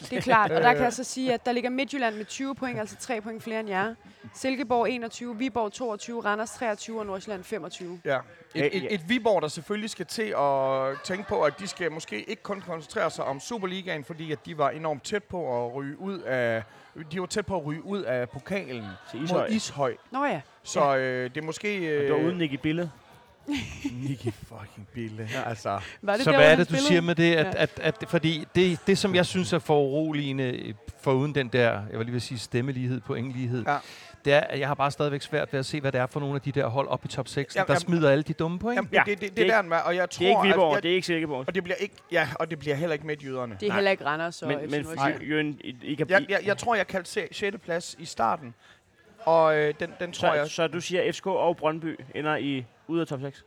[SPEAKER 3] Det er klart, og der kan
[SPEAKER 1] Øh.
[SPEAKER 3] jeg så sige, at der ligger Midtjylland med 20 point, altså 3 point flere end jer. Silkeborg 21, Viborg 22, Randers 23 og Nordsjælland 25.
[SPEAKER 1] Ja.
[SPEAKER 4] Ja,
[SPEAKER 1] Et,
[SPEAKER 4] ja.
[SPEAKER 1] et, et Viborg, der selvfølgelig skal til at tænke på, at de skal måske ikke kun koncentrere sig om Superligaen, fordi at de var enormt tæt på at ryge ud af, de var tæt på at ryge ud af pokalen
[SPEAKER 4] Til
[SPEAKER 1] mod
[SPEAKER 4] Ishøj.
[SPEAKER 1] Ishøj.
[SPEAKER 3] Nå ja,
[SPEAKER 1] Så øh, det er måske...
[SPEAKER 4] Og
[SPEAKER 1] Øh,
[SPEAKER 4] Du var uden Nicky Bille.
[SPEAKER 1] Nicky fucking Bille. altså,
[SPEAKER 3] var det
[SPEAKER 2] så
[SPEAKER 3] der,
[SPEAKER 2] hvad
[SPEAKER 3] hvor
[SPEAKER 2] er
[SPEAKER 3] han
[SPEAKER 2] det, du
[SPEAKER 3] spillede?
[SPEAKER 2] siger med det? At,
[SPEAKER 3] Ja.
[SPEAKER 2] at, at, fordi det, det, som jeg synes er foruroligende, øh, foruden den der, jeg vil lige vil sige, stemmelighed, pointlighed, ja.
[SPEAKER 1] Ja.
[SPEAKER 2] det er, at jeg har bare stadigvæk svært ved at se, hvad det er for nogle af de der hold op i top 6,
[SPEAKER 1] Jamen,
[SPEAKER 2] der
[SPEAKER 1] jamen.
[SPEAKER 2] smider alle de dumme point.
[SPEAKER 1] jamen,
[SPEAKER 4] Ja,
[SPEAKER 1] ja, det, det, det,
[SPEAKER 4] det er
[SPEAKER 1] det er der, den var, og jeg tror...
[SPEAKER 4] Det er ikke Viborg,
[SPEAKER 1] At,
[SPEAKER 4] det
[SPEAKER 1] jeg,
[SPEAKER 4] er ikke Silkeborg.
[SPEAKER 1] og det bliver ikke, ja, og det bliver heller ikke med jyderne.
[SPEAKER 3] Det er heller ikke Randers og
[SPEAKER 4] Men,
[SPEAKER 3] FC
[SPEAKER 4] men
[SPEAKER 3] Nordsjælland.
[SPEAKER 1] Nej.
[SPEAKER 4] Jørgen, I, I kan
[SPEAKER 1] Jeg, jeg, jeg tror, jeg kaldte 6. plads i starten, og øh, den, den tror
[SPEAKER 4] så,
[SPEAKER 1] jeg...
[SPEAKER 4] så du siger, at FCK og Brøndby ender i ud af top 6?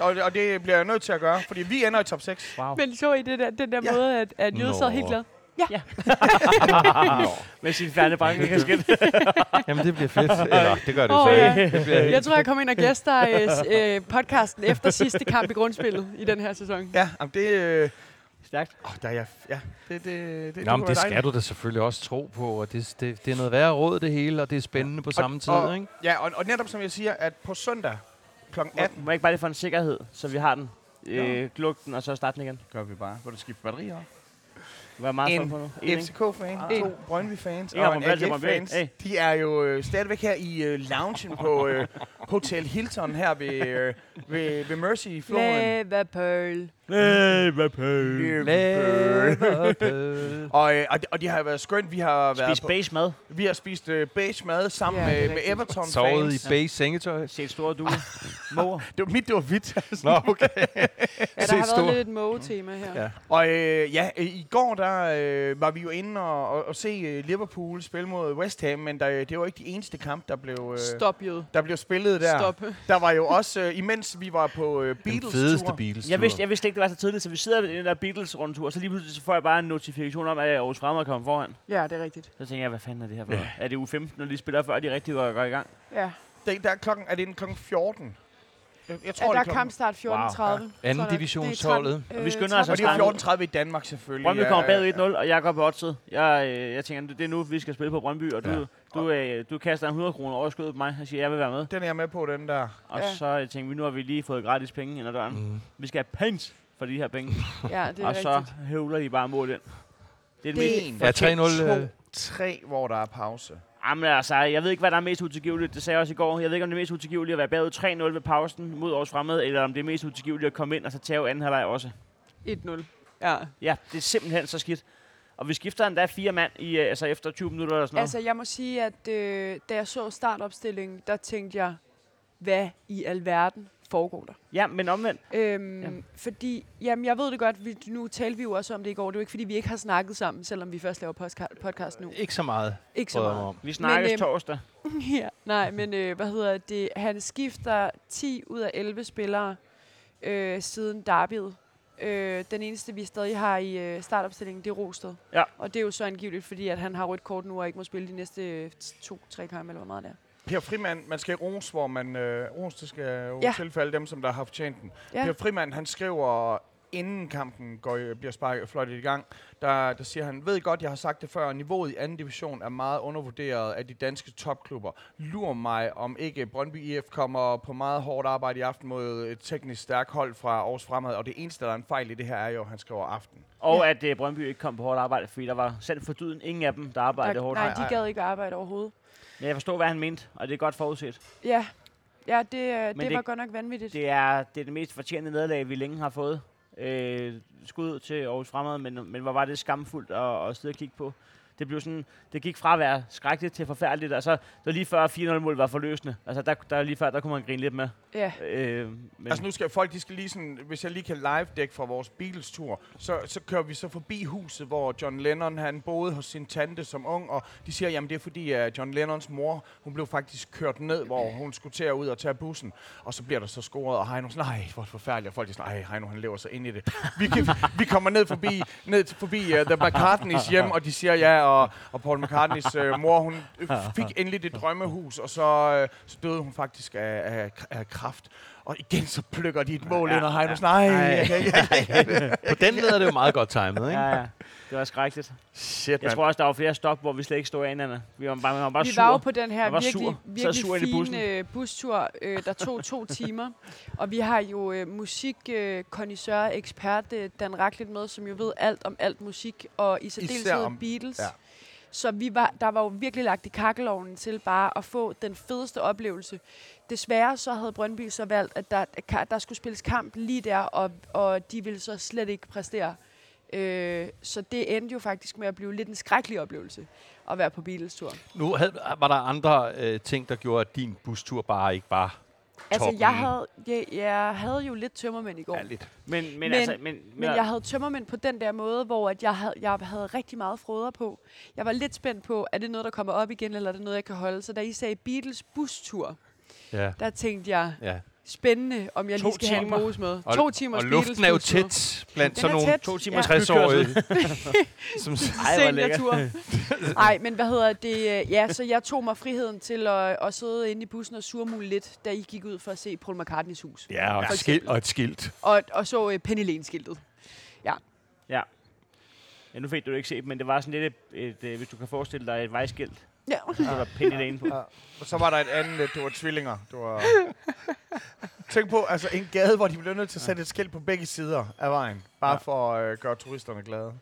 [SPEAKER 1] Og, og det bliver jeg nødt til at gøre, fordi vi ender i top 6.
[SPEAKER 2] Wow.
[SPEAKER 3] Men så I det der, den der
[SPEAKER 1] Ja.
[SPEAKER 3] måde, at, at Jøde sad
[SPEAKER 2] Nå.
[SPEAKER 3] helt glad?
[SPEAKER 4] Med sin færdige banke kasket.
[SPEAKER 2] Jamen, det bliver fedt. Eller, det gør det
[SPEAKER 3] Åh,
[SPEAKER 2] så
[SPEAKER 3] ja.
[SPEAKER 2] ikke. Det bliver
[SPEAKER 3] Jeg tror, jeg kommer ind og gæster øh, s- øh, podcasten efter sidste kamp i grundspillet i den her sæson.
[SPEAKER 1] Ja, jamen det... Øh,
[SPEAKER 4] Stærkt.
[SPEAKER 1] Åh, oh, der er jeg... f- Ja, det, det, det,
[SPEAKER 2] Nå,
[SPEAKER 1] kunne
[SPEAKER 2] men det
[SPEAKER 1] være
[SPEAKER 2] skal
[SPEAKER 1] dejligt.
[SPEAKER 2] du da selvfølgelig også tro på, og det, det, det er noget værre råd det hele, og det er spændende på samme tid,
[SPEAKER 1] og-
[SPEAKER 2] ikke?
[SPEAKER 1] Ja, og, og netop som jeg siger, at på søndag kl. 18
[SPEAKER 4] Må, må jeg ikke bare lige få en sikkerhed, så vi har den? Øh, luk den, og så start den igen.
[SPEAKER 1] gør vi bare, hvor du skifter batterier.
[SPEAKER 4] Hvad er meget
[SPEAKER 1] En
[SPEAKER 4] stolt på nu? En, ikke?
[SPEAKER 1] FCK-fan,
[SPEAKER 4] Ah.
[SPEAKER 1] to Brøndby-fans
[SPEAKER 4] En
[SPEAKER 1] og en
[SPEAKER 4] Ramon Plads, Ramon Plads.
[SPEAKER 1] AGF-fans.
[SPEAKER 4] Hey.
[SPEAKER 1] De er jo øh, stadigvæk her i øh, loungen på øh, Hotel Hilton her ved, øh, ved, ved Mercy i floden. Øh,
[SPEAKER 3] Liverpool.
[SPEAKER 4] Nej, hvad pøl.
[SPEAKER 2] Liverpool.
[SPEAKER 1] Og, øh, og, det, og det har været skønt. Vi har, været
[SPEAKER 4] Spis
[SPEAKER 1] på,
[SPEAKER 4] base mad.
[SPEAKER 1] vi har spist øh, beige mad sammen
[SPEAKER 3] Ja, det er
[SPEAKER 1] med, med
[SPEAKER 3] rigtigt.
[SPEAKER 2] Sovet i
[SPEAKER 1] Everton-fans.
[SPEAKER 2] beige sengetøj.
[SPEAKER 4] Se et stort
[SPEAKER 1] Ah.
[SPEAKER 4] due. Mor.
[SPEAKER 1] Det var mit, det var hvidt. altså.
[SPEAKER 2] Nå, okay.
[SPEAKER 3] Ja,
[SPEAKER 2] Se
[SPEAKER 3] der har
[SPEAKER 2] stor.
[SPEAKER 3] været lidt et mågetema her.
[SPEAKER 2] Ja.
[SPEAKER 3] Ja.
[SPEAKER 1] Og øh, ja, øh, i går der øh, var vi jo inde og, og, og se øh, Liverpool spille mod West Ham, men der, øh, det var ikke de eneste kamp, der blev, øh,
[SPEAKER 3] Stop, Jøde.
[SPEAKER 1] der blev spillet der.
[SPEAKER 3] Stop.
[SPEAKER 1] Der var jo også, øh, imens vi var på øh,
[SPEAKER 2] Den
[SPEAKER 1] Beatles
[SPEAKER 2] fedeste
[SPEAKER 1] tur.
[SPEAKER 2] Beatles
[SPEAKER 4] Jeg vidste, jeg vidste ikke, det var så tidligt, så vi sidder ved den der beatles rundtur og så lige pludselig så får jeg bare en notifikation om, at Aarhus Fremad kommer foran.
[SPEAKER 3] Ja, det er rigtigt.
[SPEAKER 4] Så tænker jeg, hvad fanden er det her for? noget? Er det u 15, når de spiller, før de rigtig går går i gang?
[SPEAKER 3] Ja.
[SPEAKER 1] Det, der er, klokken, er det en klokken 14? Jeg, jeg tror,
[SPEAKER 3] ja der er
[SPEAKER 1] det er klokken...
[SPEAKER 3] kampstart 14.30. Wow.
[SPEAKER 2] Anden divisionsholdet.
[SPEAKER 4] Og vi skynder os
[SPEAKER 1] Og
[SPEAKER 4] altså
[SPEAKER 1] det er
[SPEAKER 4] Kamp-
[SPEAKER 1] 14.30 i Danmark selvfølgelig.
[SPEAKER 4] Brøndby
[SPEAKER 1] ja,
[SPEAKER 4] kommer
[SPEAKER 1] ja,
[SPEAKER 4] bagud
[SPEAKER 1] ja.
[SPEAKER 4] 1-0, og jeg går på oddset. Jeg, øh, jeg tænker, det er nu, vi skal spille på Brøndby, og du,
[SPEAKER 2] Ja.
[SPEAKER 4] du, øh, du kaster en 100 kroner over skødet på mig, og siger, jeg vil være med.
[SPEAKER 1] Den er jeg med på, den der.
[SPEAKER 4] Og
[SPEAKER 3] Ja.
[SPEAKER 4] så øh, tænker vi, nu har vi lige fået gratis penge ind ad døren.
[SPEAKER 2] Mm.
[SPEAKER 4] Vi skal have penge for de her penge.
[SPEAKER 3] Ja, det er
[SPEAKER 4] Og så
[SPEAKER 3] rigtigt. hævler
[SPEAKER 4] høvler de bare mål ind. Det er det mest...
[SPEAKER 1] En,
[SPEAKER 2] Ja, 3-0, øh.
[SPEAKER 1] 3, hvor der er pause.
[SPEAKER 4] Jamen altså, jeg ved ikke, hvad der er mest utilgiveligt. Det sagde jeg også i går. Jeg ved ikke, om det er mest utilgiveligt at være bagud 3-0 ved pausen mod års fremad, eller om det er mest utilgiveligt at komme ind og så tage anden halvleg også.
[SPEAKER 3] 1-0. Ja.
[SPEAKER 4] Ja, det er simpelthen så skidt. Og vi skifter endda fire mand i, øh, altså efter 20 minutter eller sådan noget.
[SPEAKER 3] Altså, jeg må sige, at øh, da jeg så startopstillingen, der tænkte jeg, hvad i alverden foregår der?
[SPEAKER 4] Ja, men omvendt.
[SPEAKER 3] Øhm,
[SPEAKER 4] Jamen.
[SPEAKER 3] Fordi, jamen jeg ved det godt, vi, nu talte vi jo også om det i går, det er jo ikke fordi, vi ikke har snakket sammen, selvom vi først laver postka- podcast nu.
[SPEAKER 2] Ikke så meget,
[SPEAKER 3] Ikke så
[SPEAKER 2] prøver jeg mig
[SPEAKER 3] meget.
[SPEAKER 2] om.
[SPEAKER 4] Vi snakkes men,
[SPEAKER 3] øhm,
[SPEAKER 4] torsdag.
[SPEAKER 3] ja, nej, men øh, hvad hedder det? Han skifter 10 ud af 11 spillere øh, siden derbyet. Øh, den eneste, vi stadig har i øh, startopstillingen, det er Rosted.
[SPEAKER 4] Ja.
[SPEAKER 3] Og det er jo så angiveligt, fordi at han har rødt kort nu og ikke må spille de næste øh, to-tre kampe, eller hvor meget det er.
[SPEAKER 1] Per Frimand, man skal rose, hvor man... Øh, rose, det skal jo
[SPEAKER 3] Ja.
[SPEAKER 1] ja. tilfælde dem, som der har fortjent den.
[SPEAKER 3] Ja.
[SPEAKER 1] Ja. Per Frimand, han skriver, inden kampen går, i- bliver sparket fløjtet i gang, der, der siger han, ved godt, jeg har sagt det før, niveauet i anden division er meget undervurderet af de danske topklubber. Lur mig, om ikke Brøndby IF kommer på meget hårdt arbejde i aften mod et teknisk stærkt hold fra Aarhus Fremad, og det eneste, der er en fejl i det her, er jo, at han skriver aften.
[SPEAKER 4] Og ja. at øh, Brøndby ikke kom på hårdt arbejde, fordi der var selv for dyden ingen af dem, der arbejdede
[SPEAKER 3] Der-
[SPEAKER 4] hårdt.
[SPEAKER 3] nej,
[SPEAKER 1] Nej,
[SPEAKER 3] de
[SPEAKER 1] nej.
[SPEAKER 3] gad ikke arbejde overhovedet.
[SPEAKER 4] Men jeg forstår, hvad han mente, og det er godt forudset.
[SPEAKER 3] Ja, ja det, øh, det, det
[SPEAKER 4] det-
[SPEAKER 3] var godt nok vanvittigt.
[SPEAKER 4] Det er det, er det mest fortjente nederlag, vi længe har fået. Øh, skud til Aarhus Fremad, men, men hvor var det skamfuldt at, at sidde og kigge på. Det blev sådan, det gik fra at være skrækkeligt til forfærdeligt, og så det var lige før 4-0-målet var forløsende. Altså der, der lige før, der kunne man grine lidt med.
[SPEAKER 3] Ja.
[SPEAKER 4] Øh, men
[SPEAKER 1] Men. Altså nu skal folk, de skal lige sådan, hvis jeg lige kan live dække fra vores Beatles-tur, så, så kører vi så forbi huset, hvor John Lennon, han boede hos sin tante som ung, og de siger, jamen det er fordi, at John Lennons mor, hun blev faktisk kørt ned, hvor hun skulle til at ud og tage bussen, og så bliver der så scoret, og Heino sådan, nej, hvor forfærdeligt, og folk er sådan, nej, Heino, han lever sig ind i det. Vi, kan, vi kommer ned forbi, ned til- forbi uh, The McCartneys hjem, og de siger ja, og, og Paul McCartneys uh, mor, hun øh, fik endelig det drømmehus, og så, uh, så døde hun faktisk af, af, af kraft. Og igen så plukker de et mål ja, ind, og Heino sådan, nej,
[SPEAKER 4] Ej.
[SPEAKER 1] ja, ja, ja, ja.
[SPEAKER 2] På den led er det jo meget godt timet, ikke?
[SPEAKER 4] ja, ja, det var skrækkeligt.
[SPEAKER 1] Shit,
[SPEAKER 4] Jeg
[SPEAKER 1] man.
[SPEAKER 4] tror også, der var flere stop, hvor vi slet ikke stod af hinanden. Vi var bare, man var bare
[SPEAKER 3] vi
[SPEAKER 4] sur.
[SPEAKER 3] var jo på den her
[SPEAKER 4] Jeg var
[SPEAKER 3] virkelig,
[SPEAKER 4] sur. Så
[SPEAKER 3] virkelig
[SPEAKER 4] sur ind i bussen.
[SPEAKER 3] fine øh, bustur, øh, der tog to timer. Og vi har jo øh, musikkondisør øh, ekspert øh, Dan Racklin med, som jo ved alt om alt musik, og i særdeleshed
[SPEAKER 1] om-
[SPEAKER 3] Beatles. Ja.
[SPEAKER 1] ja.
[SPEAKER 3] Så vi var, der var jo virkelig lagt i kakkelovnen til bare at få den fedeste oplevelse. Desværre så havde Brøndby så valgt, at der, at ka- der skulle spilles kamp lige der, og, og de ville så slet ikke præstere. Øh, så det endte jo faktisk med at blive lidt en skrækkelig oplevelse at være på Beatles tur.
[SPEAKER 2] Nu havde, var der andre øh, ting, der gjorde, at din bustur bare ikke var
[SPEAKER 3] Altså,
[SPEAKER 2] toppen.
[SPEAKER 3] jeg havde, jeg, jeg havde jo lidt tømmermænd i går.
[SPEAKER 2] Ja, lidt.
[SPEAKER 4] Men, men,
[SPEAKER 3] Men-
[SPEAKER 4] men, altså, men,
[SPEAKER 3] Men jeg havde tømmermænd på den der måde, hvor at jeg, havde, jeg havde rigtig meget froder på. Jeg var lidt spændt på, er det noget, der kommer op igen, eller er det noget, jeg kan holde? Så da I sagde Beatles bustur,
[SPEAKER 2] Ja.
[SPEAKER 3] der tænkte jeg,
[SPEAKER 2] ja.
[SPEAKER 3] spændende, om jeg
[SPEAKER 4] To
[SPEAKER 3] lige skal have en
[SPEAKER 4] timer.
[SPEAKER 3] mose med.
[SPEAKER 2] Og-
[SPEAKER 3] to timers
[SPEAKER 2] Og luften er jo
[SPEAKER 3] Beatles bustur.
[SPEAKER 2] tæt blandt
[SPEAKER 3] Den
[SPEAKER 2] sådan
[SPEAKER 3] er
[SPEAKER 2] nogle
[SPEAKER 3] tæt,
[SPEAKER 4] to
[SPEAKER 3] ja.
[SPEAKER 4] timers
[SPEAKER 2] 60-årige. som,
[SPEAKER 4] Ej, hvor lækkert.
[SPEAKER 3] seniortur. Nej, men hvad hedder det? øh, Ja, så jeg tog mig friheden til at, at sidde inde i bussen og surmule lidt, da I gik ud for at se Paul McCartneys hus.
[SPEAKER 2] ja, og
[SPEAKER 3] For
[SPEAKER 2] et, skilt, og et skilt.
[SPEAKER 3] Og, og så øh, Penny Lane-skiltet.
[SPEAKER 4] Ja, nu fik du det ikke set, men det var sådan lidt et, et, øh, hvis du kan forestille dig et vejskilt,
[SPEAKER 3] Ja.
[SPEAKER 4] så var der Penny Lane på.
[SPEAKER 1] Ja. Og så var der et andet, øh, det var tvillinger. Det var... Tænk på, altså en gade, hvor de blev nødt til at sætte et skilt på begge sider af vejen, bare
[SPEAKER 4] Ja.
[SPEAKER 1] for at øh, gøre turisterne glade.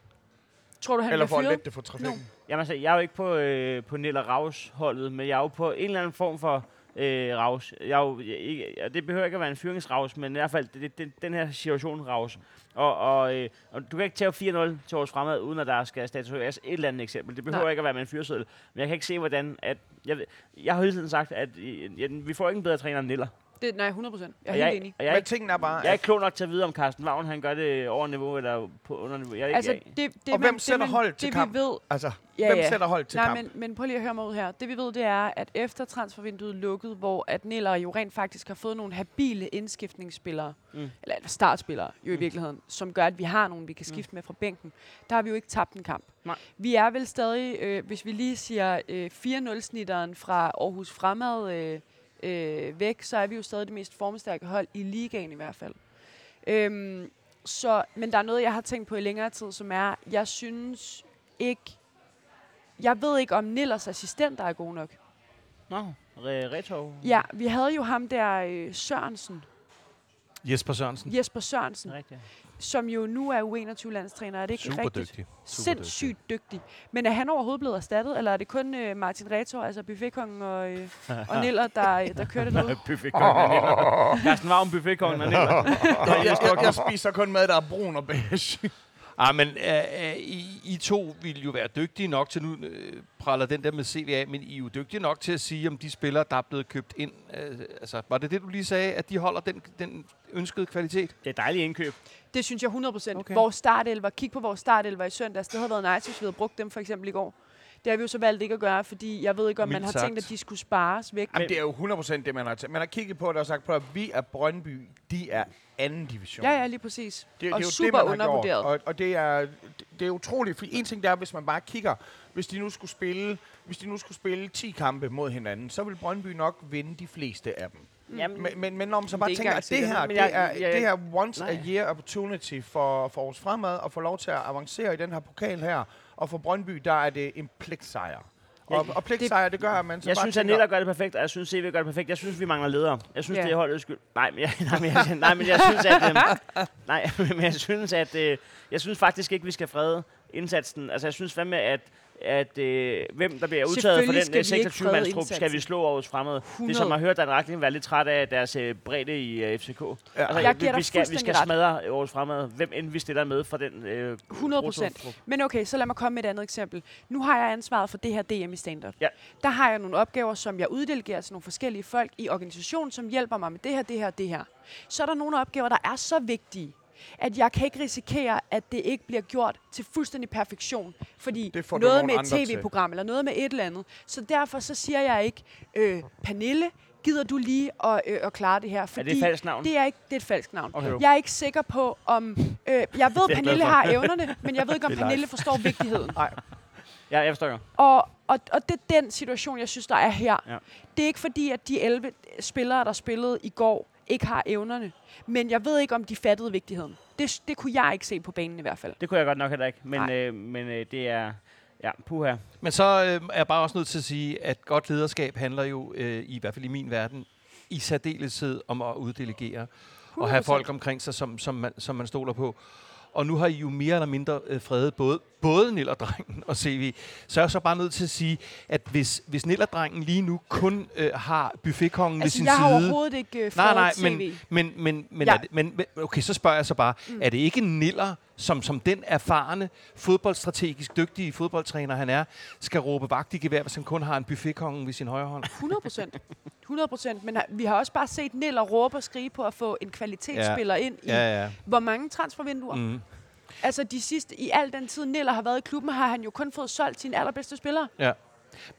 [SPEAKER 3] Tror du, han
[SPEAKER 1] Eller
[SPEAKER 3] bliver
[SPEAKER 1] for at
[SPEAKER 3] fyret?
[SPEAKER 1] lette det for trafikken.
[SPEAKER 4] Jamen altså, jeg er jo ikke på, øh, på Nilla Raus holdet, men jeg er jo på en eller anden form for øh, Raus. Jeg er jo, jeg, ikke, og det behøver ikke at være en fyringsraus, men i hvert fald det, det, den, den her situation Raus. Og, og, øh, og du kan ikke tage 4-0 til års fremad, uden at der skal statueres et eller andet eksempel. Det behøver
[SPEAKER 3] Nej.
[SPEAKER 4] Nej. ikke at være med en fyreseddel. Men jeg kan ikke se, hvordan... At, jeg, ved- jeg har hele tiden sagt, at øh, ja, vi får ikke en bedre træner end Niller.
[SPEAKER 3] Det, nej, 100 procent. Jeg er
[SPEAKER 4] Og
[SPEAKER 3] helt
[SPEAKER 4] jeg,
[SPEAKER 3] enig.
[SPEAKER 4] Og jeg, er
[SPEAKER 1] Men
[SPEAKER 4] ikke,
[SPEAKER 1] tingen er bare,
[SPEAKER 4] jeg er ikke klog nok til at vide, om Carsten Wagn han gør det over niveau eller på underniveau. Jeg,
[SPEAKER 3] Altså,
[SPEAKER 4] altså, jeg,
[SPEAKER 3] det, det,
[SPEAKER 1] Og
[SPEAKER 3] man-
[SPEAKER 1] hvem sætter
[SPEAKER 3] det, man-
[SPEAKER 1] holdet
[SPEAKER 3] det,
[SPEAKER 1] til
[SPEAKER 3] vi
[SPEAKER 1] kamp?
[SPEAKER 3] Ved,
[SPEAKER 1] altså,
[SPEAKER 3] ja,
[SPEAKER 1] hvem
[SPEAKER 3] ja.
[SPEAKER 1] sætter hold til
[SPEAKER 3] Nej,
[SPEAKER 1] kamp?
[SPEAKER 3] Men, men prøv lige at høre mig ud her. Det vi ved, det er, at efter transfervinduet lukkede, hvor at Niller jo rent faktisk har fået nogle habile indskiftningsspillere, mm.
[SPEAKER 4] Mm.
[SPEAKER 3] eller startspillere jo i
[SPEAKER 4] Mm.
[SPEAKER 3] virkeligheden, som gør, at vi har nogen, vi kan skifte med fra bænken, der har vi jo ikke tabt en kamp.
[SPEAKER 4] Nej.
[SPEAKER 3] Vi er vel stadig, øh, hvis vi lige siger øh, 4-0-snitteren fra Aarhus Fremad øh, øh, væk, så er vi jo stadig det mest formstærke hold i ligaen i hvert fald. Øhm, så, men der er noget, jeg har tænkt på i længere tid, som er, jeg synes ikke, jeg ved ikke, om Nillers assistenter er gode nok.
[SPEAKER 4] Mm. Nå, re retov.
[SPEAKER 3] Ja, vi havde jo ham der øh, Sørensen,
[SPEAKER 2] Jesper Sørensen.
[SPEAKER 3] Jesper Sørensen,
[SPEAKER 4] Rigtigt.
[SPEAKER 3] som jo nu er U21-landstræner. Er det ikke
[SPEAKER 2] Super
[SPEAKER 3] rigtigt?
[SPEAKER 2] dygtig.
[SPEAKER 3] Sindssygt dygtig. Men er han overhovedet blevet erstattet, eller er det kun øh, Martin Retor, altså buffetkongen og, øh, og Niller, der, øh, der kører det noget?
[SPEAKER 4] Carsten Wagn, buffetkongen og Niller.
[SPEAKER 1] jeg, jeg, jeg, jeg spiser kun mad, der er brun og beige.
[SPEAKER 2] Ah, men øh, øh, I, I to ville jo være dygtige nok til, nu øh, praller den der med CV af, men I er jo dygtige nok til at sige, om de spillere, der er blevet købt ind, øh, altså, var det det, du lige sagde, at de holder den, den ønskede kvalitet?
[SPEAKER 4] Det er dejligt indkøb.
[SPEAKER 3] Det synes jeg 100 procent. Okay.
[SPEAKER 2] Okay.
[SPEAKER 3] Vores startelver, kig på vores startelver i søndags, det havde været nice, hvis vi havde brugt dem for eksempel i går. Det har vi jo så valgt ikke at gøre, fordi jeg ved ikke, om man
[SPEAKER 2] Mildt
[SPEAKER 3] har
[SPEAKER 2] sagt.
[SPEAKER 3] tænkt, at de skulle spares væk.
[SPEAKER 1] Jamen, det er jo 100% det, man har tænkt. Man har kigget på det og sagt, prøv at vi er Brøndby, de er anden division.
[SPEAKER 3] Ja, ja, lige præcis.
[SPEAKER 1] Det,
[SPEAKER 3] og
[SPEAKER 1] det er jo
[SPEAKER 3] super
[SPEAKER 1] det, man har
[SPEAKER 3] undervurderet.
[SPEAKER 1] Gjort. Og, og det er det, det er utroligt, fordi en ting der er, hvis man bare kigger, hvis de nu skulle spille, hvis de nu skulle spille 10 kampe mod hinanden, så vil Brøndby nok vinde de fleste af dem.
[SPEAKER 4] Jamen,
[SPEAKER 1] Men, men, men når man så bare
[SPEAKER 3] ikke
[SPEAKER 1] tænker,
[SPEAKER 3] engang
[SPEAKER 1] at det
[SPEAKER 3] sikkert,
[SPEAKER 1] her,
[SPEAKER 3] men
[SPEAKER 1] det
[SPEAKER 3] jeg-
[SPEAKER 1] er,
[SPEAKER 3] jeg-
[SPEAKER 1] det her once a
[SPEAKER 3] nej.
[SPEAKER 1] year opportunity for, for os fremad, at få lov til at avancere i den her pokal her, og for Brøndby, der er det en pligtsejr. Og, og pligtsejr, det gør, at man så
[SPEAKER 4] jeg
[SPEAKER 1] bare
[SPEAKER 4] synes, at
[SPEAKER 1] tænker,
[SPEAKER 4] Nilla gør det perfekt, og jeg synes, CV gør det perfekt. Jeg synes, vi mangler ledere. Jeg synes,
[SPEAKER 3] Ja.
[SPEAKER 4] det er holdets skyld. Nej, men jeg, nej, men jeg, nej, men jeg synes, at... øhm, nej, men jeg synes, at... Øh, jeg synes faktisk ikke, vi skal frede indsatsen. Altså, jeg synes fandme, at at øh, hvem, der bliver udtaget for
[SPEAKER 3] Selvfølgelig
[SPEAKER 4] den
[SPEAKER 3] skal vi ikke
[SPEAKER 4] 26
[SPEAKER 3] frede
[SPEAKER 4] mandstrup skal vi
[SPEAKER 3] indsatsen.
[SPEAKER 4] slå over fremad. Det er
[SPEAKER 3] 100.
[SPEAKER 4] som at høre Dan Rackling være lidt træt af deres øh, bredde i øh, FCK.
[SPEAKER 1] Ja.
[SPEAKER 4] Altså,
[SPEAKER 3] Jeg giver
[SPEAKER 4] vi, vi,
[SPEAKER 3] dig
[SPEAKER 4] skal, vi
[SPEAKER 3] fuldstændig
[SPEAKER 4] skal
[SPEAKER 3] ret.
[SPEAKER 4] smadre års fremad, hvem end vi stiller med for den øh,
[SPEAKER 3] 100 procent.
[SPEAKER 4] bruttostrup.
[SPEAKER 3] Men okay, så lad mig komme med et andet eksempel. Nu har jeg ansvaret for det her DM i stand-up.
[SPEAKER 4] Ja.
[SPEAKER 3] Der har jeg nogle opgaver, som jeg uddelegerer til nogle forskellige folk i organisationen, som hjælper mig med det her, det her og det her. Så er der nogle opgaver, der er så vigtige, at jeg kan ikke risikere, at det ikke bliver gjort til fuldstændig perfektion, fordi
[SPEAKER 1] Det får du
[SPEAKER 3] noget
[SPEAKER 1] nogle
[SPEAKER 3] med et
[SPEAKER 1] andre til.
[SPEAKER 3] tv-program eller noget med et eller andet. Så derfor så siger jeg ikke, øh, Pernille, gider du lige at, øh, at klare det her?
[SPEAKER 4] Er
[SPEAKER 3] Fordi
[SPEAKER 4] det et falsk navn?
[SPEAKER 3] Det er, ikke, det er et falsk navn.
[SPEAKER 2] Okay.
[SPEAKER 3] Jeg er ikke sikker på, om... Øh, jeg ved,
[SPEAKER 2] jeg
[SPEAKER 3] Pernille
[SPEAKER 2] glad for.
[SPEAKER 3] har evnerne, men jeg ved ikke, om
[SPEAKER 2] Det er live.
[SPEAKER 3] Pernille forstår vigtigheden.
[SPEAKER 4] Ja, jeg forstår. godt.
[SPEAKER 3] Og, og, og det er den situation, jeg synes, der er her.
[SPEAKER 4] Ja.
[SPEAKER 3] Det er ikke fordi, at de 11 spillere, der spillede i går, ikke har evnerne. Men jeg ved ikke, om de fattede vigtigheden. Det, det kunne jeg ikke se på banen i hvert fald.
[SPEAKER 4] Det kunne jeg godt nok heller ikke, men,
[SPEAKER 3] Nej.
[SPEAKER 4] øh, men øh, det er... Ja, puha.
[SPEAKER 2] Men så øh, er jeg bare også nødt til at sige, at godt lederskab handler jo, øh, i hvert fald i min verden, i særdeleshed om at uddelegere og have
[SPEAKER 3] 100%.
[SPEAKER 2] folk omkring sig, som, som, man, som man stoler på. Og nu har I jo mere eller mindre øh, fredet både, både Nillerdrengen og CV. Så er jeg så bare nødt til at sige, at hvis, hvis Nillerdrengen lige nu kun øh, har buffetkongen ved
[SPEAKER 3] Altså,
[SPEAKER 2] sin
[SPEAKER 3] jeg har
[SPEAKER 2] side...
[SPEAKER 3] overhovedet ikke uh, fået
[SPEAKER 2] Nej, nej,
[SPEAKER 3] et CV.
[SPEAKER 2] men, men, men, men,
[SPEAKER 3] Ja.
[SPEAKER 2] ja. er det, men, men okay, så spørger jeg så bare, mm. er det ikke Niller, som, som den erfarne, fodboldstrategisk dygtige fodboldtræner, han er, skal råbe vagt i gevær, hvis han kun har en buffetkongen ved sin højre hånd?
[SPEAKER 3] 100 procent. 100 procent. Men har- vi har også bare set Niller råbe og skrige på at få en kvalitetsspiller ind i
[SPEAKER 2] ja.
[SPEAKER 3] hvor mange transfervinduer.
[SPEAKER 2] Mm.
[SPEAKER 3] Altså de sidste, i al den tid Niller har været i klubben, har han jo kun fået solgt sine allerbedste spillere.
[SPEAKER 2] Ja.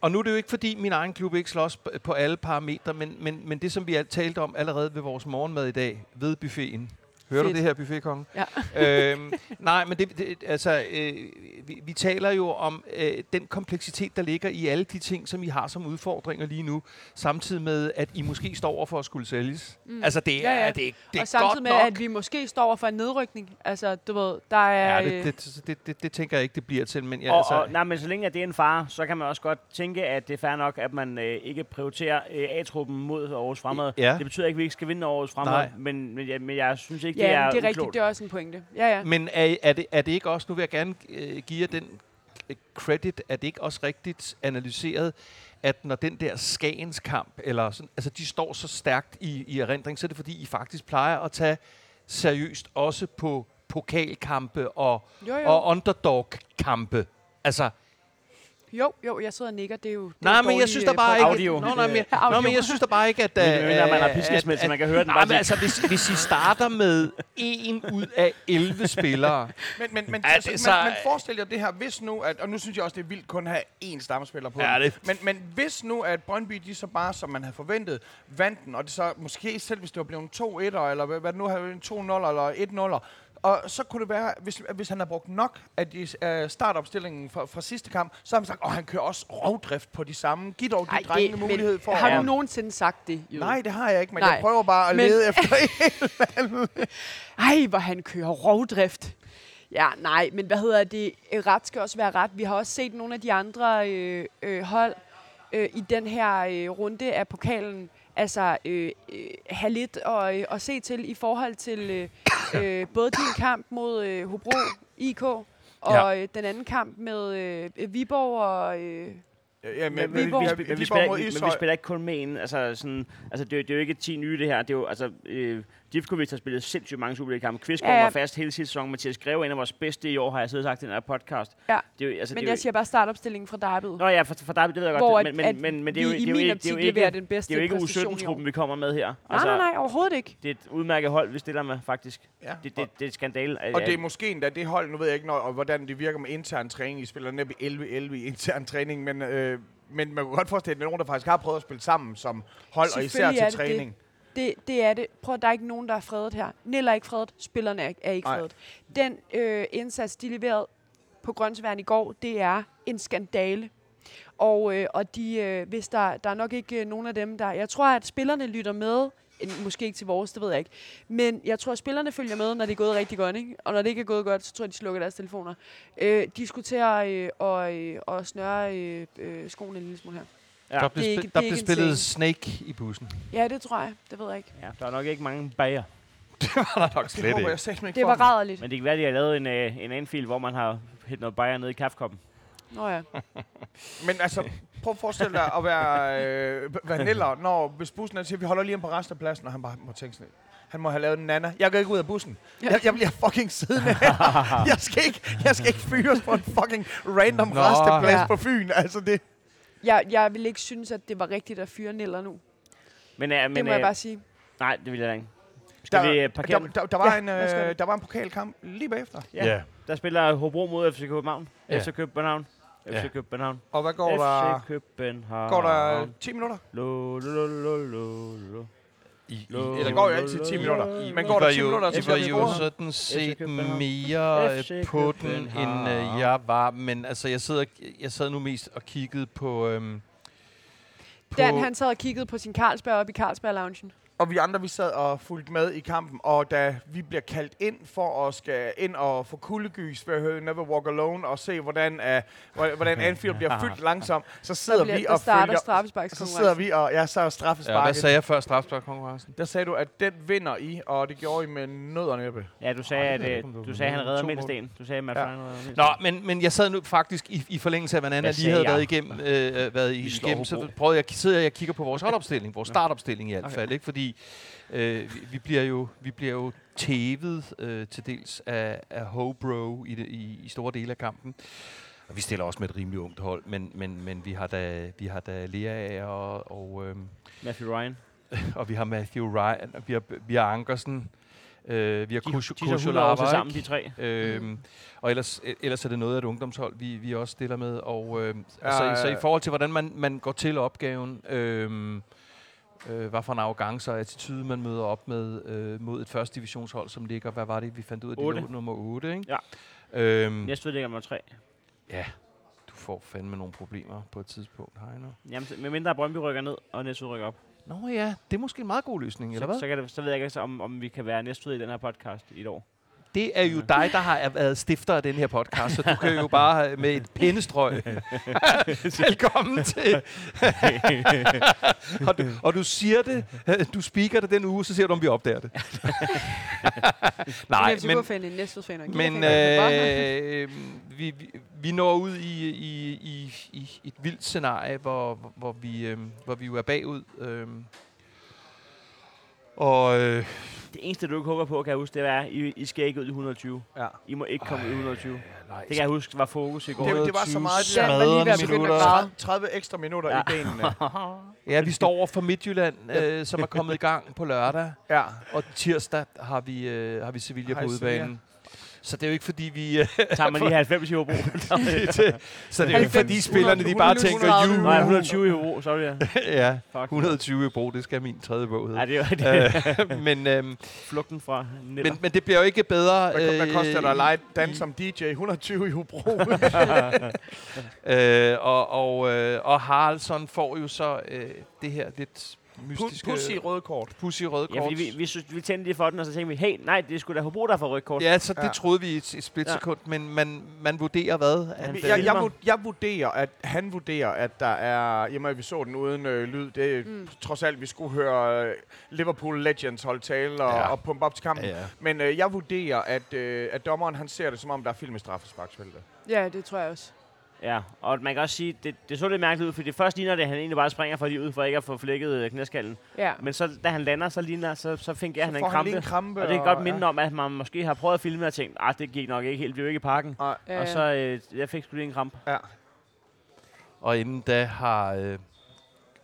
[SPEAKER 2] Og nu er det jo ikke, fordi min egen klub ikke slås p- på alle parametre, men, men, men det, som vi alt talte om allerede ved vores morgenmad i dag, ved buffeten. Hører
[SPEAKER 3] Fedt.
[SPEAKER 2] du det her, buffetkongen?
[SPEAKER 3] Ja.
[SPEAKER 2] øhm, nej, men det, det altså, øh, vi, vi taler jo om øh, den kompleksitet, der ligger i alle de ting, som I har som udfordringer lige nu, samtidig med, at I måske står over for at skulle sælges. Mm. Altså, det er,
[SPEAKER 3] Ja, ja.
[SPEAKER 2] Det, det
[SPEAKER 3] og
[SPEAKER 2] er
[SPEAKER 3] samtidig
[SPEAKER 2] godt
[SPEAKER 3] med,
[SPEAKER 2] nok.
[SPEAKER 3] at vi måske står over for en nedrykning. Altså, du ved, der er...
[SPEAKER 2] Ja,
[SPEAKER 3] øh,
[SPEAKER 2] det, det, det, det, det tænker jeg ikke, det bliver til, men ja,
[SPEAKER 4] og,
[SPEAKER 2] altså,
[SPEAKER 4] og, nej, men så længe at det er en far, så kan man også godt tænke, at det er fair nok, at man øh, ikke prioriterer øh, A-truppen mod Aarhus Fremad.
[SPEAKER 2] Ja.
[SPEAKER 4] Det betyder ikke, at vi ikke skal vinde Aarhus Fremad,
[SPEAKER 2] Nej.
[SPEAKER 4] men, men, jeg, men jeg synes ikke,
[SPEAKER 3] ja,
[SPEAKER 4] det er
[SPEAKER 3] men det er rigtigt,
[SPEAKER 4] uklogt.
[SPEAKER 3] det er også en pointe. Ja, ja.
[SPEAKER 2] Men er, er, det, er det ikke også, nu vil jeg gerne øh, give jer den øh, credit, er det ikke også rigtigt analyseret, at når den der Skagens kamp, eller sådan, altså de står så stærkt i, i erindring, så er det fordi, I faktisk plejer at tage seriøst også på pokalkampe og,
[SPEAKER 3] Jo, jo.
[SPEAKER 2] og underdog-kampe. Altså,
[SPEAKER 3] Jo, jo, jeg sidder og nikker. Det er jo det er
[SPEAKER 2] nej,
[SPEAKER 3] jo
[SPEAKER 2] men jeg
[SPEAKER 3] dårlig,
[SPEAKER 2] synes
[SPEAKER 3] øh,
[SPEAKER 2] der bare
[SPEAKER 3] forberedelse.
[SPEAKER 2] ikke...
[SPEAKER 4] Audio.
[SPEAKER 2] Nå, nej, men, jeg-
[SPEAKER 3] Audio.
[SPEAKER 2] nå, men jeg synes der bare ikke, at...
[SPEAKER 4] Men det mener, man har
[SPEAKER 2] øh,
[SPEAKER 4] piskesmæld,
[SPEAKER 2] at-
[SPEAKER 4] så man kan høre den
[SPEAKER 2] Nej,
[SPEAKER 4] bare
[SPEAKER 2] men
[SPEAKER 4] sige-
[SPEAKER 2] altså, hvis, hvis I starter med en ud af 11 spillere,
[SPEAKER 1] Men, men, men,
[SPEAKER 2] Ja,
[SPEAKER 1] altså,
[SPEAKER 2] det-
[SPEAKER 1] men,
[SPEAKER 2] så-
[SPEAKER 1] men forestil jer det her, hvis nu, at, og nu synes jeg også, det er vildt kun at have én stammespiller på.
[SPEAKER 2] Ja,
[SPEAKER 1] den.
[SPEAKER 2] det-
[SPEAKER 1] Men, men hvis nu, at Brøndby, de så bare, som man havde forventet, vandt den, og det så måske selv, hvis det var blevet 2 1 eller hvad hvad det nu havde en 2 0 eller 1 0 og så kunne det være, hvis, hvis han har brugt nok af de, øh, startopstillingen fra, fra sidste kamp, så har man sagt, at han kører også rovdrift på de samme. Giv dog de
[SPEAKER 3] Ej,
[SPEAKER 1] drenge
[SPEAKER 3] det,
[SPEAKER 1] mulighed
[SPEAKER 3] men,
[SPEAKER 1] for
[SPEAKER 3] har du
[SPEAKER 1] at...
[SPEAKER 3] nogensinde sagt det? Jyde?
[SPEAKER 1] Nej, det har jeg ikke, men
[SPEAKER 3] Nej.
[SPEAKER 1] Nej. jeg prøver bare at
[SPEAKER 3] Men-
[SPEAKER 1] men... lede efter en.
[SPEAKER 3] Ej, hvor han kører rovdrift. Ja, nej, men hvad hedder det? Øh, Ret skal også være ret. Vi har også set nogle af de andre øh, øh, hold øh, i den her øh, runde af pokalen. Altså, øh, øh, have lidt at, øh, at se til i forhold til øh, øh, både din kamp mod øh, Hobro IK, og
[SPEAKER 2] Ja.
[SPEAKER 3] øh, den anden kamp med øh, Viborg og... Øh,
[SPEAKER 1] Ja, men,
[SPEAKER 4] Men vi, vi,
[SPEAKER 3] Viborg.
[SPEAKER 1] vi, vi,
[SPEAKER 4] vi, vi,
[SPEAKER 1] Viborg
[SPEAKER 4] spiller
[SPEAKER 1] mod
[SPEAKER 4] ikke, men
[SPEAKER 1] Ishøj.
[SPEAKER 4] vi spiller ikke kun med en. Altså, sådan, altså det, er jo- det er jo ikke 10 nye, det her. Det er jo, altså, øh, Divkovic har spillet sindssygt mange Superliga-kampe. Kvistgaard
[SPEAKER 3] Ja,
[SPEAKER 4] ja,
[SPEAKER 3] ja.
[SPEAKER 4] var fast hele sidste sæson. Mathias Greve er en af vores bedste i år, har jeg siddet og sagt i den her podcast.
[SPEAKER 3] Ja.
[SPEAKER 4] Det er jo, altså,
[SPEAKER 3] Men
[SPEAKER 4] det er
[SPEAKER 3] jeg
[SPEAKER 4] jo,
[SPEAKER 3] siger bare startopstillingen fra derbyet.
[SPEAKER 4] Nå ja, for, for dig, det ved jeg
[SPEAKER 3] Hvor
[SPEAKER 4] godt.
[SPEAKER 3] at,
[SPEAKER 4] Men, men, men, men det er jo,
[SPEAKER 3] vi
[SPEAKER 4] det
[SPEAKER 3] i
[SPEAKER 4] er jo,
[SPEAKER 3] min
[SPEAKER 4] ikke- det er
[SPEAKER 3] optik
[SPEAKER 4] jo
[SPEAKER 3] leverer
[SPEAKER 4] ikke,
[SPEAKER 3] den bedste
[SPEAKER 4] det er jo ikke
[SPEAKER 3] præstation i år.
[SPEAKER 4] U17-truppen, vi kommer med her. Altså,
[SPEAKER 3] Nej, nej, nej, overhovedet ikke.
[SPEAKER 4] Det er et udmærket hold, vi stiller med, faktisk.
[SPEAKER 1] Ja.
[SPEAKER 4] Det, det, det er et skandale.
[SPEAKER 1] Og det er måske endda det hold, nu ved jeg ikke, når, og hvordan det virker med intern træning. I spiller nemlig 11-11 i intern træning, men, øh, men man kan godt forestille, at det er nogen, der faktisk har prøvet at spille sammen som hold, og især
[SPEAKER 3] Selvfølgelig
[SPEAKER 1] til
[SPEAKER 3] er det det.
[SPEAKER 1] træning.
[SPEAKER 3] Det, det er det. Prøv at der er ikke nogen, der er fredet her. Nilla er ikke fredet. Spillerne er, er ikke
[SPEAKER 1] Nej.
[SPEAKER 3] fredet. Den øh, indsats, de leverede på Grøntsværen i går, det er en skandale. Og, øh, og de, øh, hvis der, der er nok ikke øh, nogen af dem, der... Jeg tror, at spillerne lytter med. Eh, Måske ikke til vores, det ved jeg ikke. Men jeg tror, at spillerne følger med, når det er gået rigtig godt. Ikke? Og når det ikke er gået godt, så tror jeg, de slukker deres telefoner. Øh, de skulle til at, øh, og, øh, og snøre øh, øh, skoene en lille smule her.
[SPEAKER 4] Ja,
[SPEAKER 2] der
[SPEAKER 4] det
[SPEAKER 2] blev,
[SPEAKER 3] er
[SPEAKER 2] spil-
[SPEAKER 3] ikke- det er
[SPEAKER 2] der
[SPEAKER 3] ikke
[SPEAKER 2] blev
[SPEAKER 3] en
[SPEAKER 2] spillet
[SPEAKER 3] ting.
[SPEAKER 2] Snake i bussen.
[SPEAKER 3] Ja, det tror jeg. Det ved jeg ikke.
[SPEAKER 4] Ja, der er nok ikke mange bager.
[SPEAKER 2] Der er nok
[SPEAKER 1] Det håber jeg slet ikke
[SPEAKER 3] Det
[SPEAKER 1] for
[SPEAKER 3] var
[SPEAKER 1] dem.
[SPEAKER 3] ræderligt.
[SPEAKER 4] Men det kan være, at de har lavet en, øh, en anfil, hvor man har hældt noget bajer ned i kaffekoppen.
[SPEAKER 3] Nå ja.
[SPEAKER 1] Men altså, prøv at forestille dig at være øh, vaniller, når hvis bussen er til, vi holder lige ind på resten af pladsen, og han bare må tænke sådan, han må have lavet en nana. Jeg går ikke ud af bussen. Jeg, jeg bliver fucking siddende her. Jeg skal ikke, jeg skal ikke fyres på en fucking random
[SPEAKER 2] Nå.
[SPEAKER 1] resteplads
[SPEAKER 3] Ja.
[SPEAKER 1] på Fyn. Altså det,
[SPEAKER 3] Jeg, jeg ville ikke synes, at det var rigtigt at fyre Neller nu.
[SPEAKER 4] Men, øh, men,
[SPEAKER 3] Men, det må jeg bare sige.
[SPEAKER 4] Nej, det vil jeg da ikke. Skal der, vi øh, parkere?
[SPEAKER 1] der,
[SPEAKER 4] Der,
[SPEAKER 1] der, der, var
[SPEAKER 3] Ja,
[SPEAKER 1] en,
[SPEAKER 3] lad os gøre
[SPEAKER 1] øh,
[SPEAKER 3] det.
[SPEAKER 1] der var en pokalkamp lige bagefter.
[SPEAKER 4] ja. ja. der spiller Hobro mod FC København.
[SPEAKER 2] Ja.
[SPEAKER 4] Ja. FC København.
[SPEAKER 2] Ja.
[SPEAKER 4] FC København.
[SPEAKER 1] Og hvad går der?
[SPEAKER 4] FC København.
[SPEAKER 1] Går der 10 minutter?
[SPEAKER 4] Lo, lo, lo, lo, lo.
[SPEAKER 2] I, I,
[SPEAKER 4] Lå-
[SPEAKER 1] Der
[SPEAKER 2] eller,
[SPEAKER 1] går jo altid 10 minutter. Men går
[SPEAKER 2] I var
[SPEAKER 1] der 10
[SPEAKER 2] jo-
[SPEAKER 1] minutter, så
[SPEAKER 2] I
[SPEAKER 1] bliver
[SPEAKER 2] var
[SPEAKER 1] vi
[SPEAKER 2] jo
[SPEAKER 1] scoret.
[SPEAKER 2] sådan set
[SPEAKER 4] København.
[SPEAKER 2] mere øh,
[SPEAKER 4] FC
[SPEAKER 2] på den, end øh,
[SPEAKER 4] København.
[SPEAKER 2] jeg var. Men altså, jeg, sidder, jeg sad nu mest og kiggede på... Øhm, på
[SPEAKER 3] Dan, han sad og kiggede på sin Carlsberg op i Carlsberg-loungen.
[SPEAKER 1] Og vi andre, vi sad og fulgte med i kampen, og da vi bliver kaldt ind for at skal ind og få kuldegys ved at høre Never Walk Alone og se, hvordan, uh, hvordan Anfield bliver fyldt langsomt, så
[SPEAKER 3] Der,
[SPEAKER 1] sidder
[SPEAKER 3] bliver,
[SPEAKER 1] vi
[SPEAKER 3] der
[SPEAKER 1] og
[SPEAKER 3] starter
[SPEAKER 1] følger... Så sidder
[SPEAKER 3] straffesparkskonkurrencen.
[SPEAKER 1] vi og... Ja, så er
[SPEAKER 2] ja, hvad
[SPEAKER 1] straffesparket.
[SPEAKER 2] sagde jeg før strafsparkkonkurrencen?
[SPEAKER 1] der sagde du, at den vinder I, og det gjorde I med nød og næppe.
[SPEAKER 4] Ja, du sagde,
[SPEAKER 2] Ej, det ved jeg
[SPEAKER 4] at,
[SPEAKER 2] ikke, om
[SPEAKER 4] øh,
[SPEAKER 2] du
[SPEAKER 4] du
[SPEAKER 2] var
[SPEAKER 4] sagde, at
[SPEAKER 2] med.
[SPEAKER 4] han redder
[SPEAKER 2] To
[SPEAKER 4] mindsten. Du sagde, at Matt
[SPEAKER 1] Ja.
[SPEAKER 4] Fryan redder mindsten.
[SPEAKER 2] Nå, men, men jeg sad nu faktisk i, i forlængelse af, hvordan jeg
[SPEAKER 4] Hvad
[SPEAKER 2] lige
[SPEAKER 4] sagde
[SPEAKER 2] havde
[SPEAKER 4] jeg?
[SPEAKER 2] været igennem, øh, øh, været i,
[SPEAKER 4] Vi slår
[SPEAKER 2] igennem, så
[SPEAKER 4] Hobro.
[SPEAKER 2] prøvede jeg, sidder jeg og kigger på vores holdopstilling, vores
[SPEAKER 4] Nå.
[SPEAKER 2] startopstilling i hvert
[SPEAKER 4] Okay.
[SPEAKER 2] fald, ikke? fordi øh, vi, vi, bliver jo, vi bliver jo tævet øh, til dels af, af Hobro i, det, i, i store dele af kampen. Og vi stiller også med et rimelig ungt hold, men, men, men vi har da, vi har da Lea og, og øhm,
[SPEAKER 4] Matthew Ryan.
[SPEAKER 2] og vi har Matthew Ryan, og vi har, vi har Ankersen, øh, vi har
[SPEAKER 4] De,
[SPEAKER 2] Kusho,
[SPEAKER 4] de er så 100 år til sammen, de tre.
[SPEAKER 2] Øhm, og ellers, e- ellers er det noget af et ungdomshold, vi, vi også stiller med. Og, øhm,
[SPEAKER 1] Ja,
[SPEAKER 2] altså, så i
[SPEAKER 1] ja.
[SPEAKER 2] forhold til, hvordan man, man går til opgaven, øhm, øh, hvad for en arrogance og attitude, man møder op med øh, mod et første divisionshold, som ligger, hvad var det, vi fandt ud af,
[SPEAKER 4] Otte.
[SPEAKER 2] det lå nummer 8, ikke?
[SPEAKER 4] Ja.
[SPEAKER 2] Øhm,
[SPEAKER 4] Næste ved det ikke, om der er tre.
[SPEAKER 2] Du får fandme nogle problemer på et tidspunkt, Heino.
[SPEAKER 4] Jamen, så- medmindre Brøndby rykker ned, og Næstved rykker op.
[SPEAKER 2] Nå ja, det er måske en meget god løsning, eller
[SPEAKER 4] Så,
[SPEAKER 2] hvad?
[SPEAKER 4] så, kan det, så ved jeg ikke, så om, om vi kan være Næstved i den her podcast i et år.
[SPEAKER 2] Det er jo dig, der har været stifter af den her podcast, så du kan jo bare øh, med et pindestrøg. Velkommen til. og, du, og du siger det, øh, du speaker det den uge, så ser du, om vi opdager det. Nej, men,
[SPEAKER 3] men... En næste fan,
[SPEAKER 2] men øh, vi, vi, vi når ud i, i, i, i et vildt scenarie, hvor, hvor- hvor, vi, øh, hvor vi jo er bagud. Øh. Og øh,
[SPEAKER 4] Det eneste, du ikke håber på, kan jeg huske, det er, at I, I skal ikke ud i 120.
[SPEAKER 1] Ja.
[SPEAKER 4] I må ikke komme ud i 120. Det
[SPEAKER 2] nej,
[SPEAKER 4] kan jeg huske var fokus i går.
[SPEAKER 1] Det, det var så meget...
[SPEAKER 3] Ja, man lige ved at begynde at græde.
[SPEAKER 1] 30 ekstra minutter ja. i
[SPEAKER 4] Ja.
[SPEAKER 1] benene.
[SPEAKER 2] Ja, vi står over for Midtjylland, øh, som er kommet i gang på lørdag,
[SPEAKER 1] Ja.
[SPEAKER 2] og tirsdag har vi, øh, har vi Sevilla
[SPEAKER 1] Hej,
[SPEAKER 2] på
[SPEAKER 1] Sevilla.
[SPEAKER 2] udbanen. Så det er jo ikke fordi, vi... Øh,
[SPEAKER 4] Tager man lige 90 i Hobro.
[SPEAKER 2] så det er jo ikke fordi,
[SPEAKER 1] 90,
[SPEAKER 2] spillerne de bare
[SPEAKER 1] 100,
[SPEAKER 2] tænker,
[SPEAKER 1] 130.
[SPEAKER 2] you,
[SPEAKER 4] Nej, 120 i Hobro, sorry. ja.
[SPEAKER 2] ja,
[SPEAKER 4] Fuck.
[SPEAKER 2] 120 i bro, det skal min tredje bog hedde.
[SPEAKER 4] Nej, det var det. er
[SPEAKER 2] Øh, men, øhm,
[SPEAKER 4] Flugten fra Niller.
[SPEAKER 2] men, men det bliver jo ikke bedre. øh,
[SPEAKER 1] Hvad, hvad koster det at
[SPEAKER 2] i-
[SPEAKER 1] lege dans som DJ? 120 i Hobro.
[SPEAKER 2] Øh, og, og, øh, og Haraldsson får jo så øh, det her lidt mystiske...
[SPEAKER 1] Pussy røde kort.
[SPEAKER 2] pussy røde
[SPEAKER 4] Ja,
[SPEAKER 2] kort.
[SPEAKER 4] fordi vi, vi, synes, vi tændte lige for den, og så tænkte vi, hey, nej, det skulle da Hobro, der får rødt kort.
[SPEAKER 2] Ja, så det
[SPEAKER 1] Ja.
[SPEAKER 2] troede vi i et, et splitsekund, men man, man vurderer hvad? At,
[SPEAKER 4] Han
[SPEAKER 2] øh,
[SPEAKER 1] Jeg, jeg,
[SPEAKER 4] filmer.
[SPEAKER 1] vur- jeg vurderer, at han vurderer, at der er... Jamen, at vi så den uden øh, lyd. Det er mm.
[SPEAKER 3] Mm.
[SPEAKER 1] trods alt, vi skulle høre øh, Liverpool Legends holde tale og,
[SPEAKER 2] Ja.
[SPEAKER 1] ja. og pumpe op til kampen. Ja,
[SPEAKER 2] ja.
[SPEAKER 1] Men øh, jeg vurderer, at, øh, at dommeren han ser det, som om der er film i straffesparksfeltet.
[SPEAKER 3] Ja, det tror jeg også.
[SPEAKER 4] Ja, og man kan også sige, det, det så lidt mærkeligt ud, fordi det først ligner det, at han egentlig bare springer for lige ud, for ikke at få flækket øh, knæskallen.
[SPEAKER 3] ja.
[SPEAKER 4] Men så, da han lander, så, ligner, så, så fik jeg, han en
[SPEAKER 1] får
[SPEAKER 4] krampe.
[SPEAKER 1] lige en krampe.
[SPEAKER 4] og det kan godt minde om, at man måske har prøvet at filme og tænkt, at det gik nok ikke helt, vi er jo ikke i parken.
[SPEAKER 1] Nej,
[SPEAKER 3] Ja,
[SPEAKER 4] Og så øh, jeg fik sgu lige en kramp.
[SPEAKER 1] ja.
[SPEAKER 2] Og inden da har, øh,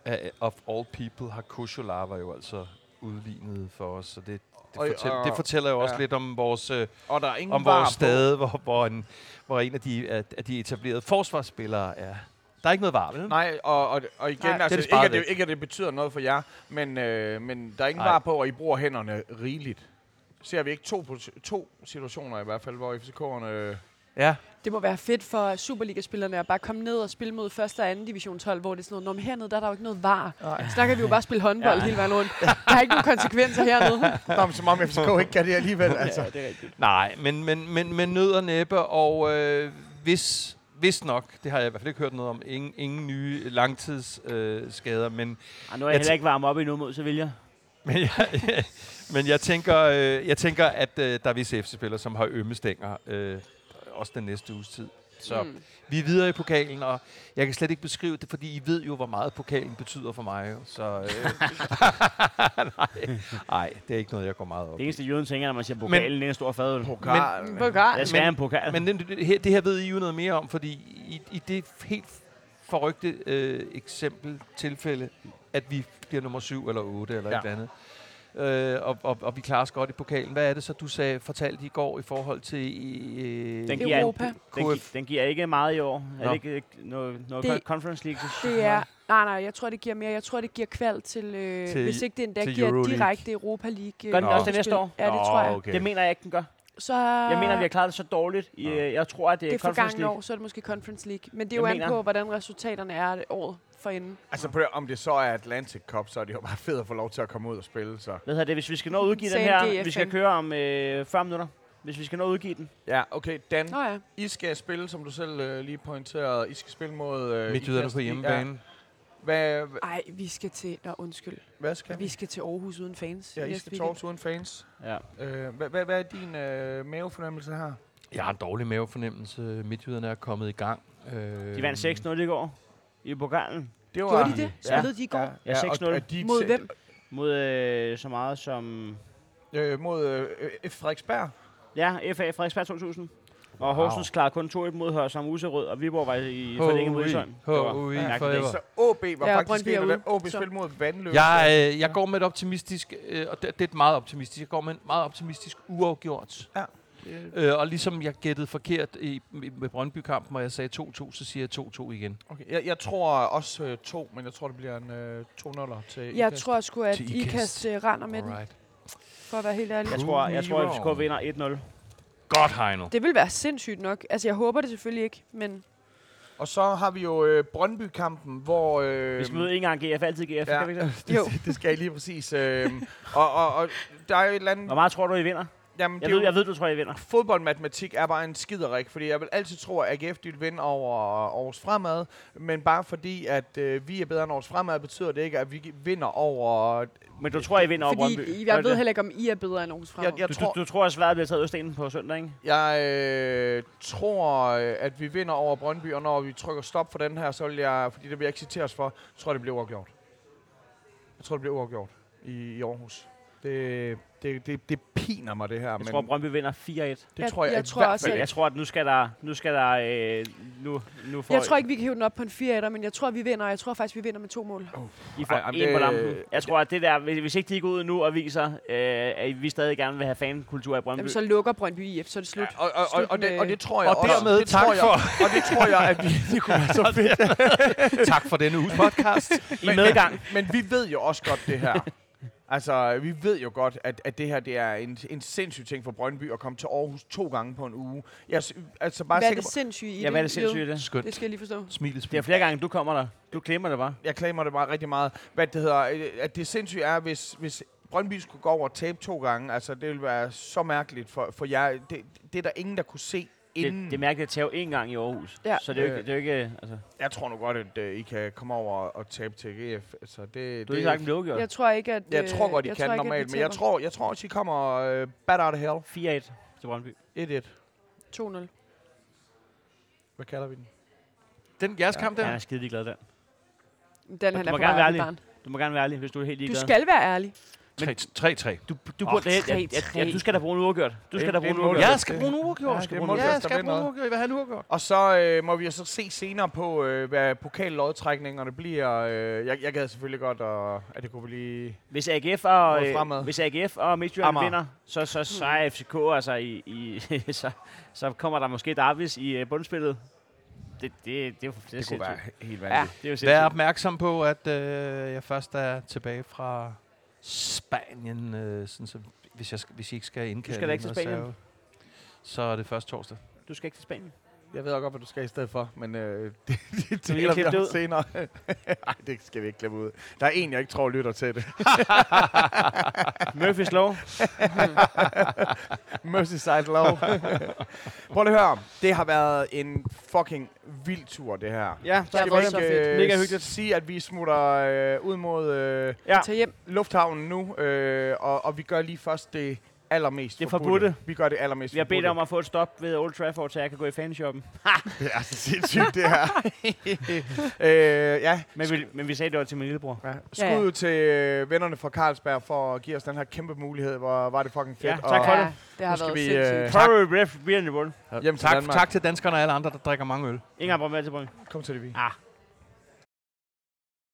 [SPEAKER 2] af- of all people, har Kusholava jo altså udlignet for os, så det, det,
[SPEAKER 1] Og-
[SPEAKER 2] fortæller,
[SPEAKER 1] og-
[SPEAKER 2] det fortæller jo også
[SPEAKER 1] ja.
[SPEAKER 2] lidt om vores, øh,
[SPEAKER 1] Og der er ingen
[SPEAKER 2] om
[SPEAKER 1] var
[SPEAKER 2] vores
[SPEAKER 1] på.
[SPEAKER 2] stade, hvor, hvor, en, hvor en af de, af, af de etablerede forsvarsspillere er. Der er ikke noget varme,
[SPEAKER 1] Nej, og, og, og igen,
[SPEAKER 3] Nej,
[SPEAKER 1] Nej, altså,
[SPEAKER 2] det er
[SPEAKER 1] ikke,
[SPEAKER 2] sparet
[SPEAKER 1] at det,
[SPEAKER 2] væk.
[SPEAKER 1] ikke at det betyder noget for jer, men, øh, men der er ingen
[SPEAKER 2] Nej.
[SPEAKER 1] var på, og I bruger hænderne rigeligt. Ser vi ikke to, posi- to situationer i hvert fald, hvor FCK'erne... Øh,
[SPEAKER 2] Ja.
[SPEAKER 3] Det må være fedt for Superliga-spillerne at bare komme ned og spille mod 1. og 2. divisionshold, hvor det er sådan noget, Nå, men hernede der er der jo ikke noget var.
[SPEAKER 1] Nej.
[SPEAKER 3] Så der kan vi jo bare spille håndbold ja. hele vejen rundt. Der er ikke nogen konsekvenser hernede.
[SPEAKER 1] Nå, men som om FCK ikke kan det alligevel, altså.
[SPEAKER 4] det er rigtigt.
[SPEAKER 2] Nej, men, men, men, men nød og næppe, og øh, hvis, hvis nok, det har jeg i hvert fald ikke hørt noget om, ingen, ingen nye langtidsskader, øh, skader, men,
[SPEAKER 4] Og Ah, nu er
[SPEAKER 2] Jeg
[SPEAKER 4] jeg heller ikke varm op endnu mod Sevilla.
[SPEAKER 2] men, jeg, men jeg, tænker, øh, jeg tænker, at øh, der er visse FC-spillere, som har ømme stænger, øh, også den næste uges tid. Så mm.
[SPEAKER 3] Mm.
[SPEAKER 2] vi er videre i pokalen, og jeg kan slet ikke beskrive det, fordi I ved jo, hvor meget pokalen betyder for mig. jo. Så, øh, nej, nej, det er ikke noget, jeg går meget op
[SPEAKER 4] Det
[SPEAKER 2] i.
[SPEAKER 4] eneste, jøden tænker, når man siger pokalen, det er en stor fadøl.
[SPEAKER 1] Pokal.
[SPEAKER 3] Hvor gør
[SPEAKER 4] Jeg skal
[SPEAKER 2] Men-
[SPEAKER 4] have en pokal.
[SPEAKER 2] Men det, det, her, det her ved I jo noget mere om, fordi i, i det helt forrygte øh, eksempel, tilfælde, at vi bliver nummer syv eller otte eller ja.
[SPEAKER 1] Ja.
[SPEAKER 2] et eller andet, øh, og, og, og vi klarer os godt i pokalen. Hvad er det så, du sagde, fortalte i går i forhold til øh,
[SPEAKER 4] Den giver,
[SPEAKER 3] Europa.
[SPEAKER 4] Den, gi- den giver ikke meget i år. Er
[SPEAKER 2] Nå.
[SPEAKER 4] det ikke øh, noget, noget
[SPEAKER 3] Det-
[SPEAKER 4] det, Conference League?
[SPEAKER 3] Det er, nej, nej, jeg tror, det giver mere. Jeg tror, det giver kval til, øh,
[SPEAKER 2] Til-
[SPEAKER 3] til hvis ikke det endda
[SPEAKER 2] til
[SPEAKER 3] giver
[SPEAKER 2] Euroleague.
[SPEAKER 3] direkte Europa League. Øh,
[SPEAKER 4] Gør den
[SPEAKER 2] også
[SPEAKER 4] det næste
[SPEAKER 3] spil.
[SPEAKER 4] år?
[SPEAKER 3] Ja, det tror jeg.
[SPEAKER 2] Okay.
[SPEAKER 4] Det mener jeg ikke, den gør.
[SPEAKER 3] Så
[SPEAKER 4] Jeg mener, vi har klaret det så dårligt. I,
[SPEAKER 2] Nå.
[SPEAKER 4] øh, jeg tror, at det er,
[SPEAKER 3] Ah. det er
[SPEAKER 4] Conference
[SPEAKER 3] forgangne
[SPEAKER 4] League.
[SPEAKER 3] år, så er det måske Conference League. Men det er
[SPEAKER 4] Jeg
[SPEAKER 3] jo an
[SPEAKER 4] mener- Mm.
[SPEAKER 3] på, hvordan resultaterne er året for enden.
[SPEAKER 1] Altså, på det, om det så er Atlantic Cup, så er det jo bare fedt at få lov til at komme ud og spille, så...
[SPEAKER 4] Hvad hedder det, hvis vi skal nå at udgive den
[SPEAKER 3] Sagen
[SPEAKER 4] her? Vi
[SPEAKER 3] GFN.
[SPEAKER 4] skal køre om øh, 40 minutter. Hvis vi skal nå at udgive den.
[SPEAKER 1] Ja, okay, Dan,
[SPEAKER 3] Nå ja.
[SPEAKER 1] I skal spille, som du selv øh, lige pointerede, I skal spille mod... Øh,
[SPEAKER 2] Midtjyderne
[SPEAKER 1] IKAST.
[SPEAKER 2] på hjemmebane.
[SPEAKER 1] Ja. Hvad, hvad-
[SPEAKER 3] Ej, vi skal til... Nå, undskyld.
[SPEAKER 1] hvad skal
[SPEAKER 3] Vi
[SPEAKER 1] vi?
[SPEAKER 3] skal til Aarhus uden fans.
[SPEAKER 1] Ja, I
[SPEAKER 3] næste
[SPEAKER 1] skal
[SPEAKER 3] weekend.
[SPEAKER 1] talks uden fans.
[SPEAKER 4] Ja.
[SPEAKER 1] Øh, hvad, hvad, hvad er din øh, mavefornemmelse her?
[SPEAKER 2] Jeg har en dårlig mavefornemmelse. Midtjyderne er kommet i gang. Øh,
[SPEAKER 4] De vandt 6-0 i går i pokalen
[SPEAKER 1] Det
[SPEAKER 3] Gjorde de det? Spillede de i går?
[SPEAKER 4] Ja, 6-0.
[SPEAKER 1] og- og de-
[SPEAKER 3] Mod hvem?
[SPEAKER 4] mod øh, så meget som...
[SPEAKER 1] Øh, mod øh, øh, Frederiksberg.
[SPEAKER 4] Ja, FA Frederiksberg 2000. Og
[SPEAKER 2] Wow.
[SPEAKER 4] Horsens klarede kun 2-1 mod Hørsam Userød, og Viborg var i
[SPEAKER 2] Ho-
[SPEAKER 4] forlænget mod
[SPEAKER 2] ui.
[SPEAKER 4] Ishøj. Det
[SPEAKER 2] Ho-
[SPEAKER 4] var
[SPEAKER 2] ui,
[SPEAKER 4] mærkeligt.
[SPEAKER 2] forever.
[SPEAKER 1] Så OB var
[SPEAKER 3] Ja, og
[SPEAKER 1] faktisk
[SPEAKER 3] Brøndby er
[SPEAKER 1] en af
[SPEAKER 3] ude.
[SPEAKER 1] dem. OB
[SPEAKER 3] Så-
[SPEAKER 1] spillede mod Vandløse.
[SPEAKER 2] Jeg, øh, jeg går med et optimistisk, øh, og det, det er et meget optimistisk, jeg går med en meget optimistisk uafgjort.
[SPEAKER 1] Ja.
[SPEAKER 2] Øh, og ligesom jeg gættede forkert i, i- med Brøndby-kampen, hvor jeg sagde 2-2, så siger jeg 2-2 igen.
[SPEAKER 1] Okay, jeg, jeg tror også øh, to, men jeg tror, det bliver en øh, 2-0'er til
[SPEAKER 3] Jeg
[SPEAKER 1] IKAST.
[SPEAKER 3] tror sgu, at
[SPEAKER 2] Til
[SPEAKER 3] I
[SPEAKER 2] Ikast.
[SPEAKER 3] kast øh, render med den,
[SPEAKER 2] Alright.
[SPEAKER 3] for at være helt ærlig. Altså,
[SPEAKER 4] Jeg tror, jeg tror,
[SPEAKER 2] Hero.
[SPEAKER 4] at FCK vinder 1-0.
[SPEAKER 2] Godt, Heino.
[SPEAKER 3] Det vil være sindssygt nok. Altså, jeg håber det selvfølgelig ikke, men
[SPEAKER 1] Og så har vi jo øh, Brøndby-kampen, hvor... Øh,
[SPEAKER 4] Vi skal møde en gang GF, altid GF.
[SPEAKER 1] Ja.
[SPEAKER 4] Kan vi ikke det?
[SPEAKER 3] jo.
[SPEAKER 1] det skal jeg lige præcis. Øh, og, og, og der er jo et eller andet...
[SPEAKER 4] Hvor meget tror du, I vinder?
[SPEAKER 1] Jamen, det
[SPEAKER 4] Jeg
[SPEAKER 1] er jo,
[SPEAKER 4] ved, jeg ved du tror, I vinder.
[SPEAKER 1] fodboldmatematik er bare en skiderik, fordi jeg vil altid tro, at AGF de vil vinde over øh, Aarhus Fremad, men bare fordi, at øh, vi er bedre end Aarhus Fremad, betyder det ikke, at vi vinder over... øh,
[SPEAKER 4] Men du tror, I vinder over Brøndby.
[SPEAKER 3] fordi I-
[SPEAKER 4] Gør
[SPEAKER 3] jeg
[SPEAKER 4] du
[SPEAKER 3] ved
[SPEAKER 4] det?
[SPEAKER 3] heller ikke, om I er bedre end Aarhus Fremad.
[SPEAKER 1] Jeg, jeg
[SPEAKER 4] du,
[SPEAKER 1] tror,
[SPEAKER 4] du, du tror, at sværet bliver taget Østenen på søndag, ikke?
[SPEAKER 1] jeg øh, tror, øh, at vi vinder over Brøndby, og når vi trykker stop for den her, så vil jeg, fordi det vil jeg ikke citeres for, tror jeg, det bliver uafgjort. Jeg tror, det bliver uafgjort i, i Aarhus. Det, det, det, det piner mig, det her,
[SPEAKER 4] Jeg
[SPEAKER 1] men
[SPEAKER 4] tror, Brøndby vinder 4-1.
[SPEAKER 1] det tror jeg,
[SPEAKER 3] Jeg
[SPEAKER 1] i
[SPEAKER 3] tror
[SPEAKER 1] hvert
[SPEAKER 3] også,
[SPEAKER 1] fald
[SPEAKER 4] Men jeg tror, at nu skal der... Nu skal der øh, nu, nu får
[SPEAKER 3] Jeg tror ikke, vi kan hive den op på en 4 men jeg tror, vi vinder. og Jeg tror faktisk, vi vinder med to mål.
[SPEAKER 4] I får
[SPEAKER 1] Ej, jamen,
[SPEAKER 4] en på
[SPEAKER 1] det- øh,
[SPEAKER 4] lampen. Jeg tror, at det der... Hvis, hvis ikke de går ud nu og viser, øh, at vi stadig gerne vil have fankultur i Brøndby.
[SPEAKER 3] Jamen, så lukker Brøndby IF, så er det slut.
[SPEAKER 1] Ja, og, og, og,
[SPEAKER 3] Slut
[SPEAKER 1] og, det,
[SPEAKER 3] med-
[SPEAKER 1] og det tror jeg
[SPEAKER 2] Og
[SPEAKER 1] også.
[SPEAKER 2] dermed
[SPEAKER 1] det
[SPEAKER 2] tak
[SPEAKER 1] tror jeg,
[SPEAKER 2] for-
[SPEAKER 1] Og det tror jeg, at vi det kunne være så fedt.
[SPEAKER 2] tak for denne uges podcast.
[SPEAKER 4] I medgang.
[SPEAKER 1] Men vi ved jo også godt det her. Altså, vi ved jo godt, at, at det her det er en, en sindssyg ting for Brøndby at komme til Aarhus to gange på en uge. Jeg er s- altså bare
[SPEAKER 3] Hvad er
[SPEAKER 1] sikker
[SPEAKER 3] det
[SPEAKER 1] på,
[SPEAKER 3] sindssygt i det?
[SPEAKER 4] Ja, hvad er det sindssygt i
[SPEAKER 3] Jød?
[SPEAKER 4] det?
[SPEAKER 2] Skønt.
[SPEAKER 3] Det skal jeg lige forstå.
[SPEAKER 2] Smilets
[SPEAKER 4] Det er flere gange, du kommer der. Du klemmer det bare.
[SPEAKER 1] jeg klager det bare rigtig meget, hvad det hedder, øh, at det sindssygt er, hvis, hvis Brøndby skulle gå over og tabe to gange, altså det ville være så mærkeligt for, for jer. Det, det er der ingen, der kunne se
[SPEAKER 4] Det,
[SPEAKER 1] inden.
[SPEAKER 4] det er mærkeligt at tage en gang i Aarhus.
[SPEAKER 3] Ja.
[SPEAKER 4] Så det er jo
[SPEAKER 1] Øh.
[SPEAKER 4] ikke... Det er jo ikke altså,
[SPEAKER 1] jeg tror nu godt, at øh, I kan komme over og tabe til GF. Altså, det,
[SPEAKER 4] du har
[SPEAKER 1] det,
[SPEAKER 4] ikke sagt, at det er
[SPEAKER 3] Jeg tror ikke, at...
[SPEAKER 1] Jeg tror
[SPEAKER 3] øh,
[SPEAKER 1] godt, de kan
[SPEAKER 3] tror ikke, at vi
[SPEAKER 1] normalt, men jeg
[SPEAKER 3] taber
[SPEAKER 1] tror, jeg tror også, de kommer øh, bad out of hell.
[SPEAKER 4] 4-1 til Brøndby.
[SPEAKER 1] 1-1.
[SPEAKER 3] 2-0.
[SPEAKER 1] Hvad kalder vi den?
[SPEAKER 2] den jeres kamp
[SPEAKER 4] Han
[SPEAKER 2] der?
[SPEAKER 4] er skide glad der.
[SPEAKER 3] Den
[SPEAKER 4] du
[SPEAKER 3] han er
[SPEAKER 4] må
[SPEAKER 3] på
[SPEAKER 4] gerne
[SPEAKER 3] vej,
[SPEAKER 4] være
[SPEAKER 3] barn.
[SPEAKER 4] Du må gerne være ærlig, hvis du er helt
[SPEAKER 3] Du
[SPEAKER 4] ligeglad.
[SPEAKER 3] skal være ærlig.
[SPEAKER 2] 3-3.
[SPEAKER 4] Du, du,
[SPEAKER 2] Åh,
[SPEAKER 4] burde, ja, ja,
[SPEAKER 3] 3-3.
[SPEAKER 4] ja, du skal da bruge en uafgjort. Du
[SPEAKER 1] Det-
[SPEAKER 4] skal da
[SPEAKER 1] det
[SPEAKER 4] bruge
[SPEAKER 1] er
[SPEAKER 4] en
[SPEAKER 1] mål.
[SPEAKER 4] uafgjort.
[SPEAKER 2] Jeg skal bruge en uafgjort.
[SPEAKER 1] Ja,
[SPEAKER 2] Jeg
[SPEAKER 1] det
[SPEAKER 2] skal
[SPEAKER 1] er
[SPEAKER 2] bruge en
[SPEAKER 1] Monsters,
[SPEAKER 2] uafgjort.
[SPEAKER 1] der
[SPEAKER 2] Jeg skal
[SPEAKER 1] vinder.
[SPEAKER 2] bruge en uafgjort. Jeg vil have en uafgjort.
[SPEAKER 1] Og så øh, må vi jo så se senere på, øh, hvad pokallodtrækningerne bliver. Øh, jeg, jeg gad selvfølgelig godt, og, at det kunne blive...
[SPEAKER 4] Hvis AGF og,
[SPEAKER 1] Mod
[SPEAKER 4] øh,
[SPEAKER 1] fremad.
[SPEAKER 4] hvis AGF og Midtjylland
[SPEAKER 1] Amager.
[SPEAKER 4] vinder, så, så, så er FCK altså i, i så, så kommer der måske Davis i øh, bundspillet. Det, det, det, det, er jo- det, det
[SPEAKER 1] helt
[SPEAKER 3] vanvittigt.
[SPEAKER 4] Det er jo
[SPEAKER 2] Vær
[SPEAKER 4] sindssygt.
[SPEAKER 2] opmærksom på, at øh, jeg først er tilbage fra Spanien, øh, sådan så, hvis, jeg, skal- hvis I ikke skal indkalde.
[SPEAKER 4] skal da ikke
[SPEAKER 2] en
[SPEAKER 4] til Spanien.
[SPEAKER 2] reserve, Så er det først torsdag.
[SPEAKER 4] Du skal ikke til Spanien.
[SPEAKER 1] Jeg ved også godt, hvad du skal i stedet for, men øh, det, det
[SPEAKER 4] vi
[SPEAKER 1] taler vi
[SPEAKER 4] klippe det
[SPEAKER 1] om
[SPEAKER 4] ud?
[SPEAKER 1] senere. Nej, det skal vi ikke klippe ud. Der er en, jeg ikke tror lytter til det.
[SPEAKER 4] Murphy's Law.
[SPEAKER 1] Merseyside Law. Prøv lige at høre. Det har været en fucking vild tur, det her.
[SPEAKER 4] Ja,
[SPEAKER 3] Ja,
[SPEAKER 4] tak
[SPEAKER 1] Skal
[SPEAKER 4] for
[SPEAKER 1] vi
[SPEAKER 3] hvor er
[SPEAKER 4] det.
[SPEAKER 3] så fedt.
[SPEAKER 1] øh,
[SPEAKER 4] Mega hyggeligt.
[SPEAKER 1] sige, at vi smutter øh, ud mod øh,
[SPEAKER 4] Ja.
[SPEAKER 3] Tag hjem.
[SPEAKER 1] lufthavnen nu, øh, og, og vi gør lige først det allermest
[SPEAKER 4] Det
[SPEAKER 1] forbudte.
[SPEAKER 4] forbudte.
[SPEAKER 1] Vi gør det allermest
[SPEAKER 4] Vi har bedt
[SPEAKER 1] forbudte.
[SPEAKER 4] om at få et stop ved Old Trafford, så jeg kan gå i fanshoppen.
[SPEAKER 1] Det er så sindssygt, det her. øh, ja.
[SPEAKER 4] Men vi, men vi sagde, det var til min lillebror.
[SPEAKER 1] Ja. Skud ja. til øh, vennerne fra Carlsberg for at give os den her kæmpe mulighed. Hvor var det fucking fedt.
[SPEAKER 4] Ja, tak for
[SPEAKER 1] og,
[SPEAKER 4] det.
[SPEAKER 3] det har
[SPEAKER 1] skal
[SPEAKER 3] været
[SPEAKER 1] vi,
[SPEAKER 3] sindssygt.
[SPEAKER 1] øh,
[SPEAKER 4] Tak. Prøv at blive en Ingen
[SPEAKER 2] Jamen, tak,
[SPEAKER 1] Danmark.
[SPEAKER 2] tak til danskerne og alle andre, der drikker mange øl.
[SPEAKER 4] Ingen har brugt med til brønd.
[SPEAKER 1] Kom til det, vi.
[SPEAKER 4] Ah,